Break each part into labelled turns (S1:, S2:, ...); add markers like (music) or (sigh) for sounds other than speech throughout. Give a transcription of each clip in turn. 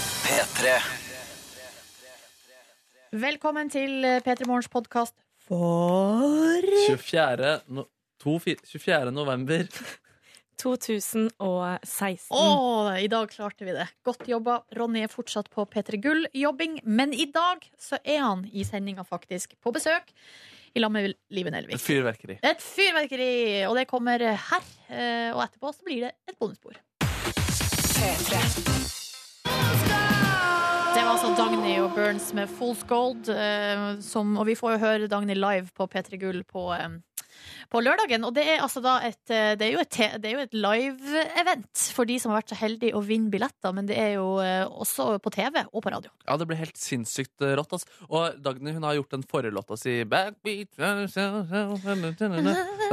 S1: P3.
S2: Velkommen til P3 Morgens podkast for
S3: 24. No, to, fi- 24. november.
S4: 2016.
S2: Å, i dag klarte vi det. Godt jobba. Ronny er fortsatt på P3 Gull-jobbing, men i dag så er han i sendinga faktisk på besøk i lag med Liven Elvik.
S3: Fyrverkeri.
S2: Et fyrverkeri! Og det kommer her. eh, Og etterpå så blir det et bonusbord. Det var altså Dagny og Burns med Fools Gold. eh, Som, og vi får jo høre Dagny live på P3 Gull på, eh, på lørdagen. Og det er, altså da et, eh, det er jo et, te- det er jo et live-event for de som har vært så heldige å vinne billetter. Men det er jo eh, også på TV og på radio.
S3: Ja, det ble helt sinnssykt eh, rått. Ass. Og Dagny hun har gjort den forrige låta si Backbeat Hun har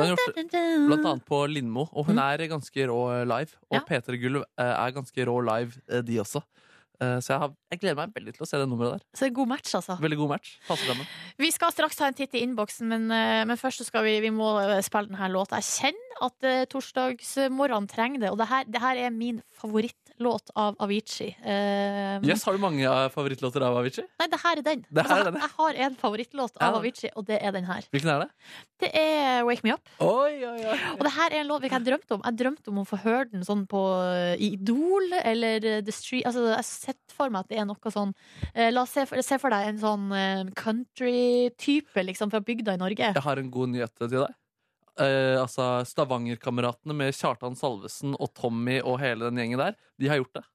S3: gjort Blant annet på Lindmo, og hun er ganske rå eh, live. Og
S2: Mm. Ja.
S3: Peter Gulv eh, er ganske rå live, eh, de også. Eh, Så jeg, har, jeg gleder meg veldig til å se det nummeret der.
S2: Så det er god match, altså.
S3: Veldig god match. Passer sammen.
S2: Vi skal straks ta en titt i innboksen, men, eh, men først så skal vi, vi må eh, spille denne låta. Jeg kjenner at eh, torsdagsmorgenen trenger det, og det her, det her er min favorittlåt av Avicii. Eh,
S3: Yes, har du mange eh, favorittlåter av Avicii?
S2: Nei, det her er den.
S3: Det her er
S2: Altså,
S3: den, ja.
S2: jeg har en favorittlåt av
S3: Ja.
S2: Avicii, og det er den her.
S3: Hvilken er det?
S2: Det er Wake Me Up.
S3: Oi, oi, oi.
S2: Og det her er en låt hvilken jeg drømte om. Jeg drømte om å få høre den sånn på eh, i Idol eller eh, The Street. Altså, jeg har sett for meg at det er noe sånn eh, La oss se for, se for deg en sånn eh, country-type, liksom, fra bygda i Norge.
S3: Jeg har en god nyhet til deg. Eh, altså Stavangerkameratene med Kjartan Salvesen og Tommy og hele den gjengen der, de har (laughs) gjort det.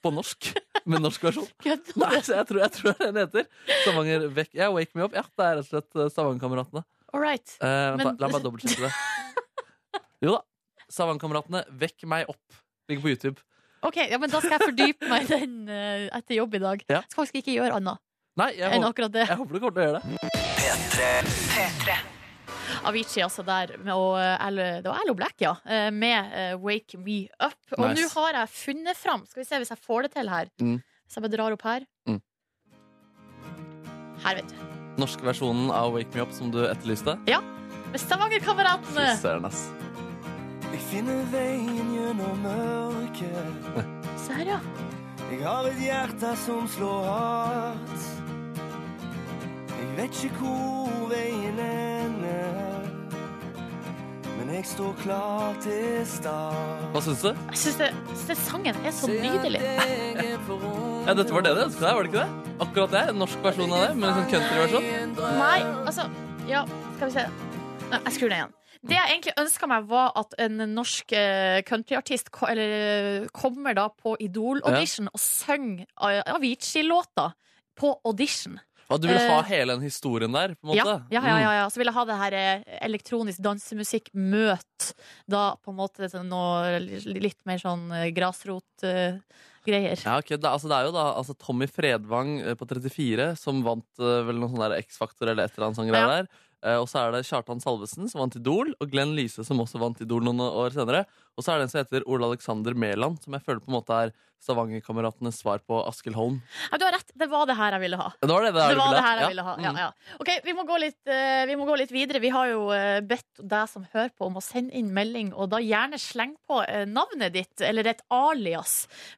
S3: På norsk. Med norsk versjon.
S2: Kødder
S3: Nei, så jeg tror, jeg tror det er den heter. Stavanger vekk. Ja, Wake Me Up. Ja, det er rett og slett eh, Stavangerkameratene.
S2: All right.
S3: Eh, vent da,
S2: Men-
S3: La meg bare (laughs) dobbeltsjekke det. Jo da. Stavangerkameratene, vekk meg opp. Ligger på YouTube.
S2: (laughs) Ok, ja, men Da skal jeg fordype meg i den eh, etter jobb i dag.
S3: Ja.
S2: Jeg skal faktisk ikke gjøre annet
S3: Nei, jeg
S2: enn
S3: håper,
S2: akkurat det.
S3: jeg håper du kommer til å gjøre det.
S2: Avicii, altså, der. med- Og eh, Al- det var Allo Black, ja. eh, Med eh, Wake Me Up. Og
S3: Nice.
S2: nå har jeg funnet fram. Skal vi se hvis jeg får det til her.
S3: Mm.
S2: Hvis jeg bare drar opp her.
S3: Mm.
S2: Her, vet du.
S3: Norske versjonen av Wake Me Up som du etterlyste.
S2: Med
S3: Fy
S2: Stavangerkameratene!
S3: søren, ass.
S5: Jeg finner veien gjennom mørket.
S2: Se her, ja.
S5: Jeg har et hjerte som slår hardt. Jeg vet ikke hvor veien ender, men jeg står klar til start.
S3: Hva syns du?
S2: Jeg syns det, synes det sangen er så nydelig.
S3: Ja, dette var det du ønsket deg, var det ikke det? Akkurat det. En norsk versjon av det, med en sånn countryversjon.
S2: Nei, altså Ja, skal vi se. Nei, jeg skrur ned igjen. Det jeg egentlig ønska meg, var at en norsk eh, countryartist ko- eller, eh, kommer da på Idol-audition og synger eh, Avicii-låta på audition.
S3: Og du vil ha
S2: Eh,
S3: hele den historien der, på en
S2: Ja,
S3: måte? Mm.
S2: ja, ja, ja, ja. Så vil jeg ha det her eh, elektronisk dansemusikk møt da på en måte sånn noe litt mer sånn eh, grasrotgreier.
S3: Ja, ok, det, altså, det er jo da altså, Tommy Fredvang eh, på 34 som vant eh, vel noen sånne der X-Faktor eller et eller annet sånn greie
S2: Ja.
S3: der. Eh, og så er det Kjartan Salvesen som vant Idol, og Glenn Lyse som også vant Idol noen år senere. Og så er det en som heter Ole Alexander Mæland, som jeg føler på en måte er Stavangerkameratenes svar på Askild Holm.
S2: Ja, du har rett, det var det her jeg ville ha.
S3: Det var det,
S2: Det
S3: du
S2: var
S3: ville
S2: det her jeg
S3: Ja. Mm.
S2: ville ha. Ja, ja. Ok, vi må, gå litt, eh, vi må gå litt videre. Vi har jo eh, bedt deg som hører på, om å sende inn melding, og da gjerne sleng på eh, navnet ditt, eller et alias.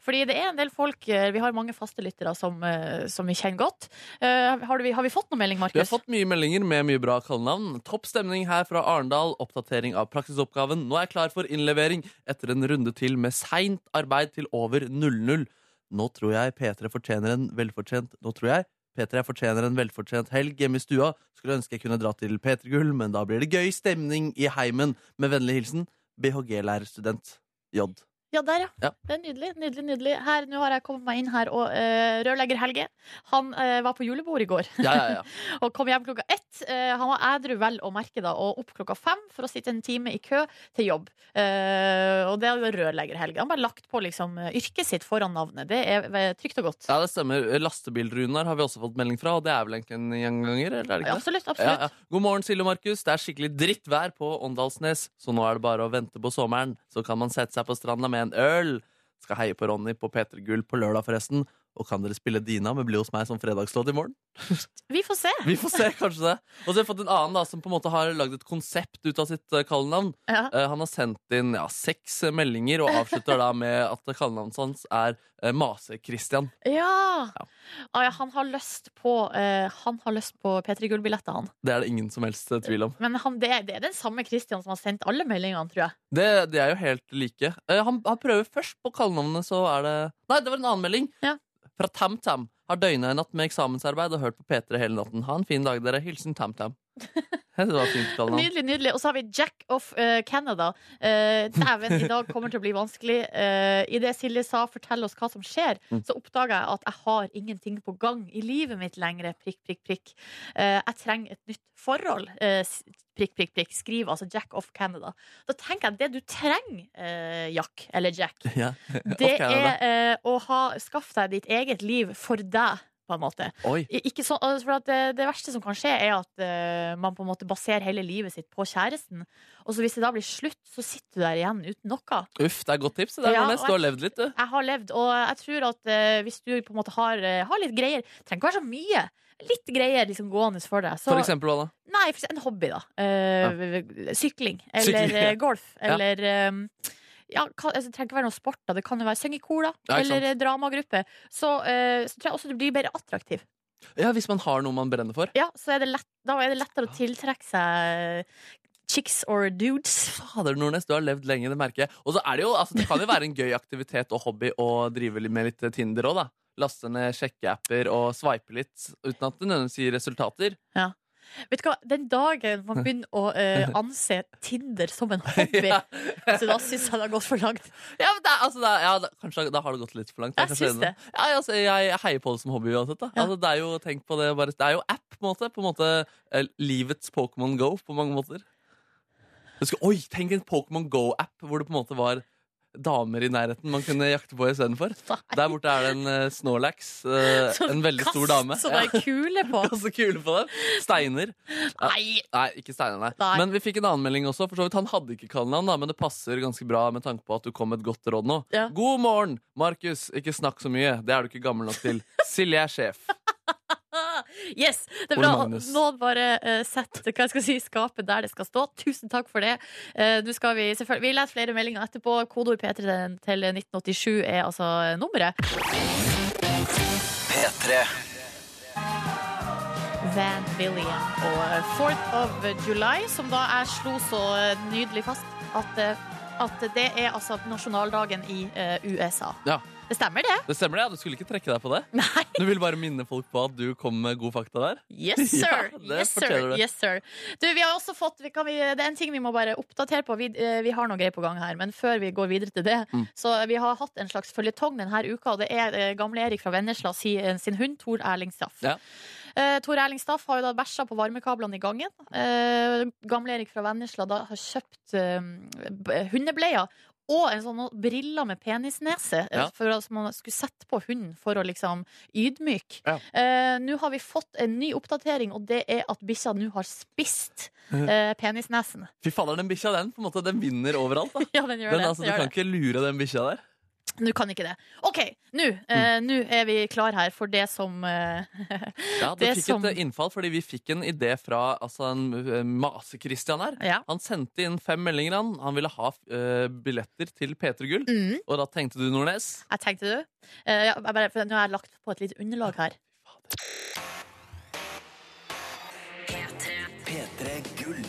S2: Fordi det er en del folk eh, Vi har mange faste lyttere som, eh, som vi kjenner godt. Eh, har, du, har vi fått noen melding,
S3: Vi har
S2: Markus?
S3: fått mye meldinger med mye bra kallenavn. Topp stemning her fra Arendal. Oppdatering av praksisoppgaven. Nå er jeg klar for innlevering etter en runde til med seint arbeid til over 00. Nå tror jeg P3 fortjener en velfortjent Nå tror jeg P3 fortjener en velfortjent helg hjemme i stua. Skulle ønske jeg kunne dra til P3 Gull, men da blir det gøy stemning i heimen. Med vennlig hilsen BHG-lærerstudent J.
S2: Ja, der, ja.
S3: Ja.
S2: Det er nydelig. nydelig, nydelig Her, Nå har jeg kommet meg inn her, og eh, rørlegger Helge Han eh, var på julebord i går.
S3: Ja, ja, ja.
S2: (laughs) Og kom hjem klokka ett. Eh, han var ædru vel å merke da, og opp klokka fem for å sitte en time i kø til jobb. Eh, og det er jo rørlegger Helge. Han har bare lagt på liksom, eh, yrket sitt foran navnet. Det er eh, trygt og godt.
S3: ja det stemmer. Lastebil-Runar har vi også fått melding fra, og det er vel egentlig en gjenganger? Eller er det ikke det?
S2: Absolutt. absolutt.
S3: Ja, ja. God morgen, Silje og Markus. Det er skikkelig drittvær på Åndalsnes, så nå er det bare å vente på sommeren. Så kan man sette seg på stranda med en øl. Skal heie på Ronny på P3 Gull på lørdag, forresten. Og kan dere spille Dina med Bli hos meg som fredagslåt i morgen?
S2: Vi får se.
S3: Vi får se, kanskje det. Og så har jeg fått en annen da, som på en måte har lagd et konsept ut av sitt eh, kallenavn.
S2: Ja.
S3: Eh, han har sendt inn ja, seks eh, meldinger og avslutter da med at kallenavnet hans er eh, Mase-Christian.
S2: (laughs) Ja.
S3: Ja.
S2: Ah, ja, han har lyst på eh, Han har lyst på P3 Gull-billetter, han.
S3: Det er det ingen som helst eh, tvil om.
S2: Men han, det, det er den samme Christian som har sendt alle meldingene, tror jeg.
S3: Det, det er jo helt like. Eh, han, han prøver først på kallenavnet, så er det Nei, det var en annen melding!
S2: Ja.
S3: Fra TamTam. Har døgna i natt med eksamensarbeid og hørt på P3 hele natten. Ha en fin dag, dere. Hilsen TamTam.
S2: (laughs)
S3: Jeg synes Det var et fint kallenavn.
S2: Nydelig, nydelig. Og så har vi Jack of eh, Canada. Eh, Dæven, i dag kommer til å bli vanskelig. Uh, I det Silje sa 'fortell oss hva som skjer',
S3: Mm.
S2: så oppdaga jeg at jeg har ingenting på gang i livet mitt lenger. Prikk, prikk, prikk. Eh, jeg trenger et nytt forhold. Eh, s- prikk, prikk, prikk. Skriv altså Jack of Canada. Da tenker jeg det du trenger, eh, Jack, eller Jack,
S3: (laughs) Ja.
S2: det
S3: Ok,
S2: er eh, å ha skaff deg ditt eget liv for deg, på en måte.
S3: Oi.
S2: I- Ikke så, altså, for at det, det verste som kan skje, er at eh, man på en måte baserer hele livet sitt på kjæresten. Og så hvis det da blir slutt, så sitter du der igjen uten noe.
S3: Uff, det er et godt tips. Det der,
S2: Ja,
S3: Nordnes.
S2: og
S3: Du
S2: jeg-
S3: har levd litt, du.
S2: Jeg har levd, og jeg tror at eh, hvis du på en måte har, eh, har litt greier Trenger ikke være så mye. Litt greier liksom gående for deg. Så,
S3: For eksempel hva da?
S2: Nei, for eksempel en hobby, da. Eh, Sykling. Eller
S3: Sykling, ja.
S2: eh, golf.
S3: Ja.
S2: Eller eh, ja, hva- altså, det trenger ikke være noe sport. da Det kan jo være synge i kor, da.
S3: Ja, ikke sant.
S2: eller eh, dramagruppe. Så, eh, så tror jeg også du blir mer attraktiv.
S3: Ja, Hvis man har noe man brenner for.
S2: Ja, så er det lett, Da er det lettere å tiltrekke seg chicks or dudes.
S3: Fader, Nordnes, du har levd lenge, det merker jeg. Og så er det jo, altså, det kan jo være en gøy aktivitet og hobby å drive litt med litt Tinder òg, da. Laste ned sjekkeapper og sveipe litt uten at det nødvendigvis gir resultater.
S2: Vet du hva, Den dagen man begynner å (laughs) eh, anse Tinder som en hobby,
S3: Ja.
S2: så da syns jeg det har gått for langt.
S3: Ja, men det, er- altså, det, er- ja, det, kanskje da har det gått litt for langt.
S2: Jeg
S3: er kanskje
S2: syns
S3: enig. Ja, ja, altså, jeg heier på det som hobby uansett. Da.
S2: Ja.
S3: Altså, det er jo tenk på det, bare, det er jo app, på en måte. På en måte eh, livets Pokémon Go på mange måter. Husker, oi, tenk en Pokémon Go-app hvor det på en måte var damer i nærheten man kunne jakte på istedenfor. Der borte er det en eh, Snorlax.
S2: (laughs)
S3: eh,
S2: Sånn
S3: en veldig stor dame.
S2: Kast sånne kuler
S3: (laughs)
S2: på.
S3: Og så kule på dem. Steiner. Ja.
S2: Nei!
S3: Nei, ikke Steinar, nei.
S2: Nei.
S3: Men vi fikk en annen melding også. For så vidt, Han hadde ikke kallenavn, da, men det passer ganske bra med tanke på at du kom med et godt råd nå.
S2: Ja.
S3: God morgen, Markus. Ikke snakk så mye. Det er du ikke gammel nok
S2: (laughs)
S3: til. Silje er sjef.
S2: Ah, Yes! Det er
S3: Ole
S2: bra.
S3: Magnus.
S2: Noen bare uh, sett hva jeg skal si, skapet der det skal stå. Tusen takk for det. Eh, nå skal vi selvfølgelig Vi leser flere meldinger etterpå. Kodeord P3 til- til 1987 er altså nummeret.
S5: P3.
S2: Van William og 4th of July, som da jeg slo så eh, nydelig fast at, eh, at det er altså nasjonaldagen i eh, USA.
S3: Ja.
S2: Det stemmer, det?
S3: Det stemmer, det. ja. Du skulle ikke trekke deg på det.
S2: Nei.
S3: Du vil bare minne folk på at du kom med gode fakta der.
S2: Yes, sir.
S3: (laughs) Ja, det
S2: yes,
S3: fortjener
S2: sir.
S3: du.
S2: Yes, sir. Du, vi har også fått vi kan, vi, Det er en ting vi må bare oppdatere på. Vi, eh, vi har noe greier på gang her, men før vi går videre til det
S3: Mm.
S2: Så vi har hatt en slags føljetong denne uka, og det er eh, gamle Erik fra Vennesla si, eh, sin hund Tor Erling Staff.
S3: Ja.
S2: Eh, Tor Erling Staff har jo da bæsja på varmekablene i gangen. Eh, gamle Erik fra Vennesla da har kjøpt eh, b- hundebleier. Og en sånn briller med penisnese, eh,
S3: Ja.
S2: for, at- som man skulle sette på hunden for å liksom ydmyke.
S3: Ja.
S2: Eh, nå har vi fått en ny oppdatering, og det er at bikkja nå har spist eh, penisnesen.
S3: Fy fader, den bikkja den på en måte, den vinner overalt. da
S2: (laughs) Ja, den gjør
S3: den,
S2: det.
S3: altså,
S2: den
S3: Du
S2: gjør
S3: kan
S2: det.
S3: ikke lure den bikkja der.
S2: Nå kan ikke det. OK, nå eh,
S3: Mm.
S2: nå er vi klar her for det som eh, (laughs)
S3: Ja, Du
S2: Det
S3: fikk
S2: som-
S3: et eh, innfall fordi vi fikk en idé fra altså, en mase-Christian her.
S2: Ja.
S3: Han sendte inn fem meldinger. Han, han ville ha eh, billetter til P3 Gull.
S2: Mm,
S3: Og da tenkte du Nordnes?
S2: jeg tenkte du. Eh, ja, jeg bare, for nå har jeg lagt på et lite underlag her.
S4: eh,
S5: P3 Gull.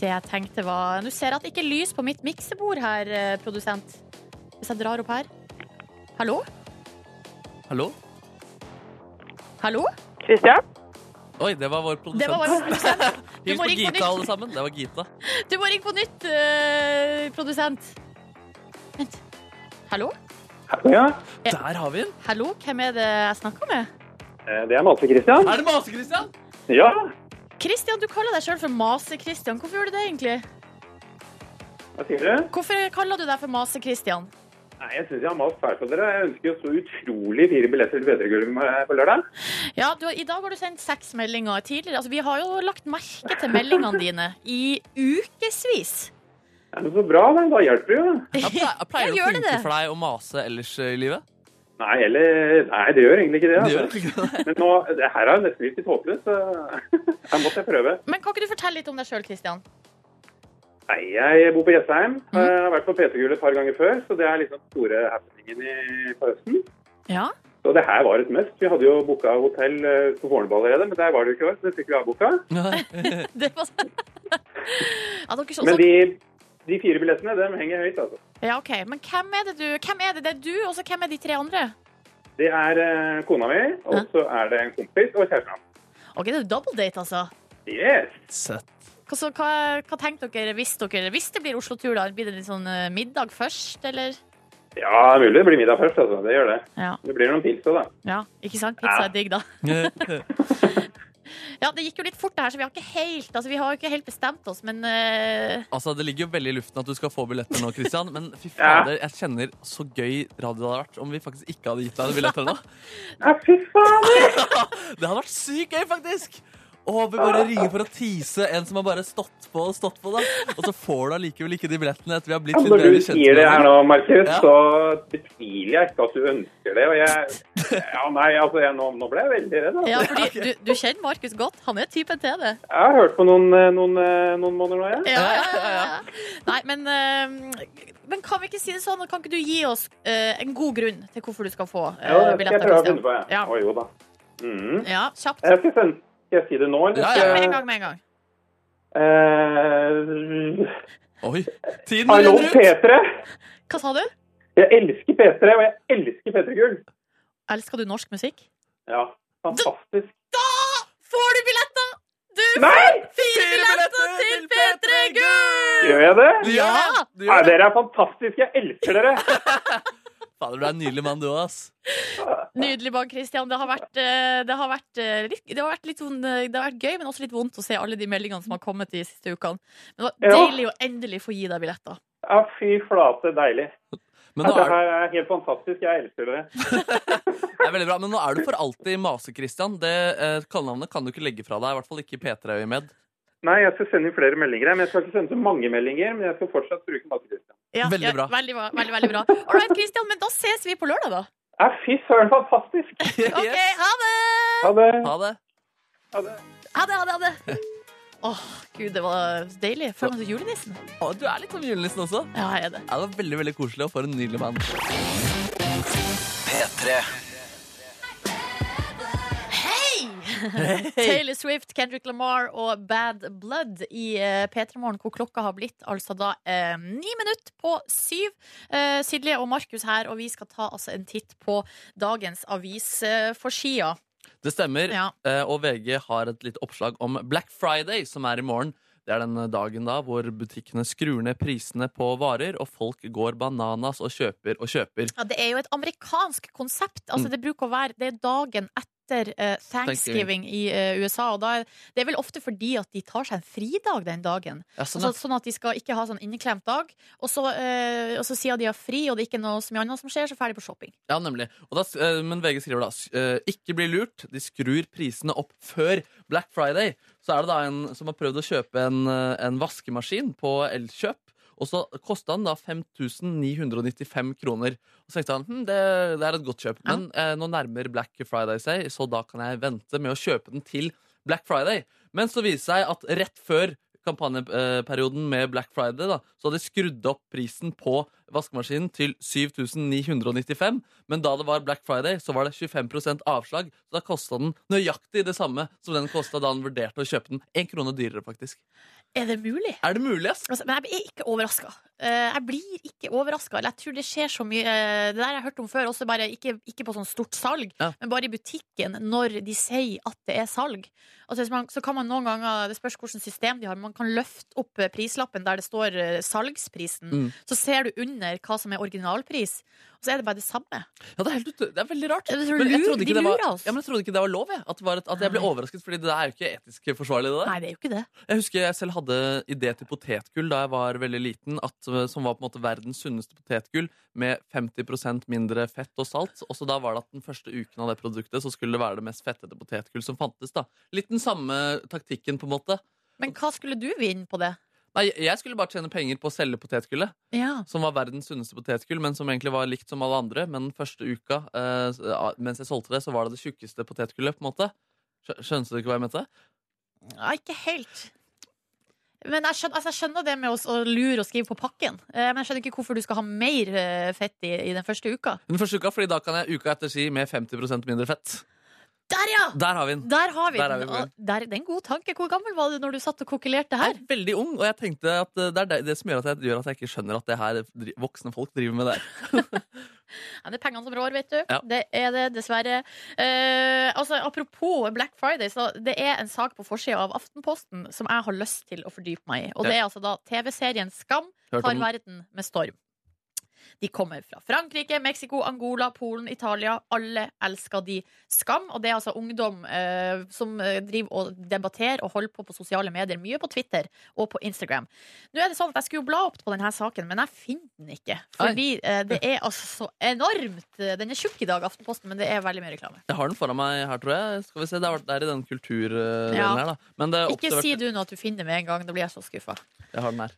S2: Det jeg tenkte var Nå ser jeg at det ikke er lys på mitt miksebord her, eh, produsent. Hvis jeg drar opp her. Hallo?
S3: Hallo?
S2: Hallo?
S1: Kristian?
S3: Oi, det var vår
S2: Det
S3: produsent.
S2: var
S3: (laughs)
S2: bare produsent. (laughs) Du
S3: Hils
S2: må
S3: på
S2: ringe på
S3: Gita,
S2: nytt.
S3: alle sammen. Det var Gita.
S2: (laughs) Du må ringe på nytt, eh, produsent. Vent. Hallo?
S1: Ja,
S2: Ja.
S3: Der har vi den!
S2: Hallo, hvem er det jeg snakker med?
S1: eh, det er Mase Kristian.
S3: Er det Mase-Christian?
S1: Ja,
S2: Kristian, du kaller deg sjøl for Mase-Kristian. Hvorfor gjør du det, egentlig?
S1: hva sier du?
S2: Hvorfor kaller du deg for Mase-Kristian?
S1: Nei, jeg syns jeg har mast fælt på dere. Jeg ønsker jo så utrolig fire billetter til Bedregulv på lørdag.
S2: Ja, du, har- I dag har du sendt seks meldinger tidligere. Altså, vi har jo lagt merke til meldingene dine i ukevis.
S1: Ja, men så bra, da. Da hjelper det jo.
S3: Ja, ple- pleier
S2: Ja,
S3: det å
S2: gjør det
S3: funke
S2: det?
S3: for deg å mase ellers i livet?
S1: Nei, eller Nei, det gjør egentlig ikke det.
S3: Det
S1: Altså.
S3: gjør egentlig ikke det.
S1: Men nå, det her er jo nesten litt håpløst, så (laughs) her måtte jeg prøve.
S2: Men kan ikke du fortelle litt om deg sjøl, Kristian?
S1: Nei, jeg bor på Jessheim.
S3: Mhm.
S1: Eh, Jeg har vært på PT-gull et par ganger før, så det er liksom den store happeningen i, på høsten.
S2: Ja.
S1: Så det her var et must. Vi hadde jo booka hotell eh, på Vårnebå allerede, men der var det jo ikke år, så det fikk vi avbooka.
S2: Det sånn var ja, dere så,
S1: Men
S2: så,
S1: de, de fire billettene, dem henger høyt, altså.
S2: ja, OK. Men hvem er det du Hvem er det? Det er du, og så hvem er de tre andre?
S1: Det er eh, kona mi, og så er det en kompis og kjæresten hans.
S2: OK, det er double date, altså.
S1: Yes!
S3: Søtt.
S2: Hva, så, hva, hva tenkte dere hvis, dere hvis det blir Oslo-tur? da? Blir det litt sånn eh, middag først, eller?
S1: Ja, mulig det blir middag først, altså. Det gjør det.
S2: Ja.
S1: Det blir noen pils òg, da.
S2: ja. Ikke sant? Pizza er digg, da. (laughs) Ja, Det gikk jo litt fort, det her, så vi har ikke helt, altså, vi har jo ikke helt bestemt oss, men eh,
S3: Altså, Det ligger jo veldig i luften at du skal få billetter nå, Christian. Men
S1: (laughs)
S3: fy fader, jeg kjenner så gøy radio det hadde vært om vi faktisk ikke hadde gitt deg billetter nå.
S1: Ja, fy faen!
S3: (laughs) Det hadde vært sykt gøy, faktisk! Å, vi bare ringer for å tease en som har bare stått på og stått på, da. Og så får du allikevel ikke de billettene etter vi har blitt litt
S1: Når
S3: bedre
S1: Altså, du
S3: kjent.
S1: sier det her nå, Markus,
S3: Ja.
S1: så betviler jeg ikke at du ønsker det. Og jeg Ja, nei, altså, jeg, nå, nå ble jeg veldig redd. Altså.
S2: ja,
S1: (laughs)
S2: fordi du, du kjenner Markus godt. Han er typen til det.
S1: Jeg har hørt på noen, eh, noen, eh, noen måneder nå, jeg.
S2: Ja, ja, ja, ja. Nei, men, eh, men kan vi ikke si det sånn? Kan ikke du gi oss eh, en god grunn til hvorfor du skal få eh,
S1: Ja, det skal jeg
S2: billetter?
S1: prøve å
S2: Christian?
S1: finne på, jeg.
S2: Ja.
S1: Å, jo da. Mhm.
S2: Ja, kjapt.
S1: Jeg skal, sende, skal jeg si det nå, eller?
S3: Ja,
S2: Ja,
S1: skal
S2: med
S1: jeg-
S2: en gang, med en gang.
S1: Eh,
S3: Oi, tiden
S1: Hallo,
S3: renner ut!
S1: P3!
S2: Hva sa du?
S1: Jeg elsker P3, og jeg elsker P3 Gull.
S2: Elsker du norsk musikk?
S1: Ja, fantastisk.
S2: Da får du billetter! Du
S1: Nei!
S2: får fire billetter til P3 Gull!
S1: Gjør jeg det?
S3: Du gjør det! Du
S1: Nei,
S3: gjør det.
S1: dere er fantastiske. Jeg elsker dere.
S3: (laughs) Fader, du er en nydelig mann, du òg, ass.
S2: Nydelig, Bang Christian. Det har vært, eh, det har vært, eh, litt, det har vært litt sånn, eh, det har vært gøy, men også litt vondt å se alle de meldingene som har kommet de siste ukene. Men det var
S1: Ja.
S2: deilig å endelig få gi deg billetter.
S1: Ja, fy flate, deilig.
S3: Men nå
S1: Dette
S3: er,
S1: her er helt fantastisk. Jeg elsker dere.
S3: det er veldig bra. Men nå er du for alltid Mase-Christian. Det eh, kallenavnet kan du ikke legge fra deg. I hvert fall ikke P3-øyemed.
S1: Nei, jeg skal sende inn flere meldinger. her, Men jeg skal ikke sende så mange meldinger, men jeg skal fortsatt bruke matkristen.
S2: Ja,
S3: Veldig
S2: ja,
S3: bra.
S2: Veldig, bra- veldig, veldig bra. All right, Christian, men da ses vi på lørdag, da.
S1: Ja, fy søren, fantastisk.
S2: (laughs) OK, ha det!
S1: Ha det.
S3: Ha det.
S1: Ha det.
S2: Ha det, ha det, ha det. Åh, gud, det var deilig. Føler meg som julenissen.
S3: Å, du er litt som julenissen også.
S2: Ja, jeg er det.
S3: Ja, det var veldig veldig koselig og for en nydelig mann.
S2: Taylor Swift, Kendrick Lamar og Bad Blood i eh, P3 Morgen, hvor klokka har blitt altså da eh, ni minutter på syv. Eh, Silje og Markus her, og vi skal ta altså en titt på dagens eh, avisforsida.
S3: Det stemmer.
S2: Ja.
S3: Eh, Og VG har et lite oppslag om Black Friday, som er i morgen. Det er den dagen da hvor butikkene skrur ned prisene på varer, og folk går bananas og kjøper og kjøper.
S2: Ja, det er jo et amerikansk konsept.
S3: Mm.
S2: Altså, det bruker å være Det er dagen etter eh, thanksgiving i eh, USA, og da er det er vel ofte fordi at de tar seg en fridag den dagen.
S3: Ja, sånn,
S2: Sånn
S3: ja.
S2: at, sånn at de skal ikke ha sånn inneklemt dag. Og så, eh, og så sier de har fri, og det er ikke noe så mye annet som skjer, så ferdig på shopping.
S3: ja, nemlig. Og da, s- eh, men VG skriver da s- eh, ikke bli lurt. De skrur prisene opp før Black Friday. Så er det da en som har prøvd å kjøpe en, eh, en vaskemaskin på Elkjøp. Og så kosta den da 5995 kroner. Og så tenkte han hm, det, det er et godt kjøp, men eh, nå nærmer Black Friday seg, så da kan jeg vente med å kjøpe den til Black Friday. Men så viser det seg at rett før kampanjeperioden med Black Friday, da, så hadde de skrudd opp prisen på vaskemaskinen til 7995, men da det var Black Friday, så var det 25 avslag, så da kosta den nøyaktig det samme som den kosta da han vurderte å kjøpe den. Én krone dyrere, faktisk.
S2: Er det mulig?
S3: Er det mulig, ass?
S2: Altså, men jeg er ikke overraska. Jeg blir ikke overraska. Eller jeg tror det skjer så mye eh, Det der har jeg hørt om før, også bare ikke, ikke på sånn stort salg,
S3: Ja.
S2: men bare i butikken når de sier at det er salg. Altså, hvis man, så kan man noen ganger Det spørs hvilket system de har, men man kan løfte opp eh, prislappen der det står eh, salgsprisen.
S3: Mm.
S2: Så ser du under hva som er originalpris, og så er det bare det samme.
S3: Ja, det er, helt ut... det er veldig rart.
S2: Jeg tror
S3: Men jeg
S2: lur-
S3: trodde
S2: de
S3: ikke det var...
S2: lurer oss.
S3: Ja, men jeg trodde ikke det var lov, jeg. At, det var et... at jeg ble
S2: Nei.
S3: overrasket, fordi det er jo ikke etisk forsvarlig, det der.
S2: Nei, det er jo ikke det.
S3: Jeg husker jeg selv hadde idé til potetgull da jeg var veldig liten, at, eh, som var på en måte verdens sunneste potetgull, med 50 mindre fett og salt. Også da var det at den første uken av det produktet så skulle det være det mest fettete potetgull som fantes. da. Litt den samme taktikken, på en måte.
S2: Men hva skulle du vinne på det?
S3: Nei, jeg skulle bare tjene penger på å selge potetgullet.
S2: Ja.
S3: Som var verdens sunneste potetgull, men som egentlig var likt som alle andre. Men den første uka eh, mens jeg solgte det, så var det det tjukkeste potetgullet. på en måte Skjø- Skjønner du ikke hva jeg mente?
S2: Nei, ikke helt. Men jeg skjønner, altså jeg skjønner det med å, s- å lure og skrive på pakken. Eh, Men jeg skjønner ikke hvorfor du skal ha mer eh, fett i, i den første uka.
S3: Den første uka, fordi da kan jeg uka etter si med 50 mindre fett.
S2: Der, ja!
S3: Der har vi den.
S2: Der har vi
S3: Der er
S2: den.
S3: vi på
S2: Og Der, det er en god tanke. Hvor gammel var du når du satt og kokkelerte
S3: Jeg
S2: her?
S3: er veldig ung, og jeg tenkte at eh, det er det- det som gjør at jeg, gjør at jeg ikke skjønner at det her dri- voksne folk driver med der.
S2: Ja, det er pengene som rår, vet du.
S3: Ja.
S2: Det er det, dessverre. Eh, altså, apropos Black Friday, så det er en sak på forsida av Aftenposten som jeg har lyst til å fordype meg i. Og det er altså da TV-serien Skam
S3: Hørt
S2: tar
S3: om,
S2: verden med storm. De kommer fra Frankrike, Mexico, Angola, Polen, Italia. Alle elsker de skam. Og det er altså ungdom eh, som eh, driver og debatterer og holder på på sosiale medier. Mye på Twitter og på Instagram. Nå er det sånn at Jeg skulle jo bla opp på denne saken, men jeg finner den ikke. Fordi eh, det er altså så enormt. eh, Den er tjukk i dag, Aftenposten, men det er veldig mye reklame.
S3: jeg har den foran meg her, tror jeg. Skal vi se, Det er, det er i den kulturdelen
S2: Ja.
S3: her, da. Men det er
S2: Ikke
S3: observert-
S2: si du nå at du finner det med en gang. Da blir jeg så skuffa.
S3: Jeg har den her.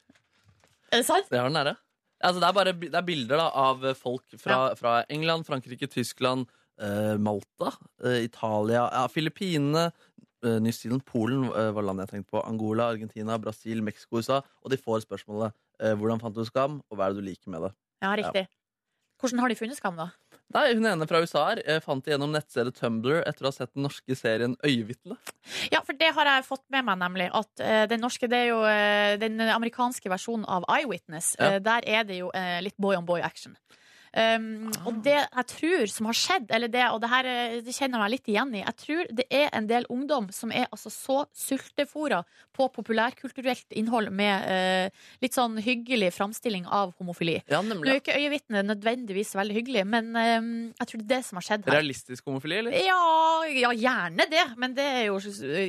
S2: Er det sant?
S3: Jeg har den her, ja. Altså, det er bare bi- det er bilder da, av eh, folk fra, fra England, Frankrike, Tyskland, eh, Malta, eh, Italia, ja, Filippinene, eh, New Zealand, Polen eh, var landet jeg tenkte på. Angola, Argentina, Brasil, Mexico, USA. Og de får spørsmålet eh, hvordan fant du skam, og hva er det du liker med det?
S2: Ja, riktig. Hvordan har de funnet skam, da?
S3: Nei, Hun ene fra USA her eh, fant det gjennom nettstedet Tumblr etter å ha sett den norske serien Øyevitne.
S2: Ja, for det har jeg fått med meg, nemlig. At eh, den norske, det er jo eh, den amerikanske versjonen av Eyewitness.
S3: Ja.
S2: Eh, der er det jo eh, litt boy on boy action. Um,
S3: Ah.
S2: Og det jeg tror som har skjedd, eller det, og det her eh, det kjenner jeg meg litt igjen i Jeg tror det er en del ungdom som er altså så sultefòra på populærkulturelt innhold med eh, litt sånn hyggelig framstilling av homofili.
S3: Ja,
S2: Nå er
S3: nemlig.
S2: jo ikke øyevitnet nødvendigvis veldig hyggelig, men eh, jeg tror det er det som har skjedd her.
S3: Realistisk homofili, eller?
S2: Ja, ja, gjerne det, men det er jo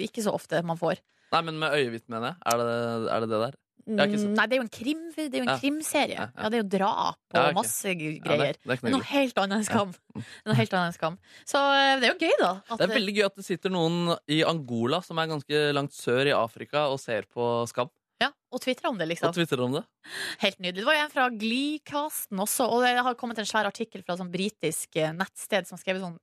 S2: ikke så ofte man får.
S3: Nei, men med øyevitne, mener jeg. Er det er det, det der? har ikke sett-
S2: Mm, Nei, det er jo en, krim, det er jo en
S3: Ja.
S2: krimserie.
S3: Ja,
S2: Ja,
S3: ja.
S2: Det er jo drap og
S3: Ja, ok.
S2: masse g-
S3: Ja, det,
S2: greier.
S3: det er ikke
S2: Men
S3: noe
S2: noe helt annet enn skam. Noe helt annet enn skam. Så eh, det er jo gøy, da. at-
S3: Det er veldig gøy at det sitter noen i Angola, som er ganske langt sør i Afrika, og ser på Skam.
S2: ja, og twitrer om det,
S3: Og
S2: liksom.
S3: twitrer om det.
S2: Helt nydelig. Det var jo en fra Glee-casten også, og det har kommet en svær artikkel fra et sånn britisk eh, nettsted som skrev sånn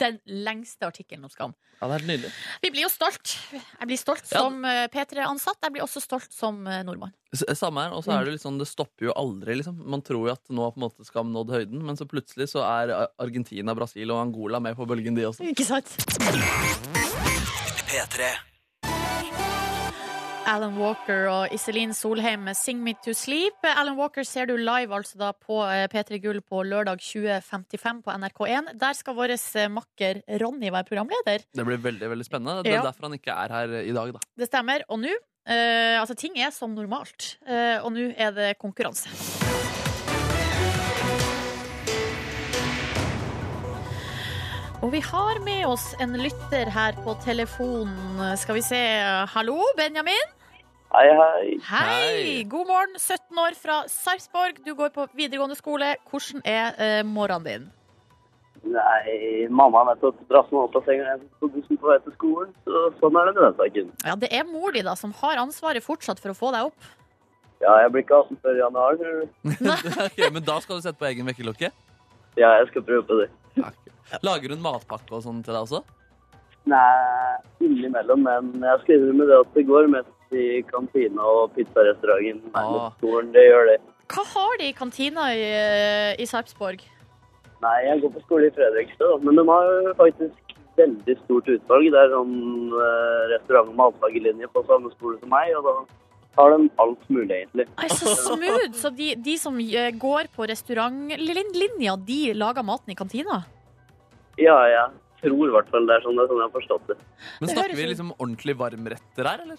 S2: den lengste artikkelen om skam.
S3: Ja, det er helt nydelig.
S2: Vi blir jo stolt. Jeg blir stolt
S3: Ja.
S2: som eh, P3-ansatt. Jeg blir også stolt som eh, nordmann.
S3: S- Samme her. Og
S2: Mm.
S3: så er det litt sånn, det stopper jo aldri, liksom. Man tror jo at nå har på en måte Skam nådd høyden, men så plutselig så er Ar- Argentina, Brasil og Angola med på bølgen, de også.
S2: Ikke sant?
S5: P3.
S2: Alan Walker og Iselin Solheim med 'Sing Me To Sleep'. Alan Walker ser du live altså da på eh, P3 Gull på lørdag 20.55 på NRK1. Der skal vår eh, makker Ronny være programleder.
S3: Det blir veldig veldig spennende. Det er
S2: Ja.
S3: derfor han ikke er her
S2: (laughs)
S3: i dag, da. (laughs)
S2: Det stemmer. Og nå eh, Altså, ting er som normalt. Eh, og nå er det konkurranse. Og vi har med oss en lytter her på telefonen. Skal vi se. Hallo, Benjamin?
S4: Hei, hei.
S2: Hei!
S3: Hei.
S2: God morgen, 17 år fra Sarpsborg. Du går på videregående skole. Hvordan er eh, morgenen din?
S4: Nei, mamma er nettopp dratt meg opp av senga igjen på bussen på vei til skolen, så sånn er det med den saken.
S2: Ja, Det er mor di da som har ansvaret fortsatt for å få deg opp.
S4: Ja, jeg blir ikke 18 før i januar. tror du.
S3: Ok, men da skal du sette på egen vekkerklokke?
S4: Ja, jeg skal prøve på det.
S3: Ja, ok. Lager hun matpakke og sånn til deg også?
S4: Nei, innimellom, men jeg skal innrømme det at det går mest i kantina og pizzarestauranten
S3: Ah.
S4: nærmest skolen. Det gjør det.
S2: Hva har de i kantina i, eh, i Sarpsborg?
S4: Nei, jeg går på skole i Fredrikstad, da, men de har jo faktisk veldig stort utvalg. Det er sånn eh, restaurant- og matfaglinje på samme skole som meg, og da har de alt mulig, egentlig.
S2: Nei, Så smooth! Så de, de som eh, går på restaurantlinja, de lager maten i kantina?
S4: Ja, jeg tror i hvert fall det er sånn, det er sånn jeg har forstått det.
S3: Men
S2: Det
S3: snakker
S2: høres
S3: vi
S2: ut-
S3: liksom ordentlig varmretter her, eller?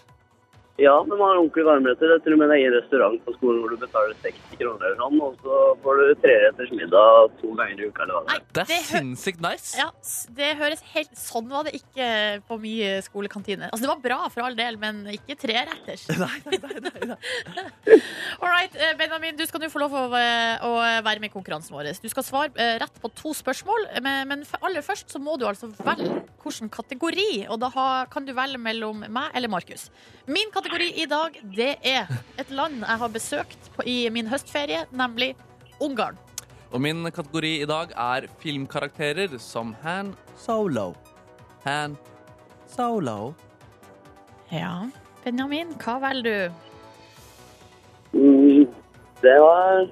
S4: Ja, de har ordentlig varmretter. Det er til og med en egen restaurant på skolen hvor du betaler 60 kroner eller sånn, og så får du treretters middag to ganger i uka eller hva det
S2: Nei,
S4: er.
S3: Det er
S2: det, hø
S3: sinnssykt nice!
S2: ja, s- det høres helt Sånn var det ikke på mye skolekantine. Altså, det var bra for all del, men ikke treretters.
S3: (laughs) Nei, nei, nei, nei, nei.
S2: (laughs) All right, eh, Benjamin, du skal nå få lov å, eh, å være med i konkurransen vår. Du skal svare eh, rett på to spørsmål, eh, men, men f- aller først så må du altså velge hvilken kategori. Og da ha, kan du velge mellom meg eller Markus. Min kategori i dag, det er et land jeg har besøkt på, i min høstferie, nemlig Ungarn.
S3: Og min kategori i dag er filmkarakterer som Han Solo. Han Solo.
S2: Ja. Benjamin, hva velger du?
S4: Mm, det var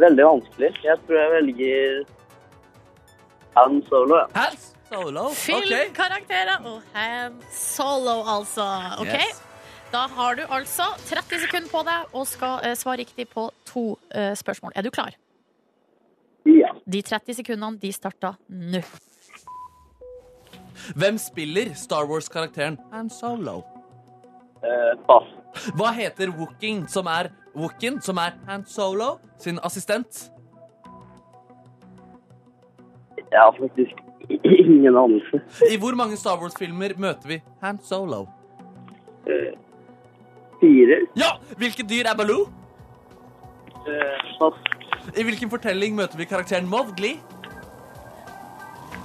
S4: veldig vanskelig. Jeg tror jeg velger Han Solo. Ja.
S3: Han Solo? Ok.
S2: Filmkarakterer og Han Solo, altså. OK?
S3: Yes.
S2: Da har du altså 30 sekunder på deg og skal eh, svare riktig på to eh, spørsmål. Er du klar?
S4: ja.
S2: De 30 sekundene de starta nå.
S3: Hvem spiller Star Wars-karakteren Han Solo?
S4: Eh, pass.
S3: Hva heter Wooking, som er Wookin, som er Han Solo sin assistent?
S4: Jeg har faktisk ingen anelse.
S3: I hvor mange Star Wars-filmer møter vi Han Solo?
S4: Eh, fire.
S3: Ja! Hvilket dyr er Baloo?
S4: Eh, pass.
S3: I hvilken fortelling møter vi karakteren Mowgli?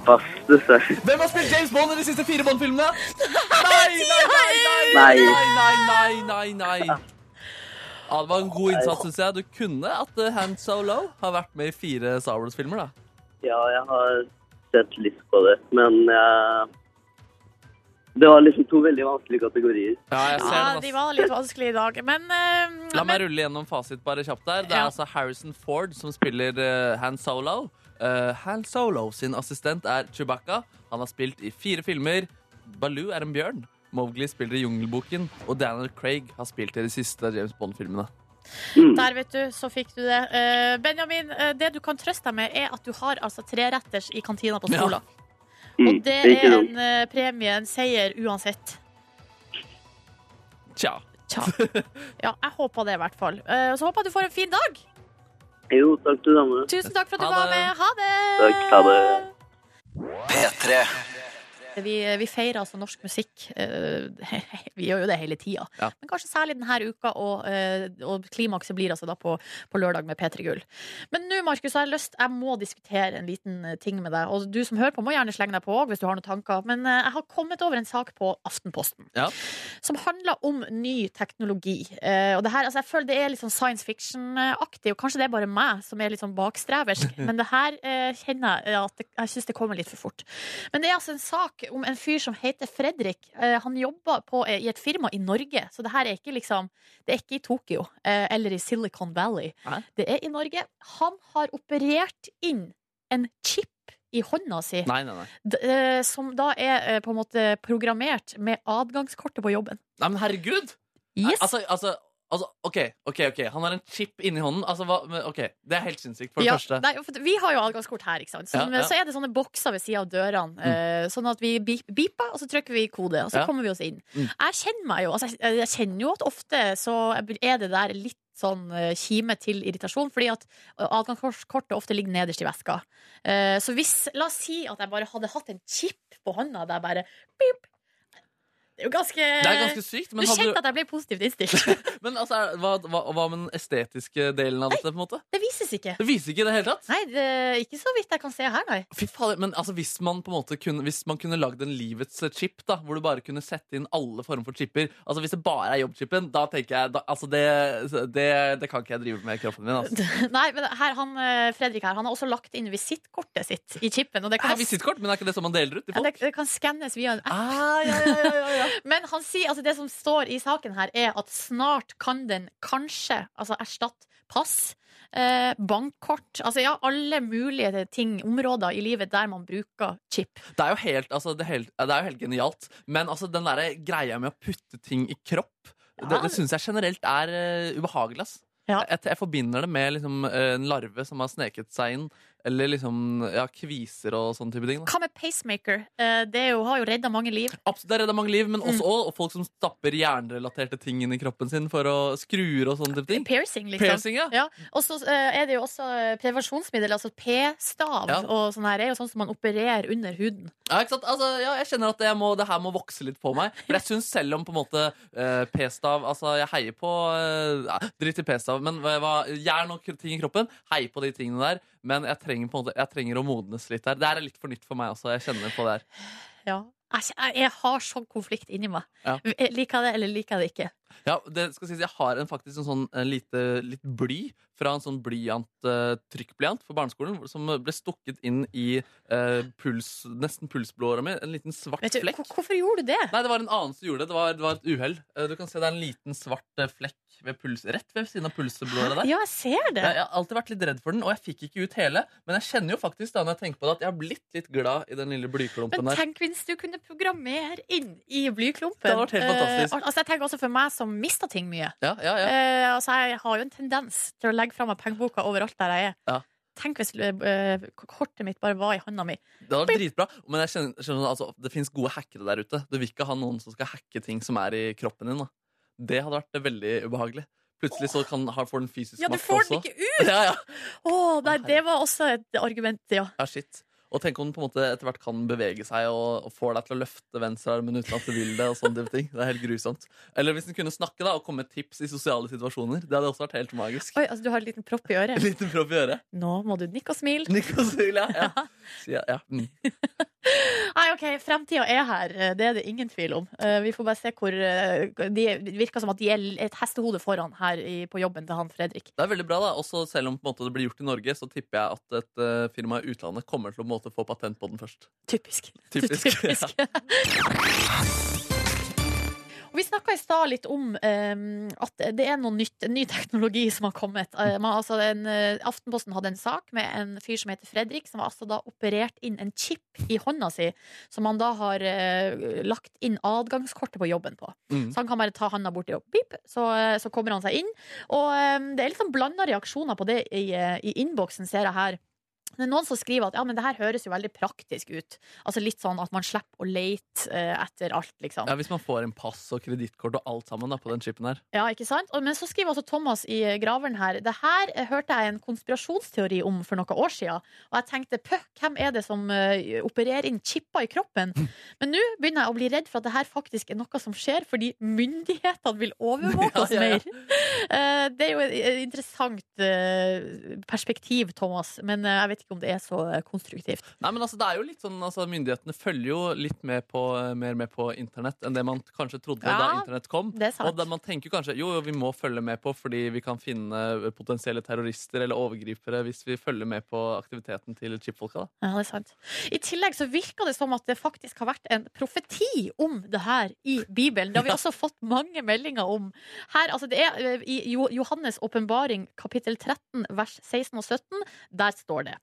S4: Pass, dessverre.
S3: Hvem har spilt James Bond i de siste fire Bond-filmene? Nei, nei, nei, nei,
S4: Nei.
S3: nei, nei, nei, nei, nei. Ja, det var en god innsats, synes jeg. Du kunne at eh, Han Solo har vært med i fire Star Wars-filmer, da.
S4: Ja, jeg har sett litt på det, men jeg... Det var liksom to veldig vanskelige kategorier.
S3: Ja, jeg ser
S2: Ja, de
S3: den, ass.
S2: var litt vanskelige i dag, men, eh,
S3: La meg
S2: men
S3: rulle gjennom fasit bare kjapt der. Det er
S2: Ja.
S3: altså Harrison Ford som spiller eh, Han Solo. Eh, Han Solo sin assistent er Chewbacca. Han har spilt i fire filmer. Baloo er en bjørn. Mowgli spiller i Jungelboken. Og Daniel Craig har spilt i de siste James Bond-filmene.
S4: Mm.
S2: der, vet du, så fikk du det. Eh, Benjamin, eh, det du kan trøste deg med, er at du har altså treretters i kantina på skolen. Og det
S4: Mm. ikke
S2: er
S4: dumt.
S2: en eh, premie, en seier, uansett.
S3: Tja.
S2: Tja. Ja, jeg håper det, i hvert fall. Eh, og så håper jeg du får en fin dag.
S4: Jo, takk det samme.
S2: Tusen takk for at du
S3: Ha
S2: var
S3: det.
S2: med. Eh, Ha det!
S4: Takk, ha det.
S5: P3.
S2: Vi, vi feirer altså norsk musikk. eh, (laughs) Vi gjør jo det hele tida.
S3: Ja.
S2: Men kanskje særlig denne uka, og, eh, og klimakset blir altså da på, på lørdag med P3 Gull. Men nå, Markus, har jeg lyst Jeg må diskutere en liten eh, ting med deg. Og du som hører på, må gjerne slenge deg på òg hvis du har noen tanker. Men eh, jeg har kommet over en sak på Aftenposten
S3: Ja.
S2: som handler om ny teknologi. Eh, Og det her, altså, jeg føler det er litt sånn science fiction-aktig, og kanskje det er bare meg som er litt sånn bakstreversk, men det her eh, kjenner jeg at det, jeg syns det kommer litt for fort. Men det er altså en sak om en fyr som heter Fredrik. Eh, Han jobber på, eh, i et firma i Norge, så det her er ikke liksom Det er ikke i Tokyo eh, eller i Silicon Valley.
S3: Nei.
S2: Det er i Norge. Han har operert inn en chip i hånda si,
S3: Nei, nei, nei.
S2: d- eh, som da er eh, på en måte programmert med adgangskortet på jobben.
S3: Nei, men herregud!
S2: Yes.
S3: Altså, altså, altså OK, OK. ok Han har en chip inni hånden. Altså, hva, men, ok, Det er helt sinnssykt, for det
S2: Ja,
S3: første.
S2: Nei, for vi har jo adgangskort her, ikke sant. Så,
S3: Ja, ja.
S2: så er det sånne bokser ved sida av dørene. eh, sånn at vi beep- beeper, og så trykker vi kode, og så
S3: Ja.
S2: kommer vi oss inn.
S3: Mm.
S2: Jeg kjenner meg jo altså, jeg, jeg kjenner jo at ofte så er det der litt sånn eh, kime til irritasjon, fordi at eh, adgangskortet ofte ligger nederst i veska. Eh, så hvis La oss si at jeg bare hadde hatt en chip på hånda der bare beep. Det er jo ganske,
S3: Det er ganske sykt, men,
S2: Du
S3: hadde
S2: kjente
S3: du,
S2: at jeg ble positivt
S3: (laughs)
S2: innstilt.
S3: men altså, er- hva, hva, hva med den estetiske delen av dette? på en måte?
S2: det vises ikke.
S3: Det viser ikke i det hele tatt.
S2: Nei, det, ikke så vidt jeg kan se her, nei. (laughs)
S3: Fy faen, men altså, hvis man på en måte kunne, Hvis man kunne lagd en livets chip, da, hvor du bare kunne sette inn alle former for chipper Altså Hvis det bare er jobbchipen, da tenker jeg da, Altså, det, det, det kan ikke jeg drive med i kroppen min. Altså.
S2: Nei, men her, han, eh, Fredrik her, han har også lagt inn visittkortet sitt i chipen. Og det
S3: Jeg
S2: kan,
S3: har visittkort, men er ikke det som man deler ut til
S2: Ja,
S3: folk?
S2: det, det kan skannes via en app.
S3: Ah, ja, ja, ja, ja, ja.
S2: (laughs) Men han sier, altså, det som står i saken her, er at snart kan den kanskje altså, erstatte pass, eh, bankkort Altså ja, alle mulige ting, områder i livet der man bruker chip.
S3: Det er jo helt, altså, det er helt, det er jo helt genialt. Men altså, den der greia med å putte ting i kropp, det, det syns jeg generelt er eh, ubehagelig. Ass.
S2: Ja.
S3: Jeg, jeg forbinder det med liksom, eh, en larve som har sneket seg inn, eller liksom, ja, kviser og sånne type ting. Da.
S2: Hva med pacemaker? Eh, det er jo, har jo redda mange liv. Mm.
S3: Absolutt, det redder mange liv, men også og folk som stapper hjernerelaterte ting inn i kroppen sin for å skruer og sånne type ting.
S2: Piercing, liksom.
S3: Piercing, ja.
S2: Ja, og så eh, er det jo også eh, prevensjonsmiddel, altså p-stav
S3: Ja.
S2: og sånn her, er jo sånn som man opererer under huden.
S3: Ja, ikke sant? Altså, ja, jeg kjenner at det, må, det her må vokse litt på meg. For jeg syns selv om på en måte eh, p-stav Altså, jeg heier på eh, ja, Drit i p-stav, men hva, hva- jern og ting i kroppen. Heier på de tingene der. Men jeg trenger, på en måte, jeg trenger å modnes litt der. Det her er litt for nytt for meg også. Jeg kjenner på det her.
S2: Ja. Jeg, jeg har sånn konflikt inni meg.
S3: Ja.
S2: Liker jeg det, eller liker jeg det ikke?
S3: Ja, det skal sies, Jeg har en faktisk en sånn en lite, litt bly fra en sånn blyant, eh, trykkblyant for barneskolen hvor- som ble stukket inn i eh, puls, nesten pulsblåra mi. En liten svart
S2: Vet du,
S3: flekk.
S2: hvor- hvorfor gjorde du det?
S3: Nei, det var en annen som gjorde det. Det var, det var et uhell. Eh, Du kan se det er en liten svart eh, flekk ved puls, rett ved siden av pulsblåra der.
S2: Ja, jeg ser
S3: Jeg,
S2: det.
S3: jeg har alltid vært litt redd for den, og jeg fikk ikke ut hele. Men jeg kjenner jo faktisk da når jeg tenker på det at jeg har blitt litt glad i den lille blyklumpen
S2: Men
S3: der.
S2: tenk hvis du kunne programmere inn i blyklumpen.
S3: Det hadde vært helt fantastisk.
S2: Eh, al- altså, jeg tenker også for meg som mister ting mye.
S3: Ja, ja, ja.
S2: Eh, altså, jeg har jo en tendens til å legge fra meg pengeboka overalt der jeg er.
S3: Ja.
S2: Tenk hvis eh, kortet mitt bare var i handa mi.
S3: Det hadde vært dritbra. Men jeg kjenner, skjønner, altså, det fins gode hackere der ute. Du vil ikke ha noen som skal hacke ting som er i kroppen din. Da. Det hadde vært veldig ubehagelig. Plutselig så kan, har, får den fysisk
S2: Ja, du
S3: makt
S2: får den
S3: også.
S2: ikke ut!
S3: (laughs) Ja, ja.
S2: Å, nei, det var også et argument, ja.
S3: ja, shit. Og tenk om den på en måte etter hvert kan bevege seg og, og får deg til å løfte venstrearmen uten at du vil det. og sånne type ting. Det er helt grusomt. Eller hvis den kunne snakke da, og komme med tips i sosiale situasjoner. Det hadde også vært helt magisk.
S2: Oi, altså, du har en liten propp i
S3: En
S2: øret.
S3: liten propp i øret.
S2: Nå må du nikke og smile.
S3: Nikosil, ja.
S2: (laughs)
S3: ja. Så ja, ja. Mm.
S2: Nei, ok, Fremtida er her, det er det ingen tvil om. Eh, vi får bare se hvor eh, de, Det virker som at de er et hestehode foran her i, på jobben til han Fredrik.
S3: Det er veldig bra da, også Selv om på en måte, det blir gjort i Norge, så tipper jeg at et eh, firma i utlandet kommer til å på en måte, få patent på den først.
S2: Typisk. (laughs)
S3: Typisk,
S2: Og Vi snakka i stad litt om eh, at det er noe nytt, en ny teknologi som har kommet. Eh, man, altså en, eh, Aftenposten hadde en sak med en fyr som heter Fredrik, som har altså da operert inn en chip i hånda si, som han da har eh, lagt inn adgangskortet på jobben på.
S3: Mm.
S2: Så han kan bare ta handa borti og pip, så, eh, så kommer han seg inn. Og eh, det er litt sånn blanda reaksjoner på det i, eh, i innboksen, ser jeg her. Det er noen som skriver at ja, men det her høres jo veldig praktisk ut. Altså Litt sånn at man slipper å leite eh, etter alt, liksom.
S3: Ja, Hvis man får en pass og kredittkort og alt sammen da, på den chipen her.
S2: Ja, ikke sant? Og- Men så skriver også Thomas i eh, Graveren her Det her eh, hørte jeg en konspirasjonsteori om for noen år siden. Og jeg tenkte pøh, hvem er det som eh, opererer inn chipper i kroppen?
S3: Hm.
S2: Men nå begynner jeg å bli redd for at det her faktisk er noe som skjer fordi myndighetene vil overvåke oss
S3: (laughs) Ja, ja, ja.
S2: mer. Eh, Det er jo et et interessant eh, perspektiv, Thomas, men eh, jeg vet ikke om det er så eh, konstruktivt.
S3: Nei, men altså, det er jo litt sånn, altså, Myndighetene følger jo litt med på, eh, mer med på internett enn det man kanskje trodde da
S2: Ja,
S3: internett kom.
S2: Det er sant.
S3: Og da man tenker kanskje jo, jo, vi må følge med på fordi vi kan finne eh, potensielle terrorister eller overgripere hvis vi følger med på aktiviteten til chipfolka. da.
S2: Ja, det er sant. I tillegg så virker det som at det faktisk har vært en profeti om det her i Bibelen. Det har vi også fått mange meldinger om. Her, altså det er eh, I Jo- Johannes' åpenbaring kapittel 13 vers 16 og 17, der står det.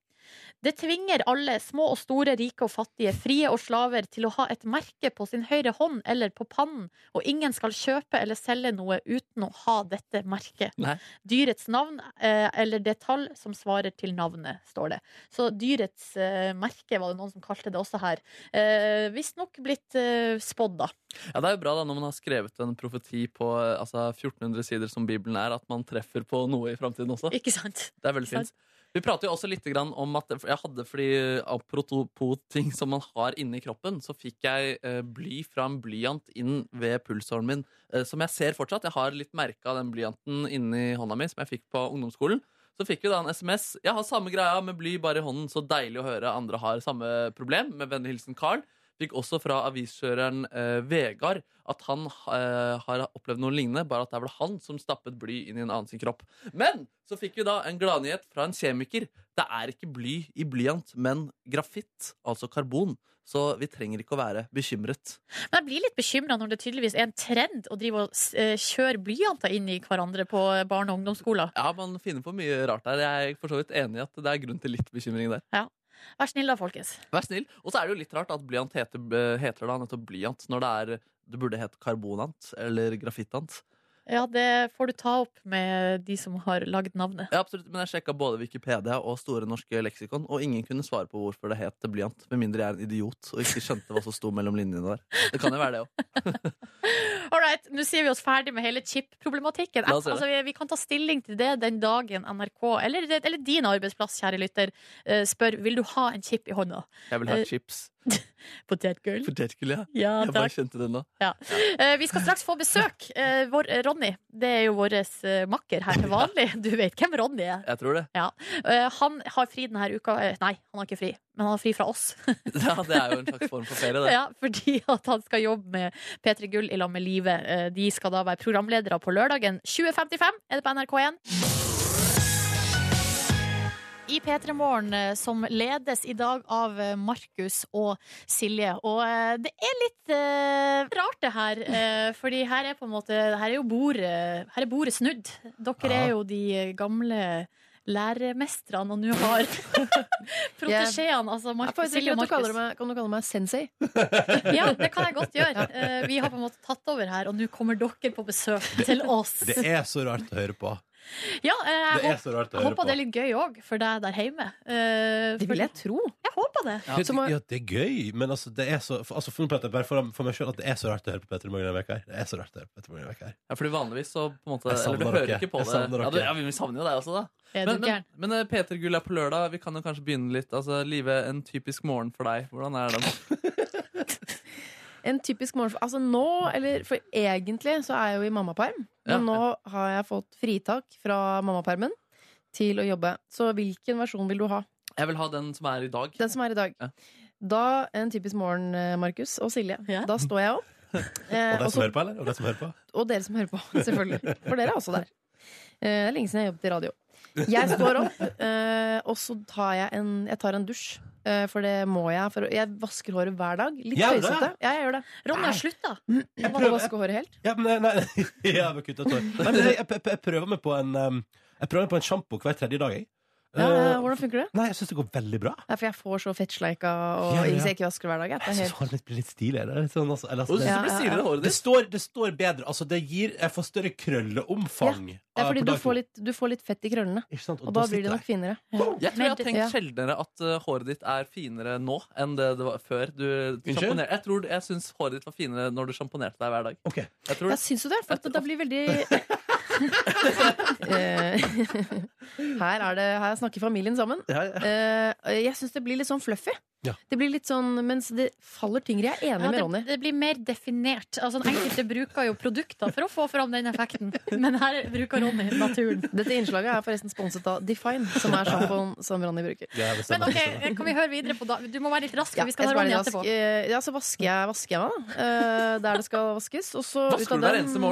S2: Det tvinger alle, små og store, rike og fattige, frie og slaver, til å ha et merke på sin høyre hånd eller på pannen, og ingen skal kjøpe eller selge noe uten å ha dette merket.
S3: Nei.
S2: Dyrets navn eh, eller det tall som svarer til navnet, står det. Så dyrets eh, merke var det noen som kalte det også her. Eh, Visstnok blitt eh, spådd, da.
S3: Ja, Det er jo bra da når man har skrevet en profeti på eh, altså, 1400 sider, som Bibelen er, at man treffer på noe i framtiden også.
S2: Ikke sant?
S3: Det er veldig
S2: Sant.
S3: fint. Vi prater jo også litt grann om at for jeg hadde fordi eh, apropos ting som man har inni kroppen, så fikk jeg eh, bly fra en blyant inn ved pulsåren min, eh, som jeg ser fortsatt. Jeg har litt merke av den blyanten inni hånda mi som jeg fikk på ungdomsskolen. Så fikk vi da en SMS. Jeg har samme greia med bly bare i hånden. Så deilig å høre andre har samme problem. Med vennlig hilsen Carl. Fikk også fra aviskjøreren eh, Vegard at han eh, har opplevd noe lignende, bare at det er vel han som stappet bly inn i en annen sin kropp. Men så fikk vi da en gladnyhet fra en kjemiker. Det er ikke bly i blyant, men grafitt, altså karbon. Så vi trenger ikke å være bekymret.
S2: Men jeg blir litt bekymra når det tydeligvis er en trend å drive og s- eh, kjøre blyanter inn i hverandre på eh, barne- og ungdomsskoler.
S3: Ja, man finner på mye rart der. Jeg er for så vidt enig i at det er grunn til litt bekymring der.
S2: Vær snill, da, folkens.
S3: Vær snill. Og så er det jo litt rart at blyant heter, eh, heter da nettopp blyant når det er det burde hete karbonant eller grafittant.
S2: Ja, det får du ta opp med de som har lagd navnet.
S3: Ja, absolutt, Men jeg sjekka både Wikipedia og Store norske leksikon, og ingen kunne svare på hvorfor det het blyant. Med mindre jeg er en idiot og ikke skjønte hva som sto mellom linjene der. Det kan jo være det også.
S2: All right, nå sier vi oss ferdig med hele chip-problematikken.
S3: La oss gjøre det.
S2: Altså, vi, vi kan ta stilling til det den dagen NRK, eller, eller din arbeidsplass, kjære lytter, eh, spør vil du ha en chip i hånda.
S3: Jeg vil ha
S2: Eh,
S3: chips.
S2: Potetgull.
S3: Potetgull, ja.
S2: Ja,
S3: Jeg bare
S2: takk.
S3: kjente det nå.
S2: Eh, vi skal straks få besøk. Eh, vår, eh, Ronny, det er jo vår eh, makker her til vanlig. Du vet hvem Ronny er.
S3: Jeg tror det. (laughs)
S2: Eh, han har fri denne uka. Eh, nei, han har ikke fri, men han har fri fra oss.
S3: Ja, Det er jo en slags form for ferie, det.
S2: Ja, fordi at han skal jobbe med P3 Gull i lag med Live. Eh, De skal da være programledere på lørdagen 20.55 er det på NRK1. I P3 Morgen, eh, som ledes i dag av eh, Markus og Silje. Og eh, det er litt eh, rart, det her. Eh, fordi her er på en måte Her er jo bordet, her er bordet snudd. Dere
S3: Ja.
S2: er jo de gamle læremestrene, og nå har (laughs) protesjeene, altså
S6: Jeg
S2: Markus,
S6: foretrekker at
S2: Silje og
S6: du
S2: Markus
S6: kaller meg, kan du kalle meg sensei? (laughs)
S2: ja, det kan jeg godt gjøre. Eh, vi har på en måte tatt over her, og nå kommer dere på besøk til oss.
S7: Det er så rart å høre på.
S2: Ja, eh, jeg
S7: Det er
S2: håper,
S7: så rart
S2: jeg
S7: å høre
S2: håper
S7: på.
S2: det er litt gøy òg for deg der hjemme. Eh,
S6: Det
S2: for-
S6: vil jeg tro.
S2: Jeg håper det.
S7: Ja,
S6: Så må-
S7: det- ja, det er gøy, men altså, det er så for, altså, for, nå prater jeg bare for, for meg selv at det er så rart å høre på Petter Morgen denne veka her. Det er så rart å høre på Petter Morgen denne veka her.
S3: Ja, fordi vanligvis så på en måte Eller
S7: Jeg
S3: du
S7: savner
S3: hører
S7: dere.
S3: ikke på
S7: Jeg
S3: det.
S7: savner
S3: Ja,
S7: dere.
S3: du, ja, vi savner jo deg også, da.
S2: Er du
S3: Men, men,
S2: gæren?
S3: men eh, Peter Gull er på lørdag. Vi kan jo kanskje begynne litt. Altså, Live, en typisk morgen for deg. Hvordan er den?
S6: En typisk morgen Altså nå, eller for egentlig så er jeg jo i mammaperm. Men
S3: Ja.
S6: nå har jeg fått fritak fra mammapermen til å jobbe. Så hvilken versjon vil du ha?
S3: Jeg vil ha den som er i dag.
S6: Den som er i dag.
S3: Ja.
S6: Da en typisk morgen, eh, Markus og Silje.
S2: Ja.
S6: Da står jeg opp. Eh,
S7: (laughs) Og de
S6: og,
S7: som
S6: så,
S7: hører på, eller? Og de som hører på?
S6: og dere som hører på, (laughs) selvfølgelig. For dere er også der. Eh, Det er lenge siden jeg jobbet i radio. Jeg står opp, eh, og så tar jeg en, jeg tar en dusj. eh, For det må jeg. For å- jeg vasker håret hver dag. Litt
S7: Gjør du det?
S6: tøysete. Ja, jeg gjør det. Mm,
S2: Ronny har slutta.
S6: Jeg må
S7: prøver-
S6: vaske håret helt.
S7: Ja, men nei, nei, (laughs) jeg har kuttet hår. Nei, men jeg, jeg, jeg, jeg prøver meg på en um, Jeg prøver meg på en sjampo hver tredje dag, jeg.
S6: Ja, ja, ja,
S7: Eh,
S6: hvordan funker det?
S7: Nei, jeg syns det går veldig bra.
S6: Ja, for jeg får så fettsleika og
S7: Ja, ja, ja.
S6: hvis jeg ikke vasker hver dag. Jeg, det
S7: Jeg
S6: er
S7: syns
S6: helt...
S7: håret mitt blir litt stilig. eller? Litt sånn, altså, eller,
S3: Og du
S7: altså,
S6: Ja,
S3: synes det blir
S6: ja,
S3: stilere
S6: ja.
S3: håret
S7: det,
S3: ditt.
S7: står, det står bedre. Altså, det gir Jeg får større krølleomfang.
S6: det er
S7: av-
S6: fordi du
S7: på dagen.
S6: får, litt, du får litt fett i krøllene,
S7: Ikke sant?
S6: og da blir det nok finere.
S3: Jeg tror jeg har
S2: Men-
S3: tenkt
S6: ja.
S3: sjeldnere at eh, håret ditt er finere nå enn det det var før. Du sjamponer- Jeg tror jeg syns håret ditt var finere når du sjamponerte deg hver dag.
S7: Ok.
S3: Jeg tror
S6: Ja, syns du det? For at det da blir veldig (laughs) Eh, her, er det, her snakker familien sammen.
S7: Ja, ja.
S6: Eh, Jeg syns det blir litt sånn fluffy.
S7: Ja.
S6: Det blir litt sånn, Mens det faller tyngre. Jeg er enig
S2: Ja,
S6: med
S2: det,
S6: Ronny.
S2: det blir mer definert. Altså, enkelte bruker jo produkter for å få fram den effekten, men her bruker Ronny naturen.
S6: Dette innslaget er forresten sponset av Define, som er sjampoen som Ronny bruker.
S7: Ja, det
S2: Men
S7: stemmer,
S2: ok,
S7: det stemmer.
S2: kan vi høre videre på da? Du må være litt rask, for vi skal
S6: jeg
S2: ha
S6: skal
S2: Ronny
S6: være litt
S2: etterpå.
S6: rask. Eh, Ja, så vasker jeg, vasker jeg meg, da. Eh, Der det skal vaskes. Og så
S3: Vasker
S6: ut av
S3: du hver
S6: den-
S3: eneste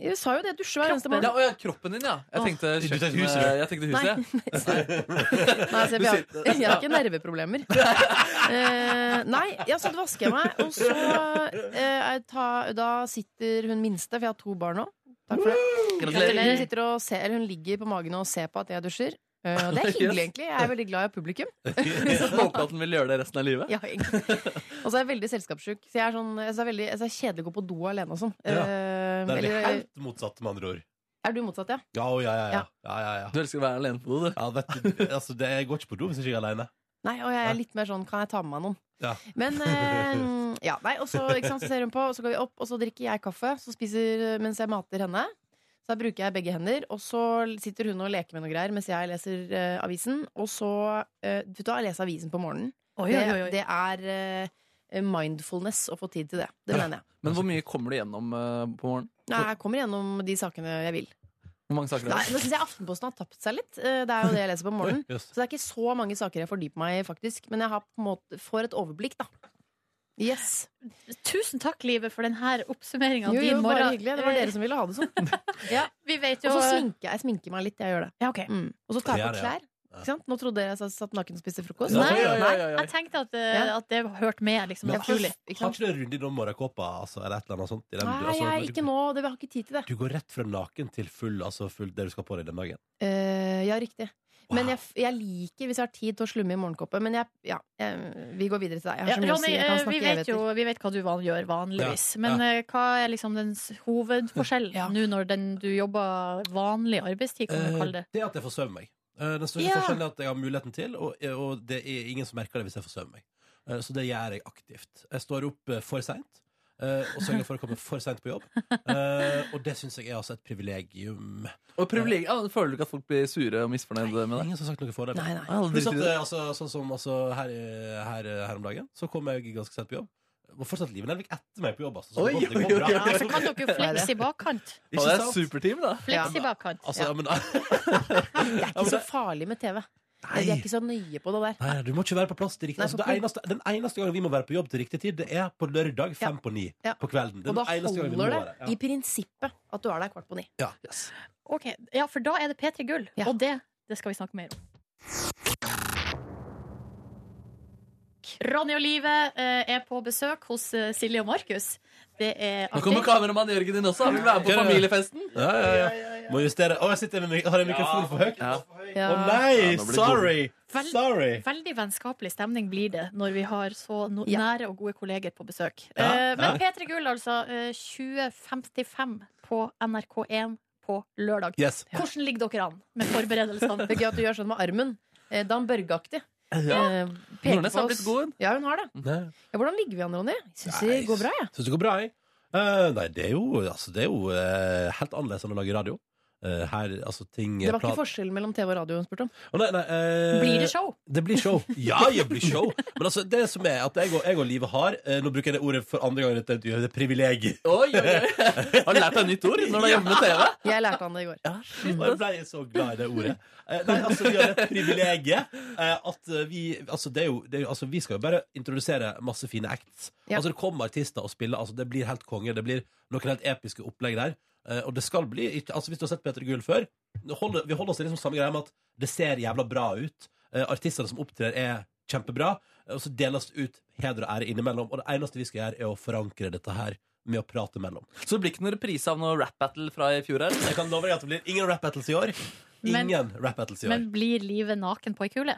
S6: Jeg sa jo det. jeg Dusjer hver eneste
S3: Ja,
S6: morgen.
S3: og ja, kroppen din, ja. Jeg
S6: Åh.
S3: tenkte
S7: Du tenkte
S3: kjøkkenet.
S7: huset, du.
S3: Jeg tenkte huset. jeg.
S6: Nei, altså, jeg,
S3: Du
S6: jeg, har, (laughs) jeg har ikke
S3: (laughs)
S6: nerveproblemer. Eh, nei, ja, så vasker jeg meg, og så eh, jeg tar, Da sitter hun minste, for jeg har to barn nå. Takk for det. Hun,
S3: Gratulerer.
S6: sitter og ser, eller hun ligger på magen og ser på at jeg dusjer. Eh,
S3: (laughs)
S6: og det er hyggelig, egentlig. Jeg er veldig glad i publikum.
S7: (laughs)
S3: Så håper (laughs) jeg at den vil gjøre det resten av livet.
S6: Ja, egentlig. Og så er jeg veldig selskapssjuk. Så jeg er, sånn, jeg er, veldig, jeg er kjedelig å gå på do alene og sånn. Eh,
S7: Det er
S6: eller-
S7: helt motsatt, med andre ord.
S6: Er du motsatt, ja?
S7: Ja, å, ja, ja, ja. ja, ja, ja.
S3: Du elsker å være alene på do, du.
S7: ja vet du, altså, det, jeg går ikke på do hvis jeg ikke er alene.
S6: Nei, og jeg er litt mer sånn Kan jeg ta med meg noen?
S7: Ja.
S6: Men
S7: (laughs)
S6: eh, ja, nei, og så, ikke sant, så ser hun på, og så går vi opp, og så drikker jeg kaffe så spiser, mens jeg mater henne. Så da bruker jeg begge hender, og så sitter hun og leker med noe greier mens jeg leser eh, avisen. Og så eh, Vet du hva, jeg leser avisen på morgenen.
S2: Oi, oi, oi, oi.
S6: Det, det er eh, mindfulness å få tid til det. Det mener jeg.
S3: Men hvor mye kommer du gjennom eh, på morgenen?
S6: Nei, jeg kommer gjennom de sakene jeg vil.
S3: Hvor mange saker
S6: Nei,
S3: er det?
S6: Nå syns jeg Aftenposten har tapt seg litt. Eh, Det er jo det jeg leser på morgenen.
S7: (laughs) Yes.
S6: Så det er ikke så mange saker jeg fordyper meg i, faktisk. Men jeg har på en måte, får et overblikk, da. Yes.
S2: Tusen takk, Livet, for denne oppsummeringa.
S6: Jo, jo, bare hyggelig. Det var dere som ville ha det sånn.
S2: (laughs) ja, Vi vet
S6: Og
S2: jo
S6: så sminker jeg. Jeg sminker meg litt, jeg gjør det.
S2: Ja, ok.
S6: Mm. Og så tar jeg
S7: Ja,
S6: på
S7: det, ja.
S6: klær. Ikke sant? Nå trodde dere jeg satt naken og spiste frokost.
S7: Ja,
S2: Nei,
S7: ja, ja, ja, ja.
S2: Jeg tenkte at, eh,
S6: Ja.
S2: at det hørte med. Liksom,
S6: Jeg
S7: Men har
S6: får-
S2: naturlig.
S6: ikke
S7: ikke
S6: sant?
S7: du en runde innom morgenkåpa altså, eller et eller annet sånt? i den-
S6: Nei,
S7: altså,
S6: jeg,
S7: du-
S6: ikke nå. Det, vi har ikke tid til det.
S7: Du går rett fra naken til full, altså full det du skal på deg den dagen.
S6: Eh, ja, riktig.
S7: Wow.
S6: Men jeg, f- jeg liker, hvis jeg har tid til å slumme i morgenkåpet Men jeg, ja, eh, vi går videre til deg. Jeg har
S2: Ja,
S6: så mye å
S2: Ronny,
S6: si. Jeg kan
S2: eh,
S6: snakke
S2: vi vet
S6: evigheter.
S2: jo vi vet hva du van gjør vanligvis, men eh, hva er liksom den s-
S6: (laughs)
S2: hovedforskjellen
S6: Ja.
S2: nå når den, du jobber vanlig arbeidstid, kan man kalle det?
S7: Eh, det er at jeg får sove meg. Eh, den største
S2: Ja.
S7: forskjellen er at jeg har muligheten til, og, og det er ingen som merker det hvis jeg får sove meg. Eh, så det gjør jeg aktivt. Jeg står opp eh, for seint. eh, og sørger for å komme for seint på jobb. Eh, og det syns jeg er altså et privilegium.
S3: Og privilegier, ja, Føler du ikke at folk blir sure og misfornøyd med deg?
S7: Ingen som har sagt noe for det.
S6: Nei, nei.
S3: Ah,
S7: Pluss at
S3: drit i det.
S7: eh, altså, sånn som altså, her, eh, her, eh, her om dagen, så kom jeg ganske sent på jobb. Og fortsatt livet Nelvik etter meg på jobb, altså. Så
S3: Oi,
S7: det går- det
S3: oi, oi,
S7: går bra.
S2: Ja,
S3: oi.
S2: så kan dere flekse i bakkant.
S7: (laughs)
S3: Ja,
S7: Ikke
S3: det er
S7: sant?
S3: et superteam, da.
S2: Flekse i bakkant.
S7: Altså, ja.
S2: Ja.
S7: men,
S6: Det er ikke så farlig med TV. De er ikke så nøye på det der.
S7: nei, du må ikke være på plass til riktig
S6: Nei,
S7: altså, det
S6: for-
S7: eneste, Den eneste gangen vi må være på jobb til riktig tid, det er på lørdag fem på ni
S6: Ja.
S7: på kvelden. Det
S6: Og da
S7: er den eneste gangen vi må
S6: holder
S7: være.
S6: det i prinsippet at du er der kvart på ni.
S7: Ja. Ja. Yes.
S2: Ok, ja, for da er det P3 Gull,
S6: Ja.
S2: og det, det skal vi snakke mer om. Ronny og Live eh, er på besøk hos eh, Silje og Markus. Det er
S3: Nå kommer kameramann Jørgen inn også. Han vil være på familiefesten.
S7: Ja, ja, ja. Må justere. Å, jeg sitter med mik har jeg mikrofonen for høyt? Å
S3: Ja.
S7: nei,
S3: Ja, nå blir det
S7: sorry!
S2: Vel-
S7: Sorry!
S2: Veldig vennskapelig stemning blir det når vi har så no
S6: Ja.
S2: nære og gode kolleger på besøk.
S7: Ja,
S2: Eh, men P3 Gull, altså. eh, 2055 på NRK1 på lørdag.
S7: Yes.
S2: Hvordan ligger dere
S7: (laughs)
S2: an med
S6: (laughs)
S2: forberedelsene?
S6: Det er gøy at du gjør sånn med armen. Eh, Dan Børge-aktig.
S3: Ja.
S6: Eh, peker
S3: Nordnes
S6: på
S3: har
S6: oss.
S3: blitt god.
S6: Ja, hun har det. Ja, hvordan ligger vi an, Ronny? Syns det
S7: Nei,
S6: går bra, jeg.
S7: Syns det går bra, jeg. Eh, nei, det er jo, altså, det er jo eh, helt annerledes enn å lage radio. Eh, her, altså, ting
S6: Det var ikke forskjellen mellom TV og radio hun spurte om.
S7: Å, nei, nei, eh,
S2: Blir det show?
S7: Det blir show. Ja, det blir show. Men altså, det som er at jeg og, jeg og livet har eh, Nå bruker jeg det ordet for andre gang i dette intervjuet. Det er privilegier.
S3: Oi, oi,
S7: (laughs)
S3: oi. Har du lært deg nytt ord når du er hjemme med TV?
S6: Jeg lærte han det i går.
S7: Og jeg ble så glad i det ordet. Eh, nei, altså, vi har et privilegium eh, at eh, vi Altså, det er jo, det er jo altså, Vi skal jo bare introdusere masse fine acts.
S6: Ja.
S7: Altså, det kommer artister og spiller. Altså, det blir helt konge. Det blir noen helt episke opplegg der. Eh, og det skal bli ikke- Altså, hvis du har sett Peter Gull før nå holder, Vi holder oss til liksom samme greia med at det ser jævla bra ut. Eh, artistene som opptrer, er kjempebra. eh, Og så deles det ut heder og ære innimellom. Og det eneste vi skal gjøre, er å forankre dette her med å prate mellom.
S3: Så det blir ikke noen reprise av noe rap-battle fra i fjor her?
S7: Jeg kan love deg at det blir ingen rap battles i år.
S2: Men-
S7: Ingen rap battles i år.
S2: Men blir livet naken på ei kule?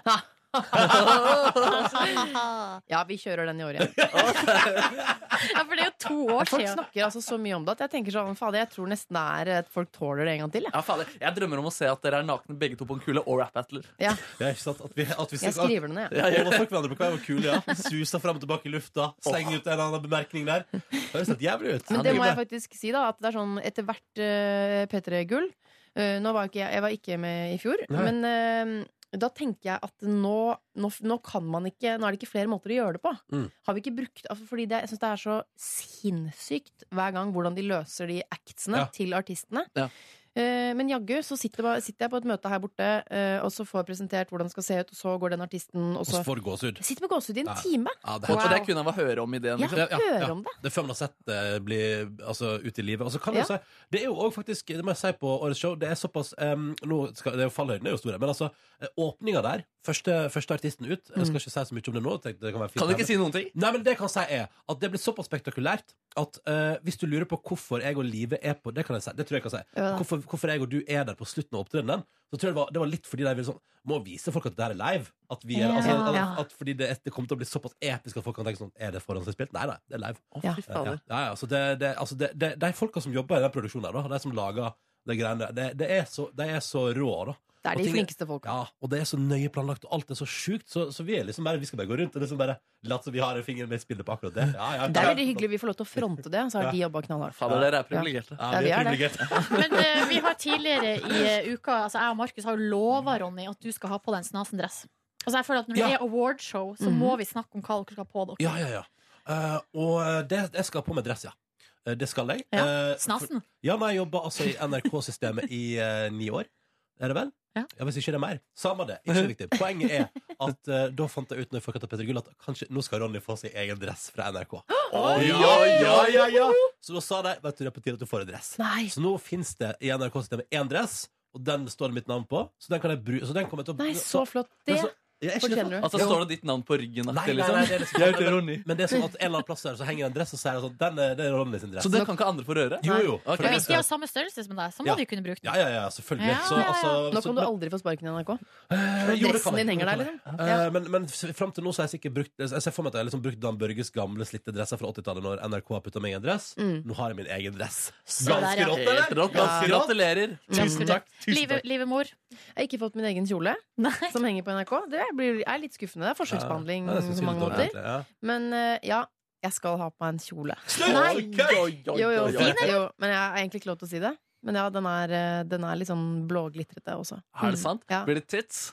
S6: Ja, vi kjører den i år igjen.
S2: Ja, for det er jo to år
S6: Folk
S2: siden.
S6: snakker altså så mye om det at jeg tenker sånn, fader, jeg tror nesten det er at folk tåler det en gang til. Jeg,
S3: Ja, fader. Jeg drømmer om å se at dere er nakne begge to på en kule og rap-battle.
S6: ja,
S7: Ja, ikke sant? At vi, at vi
S6: jeg skriver det ned. jeg.
S7: Ja, ja. Overfolk hverandre på hver vår kule, ja. Suser frem og tilbake i lufta. Slenger ut en eller annen bemerkning der. Høres helt jævlig ut.
S6: Men det må jeg faktisk si, da, at det er sånn etter hvert eh, P3 Gull eh, Nå var jo ikke jeg, jeg var ikke med i fjor,
S7: Nei.
S6: men eh, da tenker jeg at nå, nå, nå kan man ikke Nå er det ikke flere måter å gjøre det på.
S7: Mm.
S6: Har vi ikke brukt altså Fordi det, jeg syns det er så sinnssykt hver gang hvordan de løser de actsene
S7: Ja.
S6: til artistene.
S3: Ja.
S6: Eh, Men jaggu så sitter, ba- sitter jeg på et møte her borte, eh, og så får jeg presentert hvordan det skal se ut, og så går den artisten, og
S7: Og så
S6: så
S7: får det gåsehud.
S6: Jeg sitter med gåsehud i en
S7: Ja.
S6: time!
S7: Ja, det er
S3: Og
S7: helt-
S3: det kunne jeg bare høre om ideen.
S6: Ja,
S3: Liksom.
S6: hører om det.
S7: Det er før man har sett det bli altså, ute i livet. Og så kan jeg
S6: Ja.
S7: si, det er jo også faktisk Det må jeg si på årets show. Det er såpass em, nå skal, det er jo Fallhøyden er jo store, men altså, eh, åpninga der Første, første artisten ut Jeg
S6: Mm.
S7: skal ikke si så mye om det nå. tenkte Det kan, være fint
S3: Kan du ikke
S7: her,
S3: si noen ting?
S7: Nei, men det jeg kan si er at det blir såpass spektakulært at eh, hvis du lurer på hvorfor jeg og Live er på Det kan jeg si, det tror jeg jeg kan si.
S6: Ja.
S7: Hvorfor, hvorfor jeg og du er der på slutten av opptredenen, så tror jeg det var, det var litt fordi de ville sånn Må vise folk at det her er live. At vi er,
S6: Ja.
S7: altså, at,
S2: Ja.
S7: at fordi det, det kommer til å bli såpass episk at folk kan tenke sånn Er det forhåndsinnspilt? Nei, nei, det er live.
S3: Å,
S6: Ja.
S3: fy
S7: Ja,
S3: fader.
S7: ja, ja, altså det, det, altså det, det, de folka som jobber i den produksjonen her, da, de som lager de greiene der, det, det er så, de er så rå, da.
S6: Det
S7: Og
S6: er de
S7: ting-
S6: flinkeste folka.
S7: Ja, og det er så nøye planlagt, og alt er så sjukt, så, så vi er liksom bare, vi skal bare gå rundt og liksom bare late som vi har en finger med i spillet på akkurat det. Ja, ja,
S6: Det er veldig hyggelig vi får lov til å fronte det, så har
S7: Ja.
S6: de jobba knallhardt.
S3: Fader, dere er privilegerte.
S7: Ja,
S6: Ja,
S7: vi
S6: vi
S7: (laughs) er
S6: er
S2: (laughs)
S7: privilegerte.
S2: Men eh, vi har tidligere i eh, uka Altså jeg og Markus har jo lova Ronny at du skal ha på deg en snasen-dress. Altså jeg føler at Når det
S7: Ja.
S2: er awardshow,
S3: Mhm.
S2: så må vi snakke om hva dere skal ha på dere.
S7: Ja, ja, ja. Eh, og det, jeg skal på meg dress, ja. Eh, Det skal jeg.
S2: Ja,
S7: Eh,
S2: Snasen.
S7: Ja, men jeg jobba altså i NRK-systemet i eh, ni år. Er det vel?
S2: Ja.
S7: Hvis ikke det er mer. Samme det. Ikke så viktig. Poenget er at eh, da fant jeg ut når jeg fikk av Petter Gull at kanskje nå skal Ronny få sin egen dress fra NRK.
S3: Oi,
S7: ja, ja, ja, ja. Så da sa de vet du, det er på tide at du får en dress.
S6: Nei,
S7: Så nå fins det i NRK-systemet én dress, og den står det mitt navn på. Så den kan jeg bruke. Så den kommer jeg til å
S6: nei, så flott. Det
S7: Men så- Ja, er ikke det
S6: fortjener du.
S3: Altså, står det ditt navn på ryggen?
S7: Nei,
S3: aktig,
S7: nei, nei, det er liksom-
S3: Jeg heter Ronny.
S7: (laughs) Men det er sånn at en eller annen plass der så henger en dress, og så er det sånn den er, det er Ronny sin dress.
S3: Så det kan ikke andre få røre?
S7: Jo, jo.
S3: Ok.
S7: for
S2: Men
S7: det
S2: Hvis de har
S7: skal-
S2: samme størrelse som deg, så må
S7: Ja.
S2: du kunne bruke den.
S7: Ja, ja, ja, selvfølgelig.
S2: Ja,
S7: Så,
S2: ja, ja.
S7: altså,
S6: Nå
S7: så-
S6: kan du aldri få sparken i NRK.
S7: Eh, jo, det kan
S6: Dressen
S7: jeg.
S6: din henger
S7: Det
S6: der,
S7: kan jeg.
S6: liksom.
S7: Eh, Men, men fram til nå så har jeg sikkert brukt Jeg ser for meg at jeg har liksom brukt Dan Børges gamle slitte dresser fra 80-tallet, når NRK har putta meg i en dress.
S6: Mm.
S7: Nå har jeg min egen dress.
S2: Så der, ja.
S3: Helt rått. ass.
S6: Ja.
S3: Gratulerer.
S7: Tusen takk. Tusen
S2: Live,
S7: takk.
S2: livemor.
S6: Jeg har ikke fått min egen kjole,
S2: Nei.
S6: som henger på NRK. Det blir- er litt skuffende. Det er forskjellsbehandling
S7: Ja, det
S6: på
S7: synes jeg er
S6: mange
S7: litt dårlig,
S6: måter.
S7: egentlig, ja.
S6: Men eh, ja, Jeg skal ha på meg en kjole.
S7: Slutt!
S6: Nei.
S7: Oi, kødd!
S6: Jo, jo,
S2: oi, oi.
S6: fin, jo, men jeg har egentlig ikke lov til å si det. Men ja, den er, eh, den er litt sånn blåglitrete også.
S3: Er det sant?
S6: Ja.
S3: Blir det tits?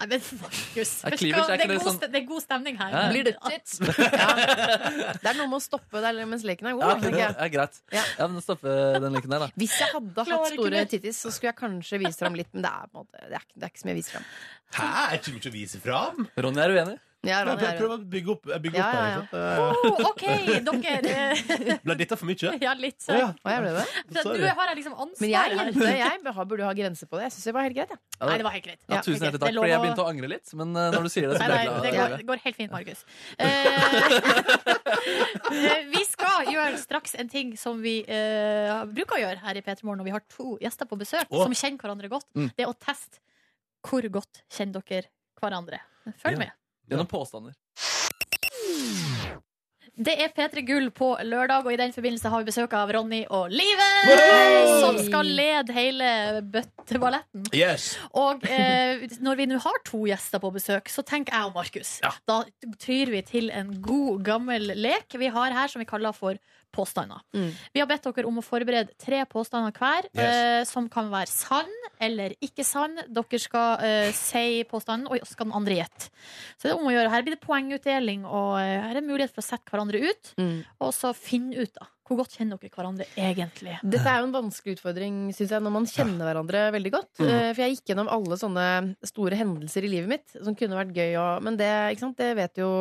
S2: Nei, men Markus.
S3: Er
S2: vet du
S3: cleavage,
S2: hva?
S3: er
S2: Det
S3: ikke
S2: er,
S3: det
S2: god,
S3: sånn-
S2: st- det er god stemning her.
S3: Ja.
S6: Blir det tits? Ja. Det er noe med å stoppe der mens leken er god.
S3: Ja,
S6: da, tenker
S3: ja,
S6: jeg.
S3: greit.
S6: Oh, Ja.
S3: Ja, men Stoppe den leken der, da.
S6: Hvis jeg hadde
S2: Klarer
S6: hatt
S2: ikke
S6: store
S2: det.
S6: tittis, så skulle jeg kanskje vist fram litt. Men det er, på en måte, det er, ikke- det er ikke så mye å vise fram.
S7: Hæ, er ikke mye å vise fram?
S3: Ronny, er du enig?
S6: Ja,
S7: Prøv,
S6: Ronny, er-
S7: prøv å bygge opp, bygge
S6: Ja,
S7: opp
S6: ja,
S7: her,
S6: ja.
S7: ikke sant? Eh,
S2: Oh, OK, dere.
S7: (laughs) Ble dette for (laughs) mye?
S2: (laughs) Ja, litt.
S7: Å, ja.
S6: Å, jeg ble det.
S2: Du
S7: Sorry.
S2: har jeg liksom ansvar
S6: Men jeg,
S2: her.
S6: jente, jeg bør ha- burde ha grenser på det. Jeg syns det var helt greit. jeg.
S3: Ja,
S2: Nei, det var helt greit.
S3: ja,
S2: ok, det
S3: tusen hjertelig
S2: er
S3: takk,
S2: lov
S3: fordi jeg
S2: å-
S3: begynte å angre litt. Men eh, når du sier det, så
S2: Nei,
S3: ble
S2: nei,
S3: jeg glad.
S2: det går, det går helt fint, Markus. (laughs) Eh, eh, vi skal gjøre straks en ting som vi eh, bruker å gjøre her i P3 Morgen når vi har to gjester på besøk
S7: Å.
S2: som kjenner hverandre godt.
S3: Mm.
S2: Det er å teste hvor godt kjenner dere hverandre. Følg
S7: Ja.
S2: med.
S3: Gjennom påstander.
S2: Det er P3 Gull på lørdag, og i den forbindelse har vi besøk av Ronny og Live,
S7: Wow!
S2: som skal lede hele bøtteballetten.
S7: Yes.
S2: Og eh, når vi nå har to gjester på besøk, så tenker jeg og Markus.
S7: Ja.
S2: Da tyr vi til en god, gammel lek vi har her, som vi kaller for påstander.
S6: Mm.
S2: Vi har bedt dere om å forberede tre påstander hver,
S7: Yes.
S2: eh, som kan være sann eller ikke sann. Dere skal eh, si påstanden, og så skal den andre gjette. Så det er om å gjøre. Her blir det poengutdeling, og eh, her er det mulighet for å sette hverandre ut.
S6: Mm.
S2: Og så finne ut da, hvor godt kjenner dere hverandre egentlig.
S6: Dette er jo en vanskelig utfordring synes jeg, når man kjenner hverandre veldig godt.
S7: Mm.
S6: Eh, For jeg gikk gjennom alle sånne store hendelser i livet mitt som kunne vært gøy. Og, men det, ikke sant? det vet jo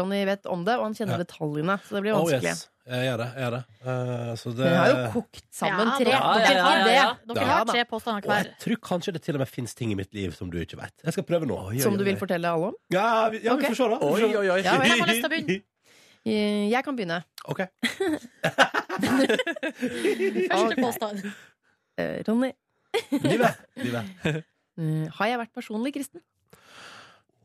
S6: Ronny vet om det, og han kjenner
S7: Ja.
S6: detaljene. Så det blir
S7: Oh,
S6: vanskelig.
S7: yes. Jeg gjør det. Jeg gjør det. Eh, så det
S6: Men jeg har jo kokt sammen
S2: Ja,
S6: tre.
S2: Dere,
S3: Ja, ja,
S2: dere har
S3: ja,
S2: det.
S3: ja, ja.
S2: Dere
S6: Ja,
S2: har
S6: da.
S2: tre påstander
S7: Og jeg
S2: hver.
S7: tror kanskje det til og med finnes ting i mitt liv som du ikke vet. Jeg skal prøve nå.
S6: Som du vil fortelle alle om?
S7: Ja, vi, ja,
S6: Ok.
S7: vi får se, da.
S3: Oi, oi, oi.
S6: Ja,
S2: hvem har lyst til å
S3: (laughs)
S2: begynne?
S6: Eh, Jeg kan begynne. (laughs)
S7: Ok.
S2: Første påstand.
S6: Eh,
S7: (laughs)
S6: Ronny,
S7: Livet. Livet.
S6: eh, har jeg vært personlig kristen?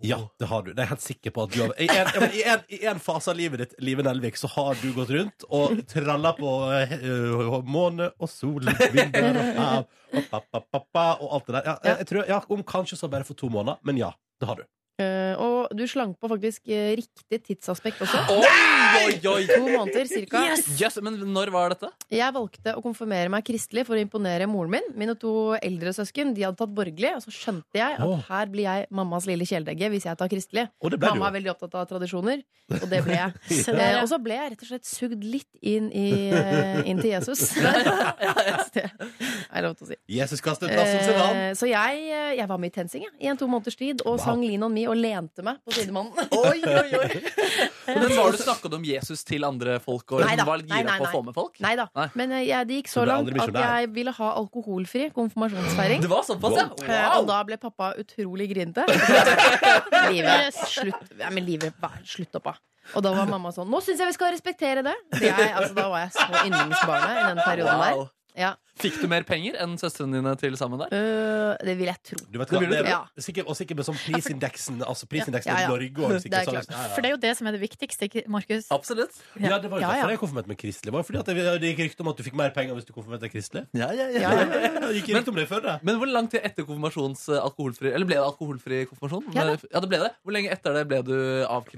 S7: Ja, det har du. Det er jeg helt sikker på at du har I en, ja, men i en, i en fase av livet ditt, Live Nelvik, så har du gått rundt og tralla på eh, eh, måne og sol vinduer og hav og pa-pa-pa-pa og alt det der. Ja, jeg, jeg tror, ja, om kanskje så bare for to måneder, men ja, det har du.
S6: Eh, Og du slank på faktisk eh, riktig tidsaspekt også.
S3: Oi, oi, oi!
S6: To måneder cirka.
S3: Yes, men når var dette?
S6: Jeg valgte å konfirmere meg kristelig for å imponere moren min. Mine to eldre søsken de hadde tatt borgerlig, og så skjønte jeg at
S7: Åh.
S6: her blir jeg mammas lille kjæledegge hvis jeg tar kristelig.
S7: Og det ble
S6: Mamma er
S7: du.
S6: veldig opptatt av tradisjoner, og det
S7: (laughs)
S6: ble jeg.
S2: Se der,
S6: Eh,
S2: ja.
S6: og så ble jeg rett og slett sugd litt inn, i, eh, inn til Jesus.
S7: (laughs)
S6: Det er lov til å si.
S7: Jesus kastet plassen sin, han.
S6: Eh, så jeg, eh, jeg var med i TenSing jeg, i en to måneders tid, og
S7: Wow.
S6: sang Lean on me og lente meg på sidemannen.
S3: Oi, oi, oi. Men var du snakket om Jesus til andre folk og
S6: Nei da.
S3: var litt
S6: Nei, nei,
S3: gira på å
S6: nei.
S3: få med folk?
S6: Nei da.
S3: Nei.
S6: Men eh, jeg, det gikk
S7: Så
S6: så
S7: du er
S6: langt
S7: aldri
S6: at
S7: misjonær?
S6: jeg ville ha alkoholfri konfirmasjonsfeiring.
S3: Det var såpass, ja?
S6: Eh, Og
S3: Wow.
S6: da ble pappa utrolig
S3: (laughs)
S6: grinete. (laughs)
S2: eh,
S6: livet, slutt, ja, men livet, hva- slutt opp, da. Og da var mamma sånn Nå syns jeg vi skal respektere det! Så Jeg, altså, da var jeg så yndlingsbarnet i den perioden der.
S3: wow.
S6: Ja.
S3: Fikk du mer penger enn søstrene dine til sammen der?
S6: Øh, det vil jeg tro.
S7: Du vet
S3: Det
S7: hva,
S3: vil
S7: det
S6: du.
S7: er
S6: Ja.
S7: sikkert, Og sikkert med sånn prisindeksen Altså prisindeksen
S6: Ja, ja.
S7: i Norge og
S6: Det er
S7: sikkert sånn.
S6: klart.
S7: Ja,
S2: For det er jo det som er det viktigste, ikke- Markus.
S3: Absolutt.
S7: ja. ja, det var jo
S6: Ja, ja.
S7: derfor jeg konfirmerte meg kristelig. Var det fordi at det, det gikk rykte om at du fikk mer penger hvis du konfirmerte deg kristelig?
S3: Ja, ja,
S6: Ja,
S7: Ja,
S6: ja.
S7: ja, ja, det gikk rykte om det før, det.
S3: Men hvor lang tid etter konfirmasjons eh, alkoholfri Eller ble det alkoholfri konfirmasjon?
S6: Ja da.
S3: Eh, ja, det ble det. Hvor lenge etter det ble du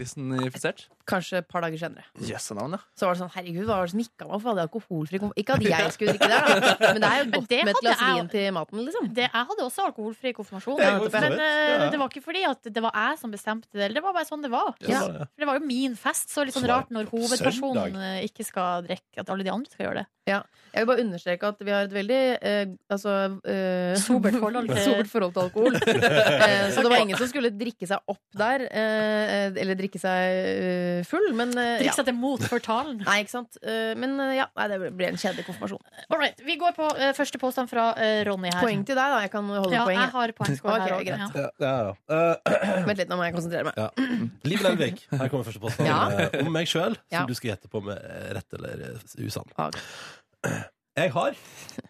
S3: avkristenifisert?
S6: Kanskje et par dager senere.
S3: Jøssenavn, ja.
S6: Så var det sånn Herregud, hva var det som gikk av meg? Hvorfor hadde jeg alkoholfri konf... Ikke at jeg skulle drikke der,
S3: (laughs)
S6: da. Men det er jo
S2: Men
S6: godt
S2: det
S6: med et
S2: hadde
S6: glass
S2: jeg-
S6: vin til maten, liksom.
S2: Det, jeg hadde også alkoholfri konfirmasjon.
S7: Ja, det var
S2: men
S7: fint.
S2: eh,
S7: Ja.
S2: det var ikke fordi at det var jeg som bestemte det. eller Det var bare sånn det var.
S6: Ja.
S7: var det.
S2: For det var jo min fest, så litt sånn
S7: Så var
S2: rart når
S7: på
S2: hovedpersonen
S7: søndag.
S2: eh, ikke skal drikke, at alle de andre skal gjøre det.
S6: Jeg vil bare understreke at vi har et veldig (laughs) eh, altså, eh,
S2: Sobert forhold til-
S6: (laughs) sobert forhold til
S2: (laughs)
S7: (laughs)
S6: alkohol. Eh, så det var ingen som skulle drikke seg opp der, eh, eller drikke seg eh, full, men eh,
S2: Drikke
S6: ja.
S2: seg til mot for talen.
S6: Nei, ikke sant? Eh, men eh, ja, nei, det ble en kjedelig konfirmasjon.
S2: All right, vi går på eh, første påstand fra eh, Ronny her.
S6: Poeng til deg, da. Jeg kan holde
S2: Ja, jeg
S6: poeng.
S2: har
S6: (laughs)
S2: poengskål
S6: Ok,
S2: her også,
S6: greit.
S2: ja.
S7: Ja, ja, ja. (clears throat)
S6: jeg. Vent litt, nå må jeg konsentrere meg.
S7: Liv Lenvik, her kommer første påstand
S6: Ja.
S7: eh, om meg sjøl, som
S6: Ja.
S7: du skal gjette på med eh, rett eller eh, usann.
S6: Ok.
S7: Jeg har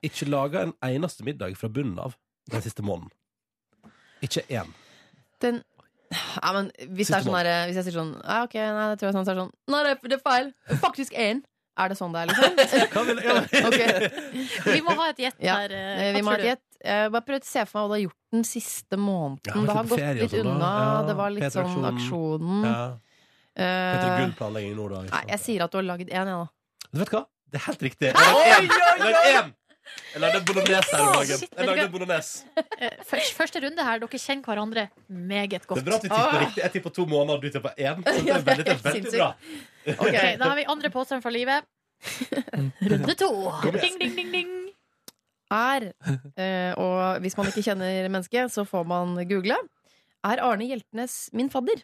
S7: ikke laga en eneste middag fra bunnen av den siste måneden. Ikke én.
S6: Den ja, men hvis, det er
S7: Siste
S6: sånn der, eh, hvis jeg sier sånn ja, Ok, nei, det tror jeg er sånn, så er det sånn Nei, det er- det er feil. Faktisk én. Er det sånn det er, liksom?
S7: (laughs) Hva vil jeg
S6: Ok.
S2: Vi må ha et gjett
S6: Ja,
S2: her. eh,
S6: Eh,
S2: hva
S6: Vi må
S2: tror
S6: ha
S2: du?
S6: et gjett. Jeg bare prøvde å se for meg hva du har gjort den siste måneden.
S7: Ja, men
S6: det har
S7: på
S6: gått
S7: ferie og
S6: litt
S7: sånn da.
S6: unna.
S7: Ja,
S6: det var litt sånn
S7: P3-aksjonen.
S6: aksjonen.
S7: Ja. Peter
S6: Eh,
S7: Gull planlegger i nord, da. ikke
S6: nei,
S7: sant?
S6: jeg sier at du har lagd én, jeg, da.
S7: Du vet hva? Det er helt riktig. Jeg lagde én. Jeg lagde én. Jeg lagde bolognese her om dagen.
S2: Shit,
S7: Jeg
S2: vet du
S7: lagde
S2: hva?
S7: bolognese.
S2: Eh, Første, første runde her, dere kjenner hverandre meget
S7: Det er
S2: godt.
S7: bra at vi tipper riktig. Jeg tipper to måneder, du
S2: (laughs)
S7: tipper én. Så det er veldig, det er veldig bra.
S2: Ok,
S7: (laughs)
S2: Da har vi andre påstand fra
S6: (laughs)
S2: livet. Runde to.
S7: Kom igjen.
S2: Ding, ding, ding, ding.
S6: Er, eh, og hvis man ikke kjenner mennesket, så får man google, er Arne Hjeltnes min
S7: (laughs)
S6: fadder?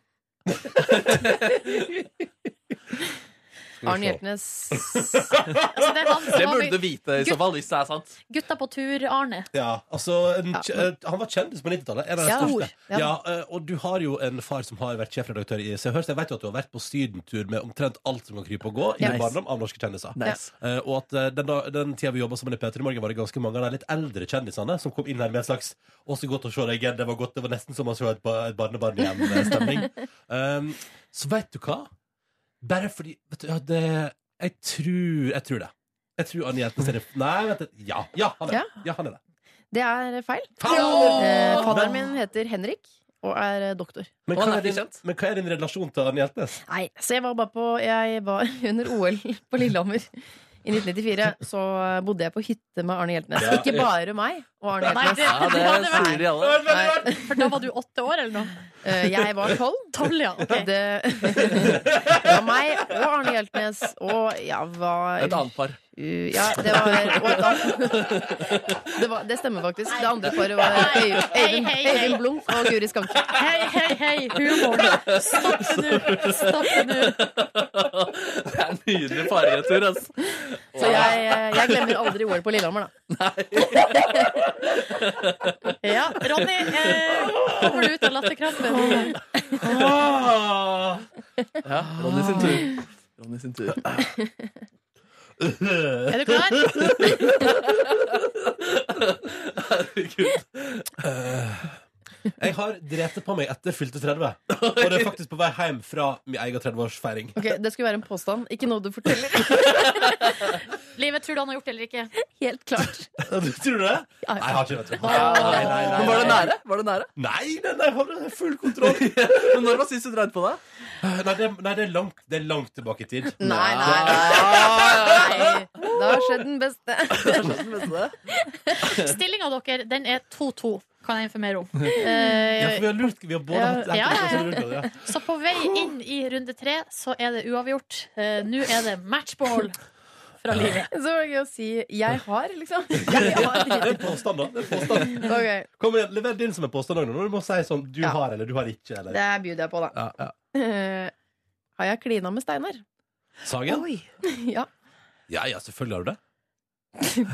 S7: Skal
S6: Arne
S7: vi se.
S6: Hjeltnes
S2: Altså, det er han
S3: (laughs) Det
S2: som
S3: burde du
S2: var
S3: vite i så fall, hvis det er sant.
S2: Gutta på tur, Arne.
S7: Ja, altså en, kj- eh, Han var kjendis på 90-tallet. En av de
S6: Ja.
S7: største.
S6: Stor, ja.
S7: Ja, eh, og du har jo en far som har vært sjefredaktør i Se og Hør, så jeg vet jo at du har vært på sydentur med omtrent alt som kan krype og gå i
S3: Ja.
S7: din barndom av norske kjendiser.
S3: Nice.
S7: Eh, og at eh, den, da, den tida vi jobba sammen i P3 Morgen, var det ganske mange av de litt eldre kjendisene som kom inn her med en slags 'Å, så godt å se deg igjen'. Det var godt, det var nesten som å se et, ba- et barnebarn igjen-stemning. um, så veit du hva? Bare fordi vet du, ja, det, Jeg tror Jeg tror det. Jeg tror Anne Hjeltnes er det. Nei, vent litt. Ja, ja, han er,
S6: Ja.
S7: ja. han er det.
S6: Det er feil.
S7: Faen!
S6: Eh, fadderen min heter Henrik og er eh, doktor.
S7: Men liksom-
S3: Og han
S7: hva,
S3: er
S7: er din,
S3: frikjent.
S7: men hva er din relasjon til Arne Hjeltnes?
S6: Nei, så jeg var bare på Jeg var (laughs) under OL på Lillehammer i 1994. Så bodde jeg på hytte med Arne Hjeltnes.
S7: Ja,
S6: Ikke
S7: ja.
S6: bare meg og Arne
S2: Nei,
S6: Hjeltnes.
S2: det-
S3: Ja,
S2: (laughs)
S3: det
S2: Ja, det var-
S3: Eh, sier de alle.
S6: Nei,
S2: For da var du åtte år, eller noe?
S6: eh, jeg var tolv.
S2: (laughs) Tolv, ja. ok.
S6: Det (laughs) var meg og Arne Hjeltnes og ja, var
S3: Et annet par.
S6: Uh, ja, det var og et annet- det, var, det stemmer faktisk. Det andre paret var Øy- Øyvind,
S2: Hei, hei, hei.
S6: Øyvind Blunk og Guri Skanke.
S2: Hei, hei, hei! Humor nå! Stopp det nå! Stopp det nå!
S3: Det er en nydelig paretur, altså.
S6: Så jeg, eh, jeg glemmer aldri OL på Lillehammer, da.
S2: Ja, Ronny, eh, kommer du ut av
S3: (laughs)
S2: latterkrampen?
S3: Ja, Ronny sin tur. Ronny sin tur.
S2: Er du klar?
S3: (laughs) Herregud.
S7: Jeg har drept på meg etter
S3: (laughs)
S7: fylte 30. Og det er faktisk på vei hjem fra min egen 30-årsfeiring.
S3: (laughs)
S6: Ok, Det skulle være en påstand, ikke noe du forteller.
S2: Livet tror du han har gjort det eller ikke?
S6: Helt klart.
S7: Du tror det? Nei, jeg har ikke det. Nei,
S3: Nei, nei, nei, Men var det nære? Var det nære?
S7: nei, nei, jeg har full kontroll.
S3: (laughs) Men når var sist du dreide på deg?
S7: Eh, Nei, det, nei det, er langt, det er langt tilbake i tid.
S6: Nei, nei, nei. nei. Da har skjedd den beste.
S2: (laughs) Stillinga deres, den er 2-2, kan jeg informere om.
S7: (laughs) Ja, for
S2: Eh,
S7: vi har lurt Vi har både hatt
S2: Ja, ja, ja.
S7: lurt
S6: (laughs)
S7: det, ja.
S2: så på vei inn i runde tre, så er det uavgjort. Eh, Nå er det matchball fra livet.
S6: Så var det gøy å si 'jeg har', liksom. Jeg
S7: (laughs) Det
S6: har.
S7: er en påstand, da. Det er en påstand.
S6: Ok,
S7: Kom igjen, Lever din som en påstand òg, når du må si sånn du
S6: Ja.
S7: har eller du har ikke. Eller.
S6: Det byr jeg på, da.
S7: Ja, ja.
S6: Eh, Har jeg klina med Steinar?
S7: Sagen?
S6: (laughs) Ja.
S7: Ja, ja, selvfølgelig har du det.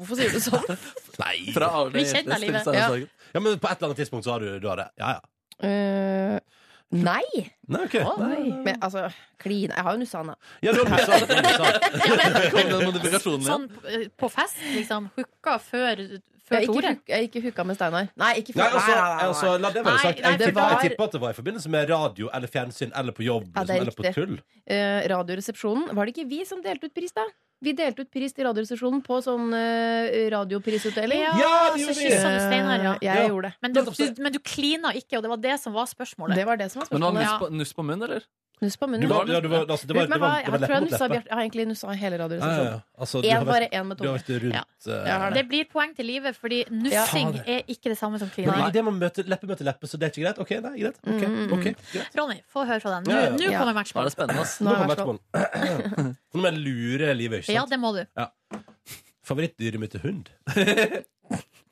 S6: Hvorfor sier du sånn?
S7: Nei.
S3: Fra Arne
S2: Vi kjenner
S3: Hjeltnes til
S2: livet.
S3: Steinar Sagen.
S7: Ja, men på et eller annet tidspunkt så har du, du har det. Ja, ja.
S6: Eh, nei.
S7: Nei, ok. Nei.
S6: Men altså, klin Jeg har jo nussa han, da.
S7: Ja, det var mye sant, det var mye sant.
S3: Kom den modifikasjonen igjen.
S2: Sånn eh, på fest, liksom. Hooka før, før
S6: Jeg ikke,
S2: Tore.
S6: huk- jeg ikke hooka med Steinar. Nei, ikke før
S7: Nei, altså,
S6: nei, nei, nei.
S7: altså, la
S2: Nei,
S7: det være sagt.
S2: nei,
S7: Jeg
S6: det
S7: tipper, jeg
S6: var-
S7: tipper at det var i forbindelse med radio eller fjernsyn eller på jobb.
S6: Ja, det
S7: Liksom,
S6: er
S7: eller på
S6: riktig.
S7: tull.
S6: Eh, Radioresepsjonen, var det ikke vi som delte ut pris, da? Vi delte ut pris til Radioresepsjonen på sånn eh, radioprisutdeling.
S7: Ja, det
S2: så
S7: gjorde vi.
S2: kyssa med Steinar, ja.
S6: Eh, Jeg
S7: Ja.
S6: gjorde det.
S2: Men du,
S7: Nettopp, så-
S2: du, men du klina ikke, og det var det som var spørsmålet.
S6: Det var det som var
S3: Men var
S6: spørsmålet.
S3: nuss på, nuss på munnen, eller?
S6: Nuss på
S7: Du
S6: munnen.
S7: var, ja, du var, altså, det var,
S6: Men
S7: det var,
S6: jeg
S7: det
S6: har-
S7: var
S6: tror jeg
S7: leppe mot
S6: nussa
S7: leppe.
S6: Bjarte. Jeg har egentlig nussa hele
S7: Ja, ja, ja.
S6: Radioresepsjonen.
S7: Altså, du har
S6: En,
S7: vært,
S6: bare én med
S7: du
S6: to.
S7: har vært rundt eh,
S6: Jeg har
S2: Det blir poeng til livet, fordi nussing
S7: Ja.
S2: er ikke det samme som
S7: Men
S2: klining.
S7: idet man møter leppe møter leppe, så det er ikke greit? Ok, nei, greit. Ok, ok, greit.
S2: Ronny, få høre fra deg. Nå,
S7: Ja, ja.
S2: nå
S6: Ja.
S2: kommer
S3: Nå er
S2: matchball.
S3: det spennende, ass.
S6: Nå
S7: Nå
S6: har
S7: kommer
S6: jeg vært
S7: matchballen. Nå må jeg lure livet, ikke
S2: Ja,
S7: sant?
S2: det må du.
S7: Favorittdyret mitt er hund.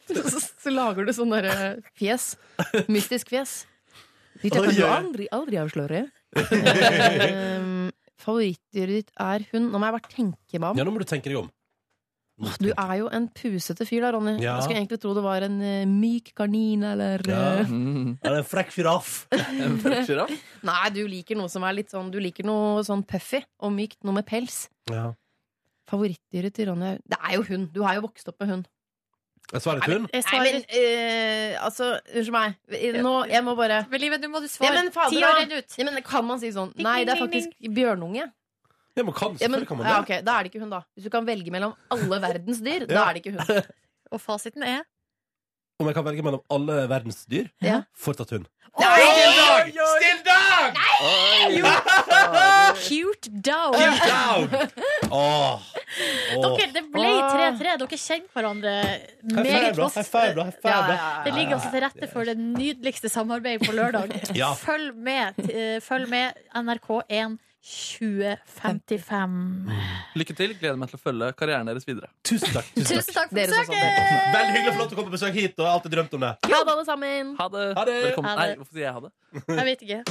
S6: (laughs) Så lager du sånn derre fjes. Mystisk fjes. Ditt
S7: Oi,
S6: kan du
S7: oi, oi.
S6: aldri, aldri avsløre. (laughs) Ehm, Favorittdyret ditt er hund. Nå må jeg bare tenke meg om.
S7: Ja, nå må du tenke deg om. Nå må
S6: Du
S7: tenke.
S6: er jo en pusete fyr da, Ronny.
S7: Ja.
S6: Jeg skulle egentlig tro det var en eh, myk kanin eller
S7: Ja.
S6: eh, (laughs)
S3: Mm.
S7: Er det en frekk sjiraff?
S3: En frekk giraff?
S6: Nei, du liker noe som er litt sånn Du liker noe sånn puffy og mykt, noe med pels.
S7: Ja.
S6: Favorittdyret til Ronny er- Det er jo hund. Du har jo vokst opp med hund.
S7: Jeg svarer et hund.
S6: Nei,
S2: Jeg svarer
S6: men eh, altså, unnskyld meg. Nå, jeg må bare
S2: Men livet, nå må du
S6: Ja,
S2: svare.
S6: men fader,
S2: Ti
S6: da.
S2: år renner ut.
S6: ja, men Kan man si sånn?
S2: Ding,
S6: Nei, det er
S2: ding, ding,
S6: faktisk bjørnunge.
S7: Ja, man kan,
S6: Ja, men,
S7: selvfølgelig kan man det.
S6: ja, ok, Da er det ikke hun, da. Hvis du kan velge mellom
S3: (laughs)
S6: alle verdens dyr, da
S7: Ja.
S6: er det ikke hun.
S2: (laughs) Og fasiten er
S7: Om jeg kan velge mellom alle verdens dyr,
S6: Ja.
S7: fortsatt hund.
S3: Oi, oi, oi! Oi,
S2: Cute down. (laughs)
S7: Åh. Åh.
S2: Dere, det ble 3-3. Dere kjenner hverandre
S7: High five,
S2: meget
S7: da. High
S2: godt.
S7: five, da. High five, da.
S2: Det ligger altså til rette for det nydeligste samarbeidet på lørdag.
S7: (laughs) Ja.
S2: Følg med. eh, Følg med NRK1 2055.
S3: Lykke til. Gleder meg til å følge karrieren deres videre.
S7: Tusen takk. Tusen takk.
S2: Tusen takk for
S6: Dere som så på.
S2: besøket!
S7: Veldig hyggelig å få lov til å komme på besøk hit. Og jeg har alltid drømt om det.
S6: Ha det, alle sammen.
S3: Ha det.
S7: Ha det.
S3: Velkommen.
S2: Ha det.
S3: Nei, hvorfor sier jeg ha det?
S2: Jeg vet ikke.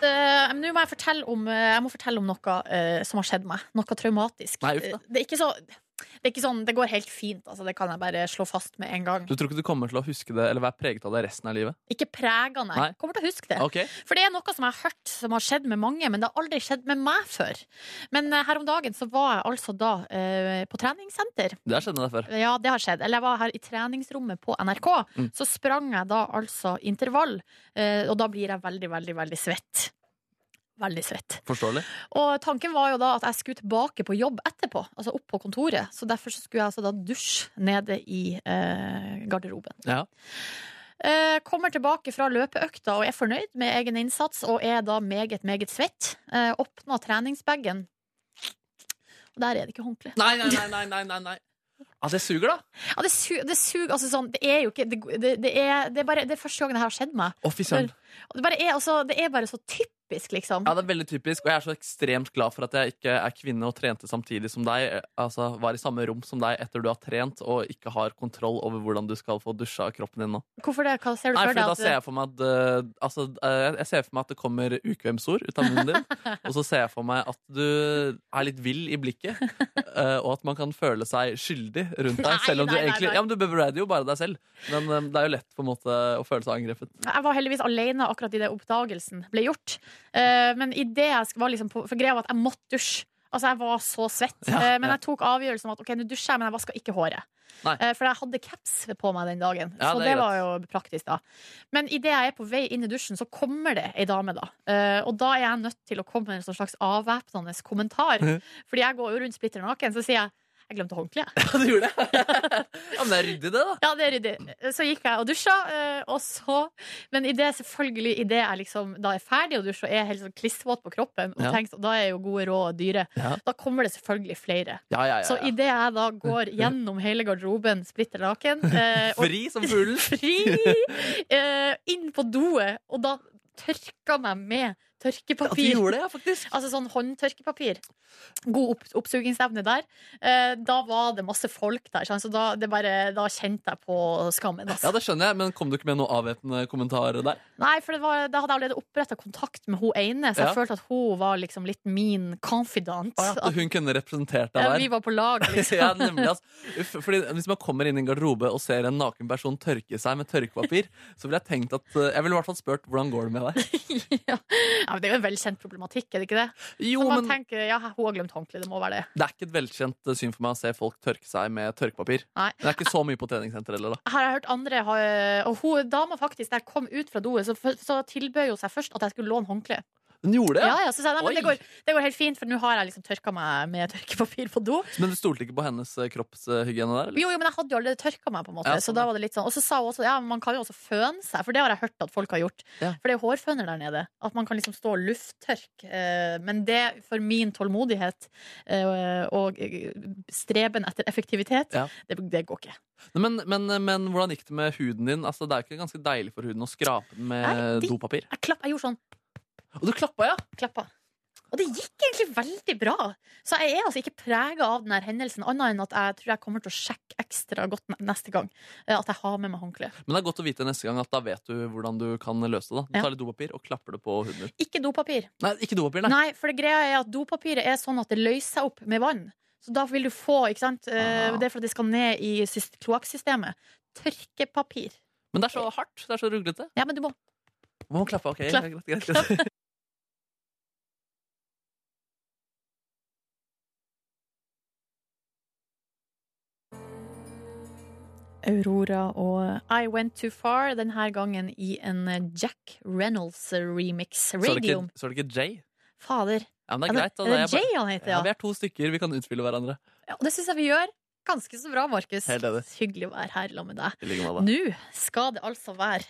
S2: Eh, Nå må jeg fortelle om eh, Jeg må fortelle om noe eh, som har skjedd meg. Noe traumatisk.
S3: Nei, uff da.
S2: Eh, det er ikke så det er ikke sånn, det går helt fint, altså, det kan jeg bare slå fast med en gang.
S3: Du tror ikke du kommer til å huske det eller være preget av det resten av livet?
S2: Ikke prega, nei.
S3: Nei.
S2: Kommer til å huske det.
S3: Ok,
S2: For det er noe som jeg har hørt som har skjedd med mange, men det har aldri skjedd med meg før. Men eh, her om dagen så var jeg altså da eh, på treningssenter.
S3: Det har skjedd med deg før.
S2: Ja, det har skjedd. Eller jeg var her i treningsrommet på NRK.
S3: Mm.
S2: Så sprang jeg da altså intervall, eh, og da blir jeg veldig, veldig, veldig svett. Veldig svett.
S3: Forståelig.
S2: Og tanken var jo da at jeg skulle tilbake på jobb etterpå, altså opp på kontoret. Så derfor så skulle jeg altså da dusje nede i eh, garderoben.
S3: Ja.
S2: Eh, kommer tilbake fra løpeøkta og er fornøyd med egen innsats og er da meget, meget svett. Eh, åpna treningsbagen, og der er det ikke håndkle.
S3: Nei, nei, nei, nei, nei, nei, nei. (laughs) Ja, det suger, da.
S2: Ja, det suger, det suger altså sånn Det er jo ikke Det, det, det, er, det, er, bare, det er første gangen det her har skjedd meg.
S3: Å, fy søren.
S2: Og Det, bare er, altså, det er bare så typisk, liksom.
S3: Ja, det er veldig typisk, og jeg er så ekstremt glad for at jeg ikke er kvinne og trente samtidig som deg. eh, Altså, var i samme rom som deg etter du har trent og ikke har kontroll over hvordan du skal få dusja kroppen din nå.
S2: Hvorfor det? Hva ser du
S3: Nei,
S2: for
S3: for da
S2: deg?
S3: ser
S2: At,
S3: jeg for meg at eh, altså, eh, Jeg ser for meg at det kommer ukvemsord ut av munnen
S2: (laughs)
S3: din. og så ser jeg for meg at du er litt vill i blikket,
S2: (laughs)
S3: eh, og at man kan føle seg skyldig rundt deg.
S2: Nei,
S3: selv om du
S2: nei, nei,
S3: egentlig
S2: nei.
S3: Ja, men du bebreider jo bare deg selv, men eh, det er jo lett på en måte å føle seg angrepet.
S2: jeg var heldigvis alene akkurat idet oppdagelsen ble gjort. Eh, men i det jeg sk- var liksom på, For greia var at jeg måtte dusje. Altså, jeg var så svett.
S3: Ja,
S2: Eh, men
S3: ja.
S2: jeg tok avgjørelsen om at ok, nå dusjer jeg, men jeg vasker ikke håret.
S3: Nei.
S2: Eh, for jeg hadde caps på meg den dagen,
S3: Ja,
S2: så
S3: det
S2: det,
S3: er greit.
S2: var jo praktisk, da. Men idet jeg er på vei inn i dusjen, så kommer det ei dame, da. Eh, og da er jeg nødt til å komme med en sånn slags avvæpnende kommentar.
S3: Mhm.
S2: Fordi jeg går jo rundt splitter naken, så sier jeg jeg glemte håndkleet.
S3: Ja, du gjorde det? ja, men det er ryddig, det, da.
S2: Ja, det er ryddig. Så gikk jeg og dusja, eh, og så Men i det, selvfølgelig, i det jeg liksom da er ferdig å dusje og er helt sånn klissvåt på kroppen, og
S3: Ja.
S2: tenkt, da er jo gode råd dyre,
S3: Ja.
S2: da kommer det selvfølgelig flere.
S3: Ja, ja,
S2: Så
S3: ja, ja.
S2: idet jeg da går gjennom hele garderoben splitter naken
S3: (laughs)
S2: eh, og
S3: Fri som
S2: (laughs)
S3: fuglen.
S2: fri eh, inn på doet, og da tørka meg med
S3: Ja, du
S2: tørkepapir.
S3: gjorde det, ja, faktisk.
S2: Altså sånn håndtørkepapir. God opp oppsugingsevne der. Eh, da var det masse folk der, sant? så da, det bare, da kjente jeg på skammen.
S3: Ja,
S2: Altså.
S3: det skjønner jeg, men kom du ikke med noen avvæpnende kommentarer der?
S2: Nei, for det var, Da hadde jeg allerede oppretta kontakt med hun ene, så jeg
S3: Ja.
S2: følte at hun var liksom litt min confidant.
S3: Å, ja,
S2: At,
S3: At hun kunne representert deg
S2: ja,
S3: der?
S2: vi var på
S3: (laughs)
S2: lag, liksom.
S3: ja, nemlig, altså. Uff, Fordi Hvis man kommer inn i en garderobe og ser en naken person tørke seg med tørkepapir, så ville jeg tenkt at eh, Jeg ville i hvert fall spurt hvordan går det med deg.
S2: ja. ja, men Det er jo en velkjent problematikk, er det ikke det?
S3: Jo,
S2: Så man
S3: men
S2: tenker, ja, Hun har glemt håndkleet, det må være det.
S3: Det er ikke et velkjent eh, syn for meg å se folk tørke seg med tørkepapir.
S2: Nei.
S3: Det er ikke så mye på treningssenter heller, da.
S2: Her har jeg hørt andre ha, Og hun dama faktisk, da jeg kom ut fra doet, så, så tilbød hun seg først at jeg skulle låne håndkle.
S3: Hun gjorde det, ja.
S2: Ja, ja, så sa jeg, nei, men det,
S3: Oi.
S2: går, det går helt fint, for nå har jeg liksom tørka meg med tørkepapir på do.
S3: Men du stolte ikke på hennes eh, kroppshygiene der? Eller?
S2: Jo, jo, men jeg hadde jo allerede tørka meg, på en måte.
S3: Ja,
S2: så
S3: sånn,
S2: da
S3: ja.
S2: var det litt sånn Og så sa hun også ja, men man kan jo også føne seg, for det har jeg hørt at folk har gjort.
S3: Ja.
S2: For det er jo hårføner der nede. At man kan liksom stå og lufttørke. eh, Men det, for min tålmodighet eh, og eh, streben etter effektivitet,
S3: Ja.
S2: det, det går ikke.
S3: Nei, Men, men, men hvordan gikk det med huden din? Altså, det er jo ikke ganske deilig for huden å skrape den med
S2: Nei, de-
S3: dopapir?
S2: Jeg, klapp, jeg gjorde sånn,
S3: Og du klappa, ja!
S2: klappa. Og det gikk egentlig veldig bra. Så jeg er altså ikke prega av denne hendelsen, annet enn at jeg tror jeg kommer til å sjekke ekstra godt ne- neste gang eh, at jeg har med meg håndkle.
S3: Men det er godt å vite neste gang at da vet du hvordan du kan løse det. da Du
S2: Ja.
S3: tar litt dopapir og klapper det på huden din.
S2: Ikke dopapir.
S3: Nei, ikke dopapir, nei.
S2: Nei, for det greia er at dopapiret er sånn at det løser seg opp med vann. Så da vil du få, ikke sant eh,
S3: Ah.
S2: Det er for at det skal ned i syst- kloakksystemet. Tørkepapir.
S3: Men det er så hardt. Det er så ruglete.
S2: Ja, men du må
S3: Man må klappe, ok.
S2: Klapp.
S3: Greit, greit, (laughs) greit.
S2: Aurora og I Went Too Far, denne gangen i en Jack Reynolds-remix.
S3: Så er det
S2: Radio.
S3: ikke, så er det ikke Jay.
S2: Fader.
S3: Ja, men
S2: Er
S3: det er
S2: det,
S3: greit. da.
S2: er det
S3: Jeg bare-
S2: Jay han heter,
S3: ja, vi
S2: ja?
S3: er to stykker, vi kan utfylle hverandre.
S2: ja og det syns jeg vi gjør. Ganske så bra, Markus.
S3: Helt enig.
S2: Hyggelig å være her sammen med deg.
S3: I like måte.
S2: Nå skal det altså være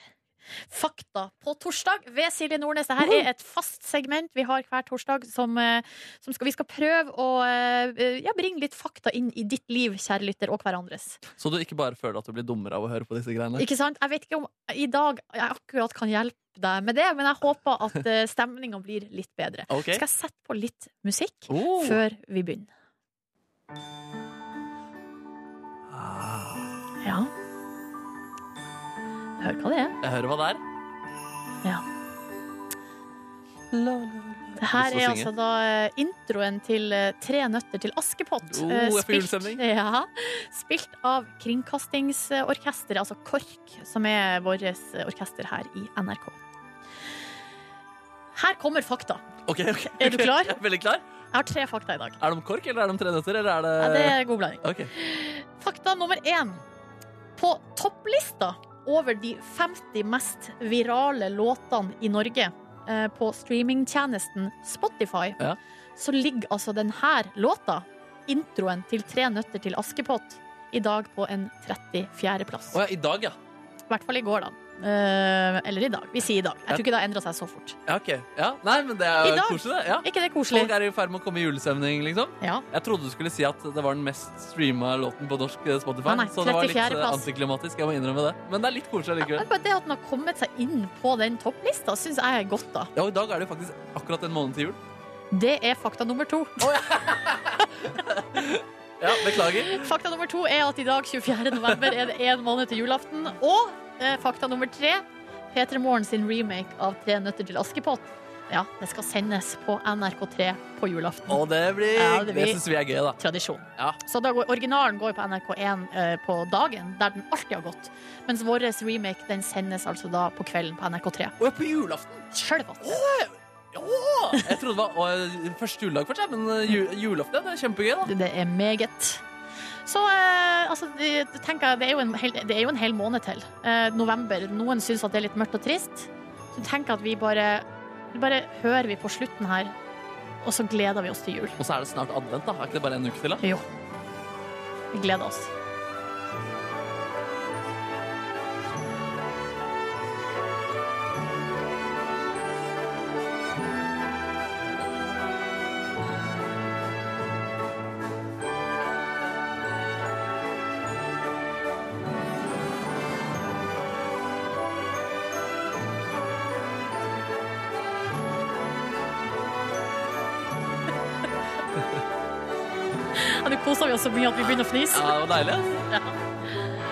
S2: Fakta på torsdag ved Silje Nordnes. Dette er et fast segment vi har hver torsdag, som, eh, som skal, vi skal prøve å eh, ja, bringe litt fakta inn i ditt liv, kjære lytter, og hverandres.
S3: Så du ikke bare føler at du blir dummere av å høre på disse greiene.
S2: Ikke sant? Jeg vet ikke om i dag jeg akkurat kan hjelpe deg med det, men jeg håper at eh, stemninga blir litt bedre.
S3: Ok.
S2: Skal jeg sette på litt musikk
S3: Oh.
S2: før vi begynner?
S3: Ah.
S2: Ja. Jeg hører hva det er.
S3: Jeg hører hva det er.
S2: Det her er
S3: Lyst til å
S2: altså
S3: synge.
S2: da eh, introen til eh, Tre nøtter til Askepott.
S3: Oh,
S2: eh,
S3: jeg får
S2: spilt-
S3: julestemning.
S2: (laughs) Ja, spilt av Kringkastingsorkesteret, altså KORK, som er vårt orkester her i NRK. Her kommer fakta.
S3: Ok, ok,
S2: Er du
S3: ok.
S2: klar?
S3: (laughs) Jeg er veldig klar.
S2: Jeg har tre fakta i dag.
S3: Er det om KORK, eller er det om tre nøtter, eller er det
S2: Ja, det er god blanding.
S3: Eh, Ok.
S2: Fakta nummer én. På topplista over de 50 mest virale låtene i Norge eh, på streamingtjenesten Spotify,
S3: Ja.
S2: så ligger altså denne låta, introen til Tre nøtter til Askepott, i dag på en 34.-plass.
S3: Å ja, i dag, ja.
S2: I hvert fall i går, da. Eh, eller i dag. Vi sier i dag. Jeg tror ikke det har endra seg så fort.
S3: ja. Ok. Ja, nei, men det er
S2: I dag.
S3: koselig, det. Ja.
S2: Er ikke det koselig?
S3: Folk er i ferd med å komme i julestemning, liksom.
S2: Ja.
S3: Jeg trodde du skulle si at det var den mest streama låten på norsk eh, Spotify.
S2: Nei, nei,
S3: så det var litt eh,
S2: 34. plass.
S3: antiklimatisk, jeg må innrømme det. Men det er litt
S2: Ja,
S3: koselig likevel.
S2: Bare det at den har kommet seg inn på den topplista, syns jeg er godt, da.
S3: Ja, og i dag er det jo faktisk akkurat en måned til jul.
S2: Det er fakta nummer to.
S3: Ja, beklager.
S2: Fakta nummer to er at i dag, 24. november, er det én måned til julaften. Og eh, fakta nummer tre, P3 Morgen sin remake av Tre nøtter til Askepott. Ja, det skal sendes på NRK3 på julaften.
S3: Og det blir
S2: Ja,
S3: Det,
S2: det blir-
S3: syns vi er gøy, da.
S2: Tradisjon.
S3: Ja.
S2: Så da går, originalen går på NRK1 eh, på dagen, der den alltid har gått. Mens vår remake den sendes altså da på kvelden på NRK3.
S3: Og jeg er på julaften!
S2: Sjølvatt.
S3: Ja! Jeg trodde det var å, første juledag for seg, men eh, ju- julaften det er kjempegøy, da.
S2: Det er meget. Så eh, altså, det, det tenker jeg, det er, jo en hel, det er jo en hel måned til. Eh, november. Noen syns at det er litt mørkt og trist. Så tenker jeg at vi bare, bare hører vi på slutten her, og så gleder vi oss til jul.
S3: Og så er det snart advent, da. Er ikke det bare en uke til, da?
S2: Jo. Vi gleder oss. Ja, Nå koser vi oss så mye at vi begynner å fnise.
S3: Ja, det var deilig. ass.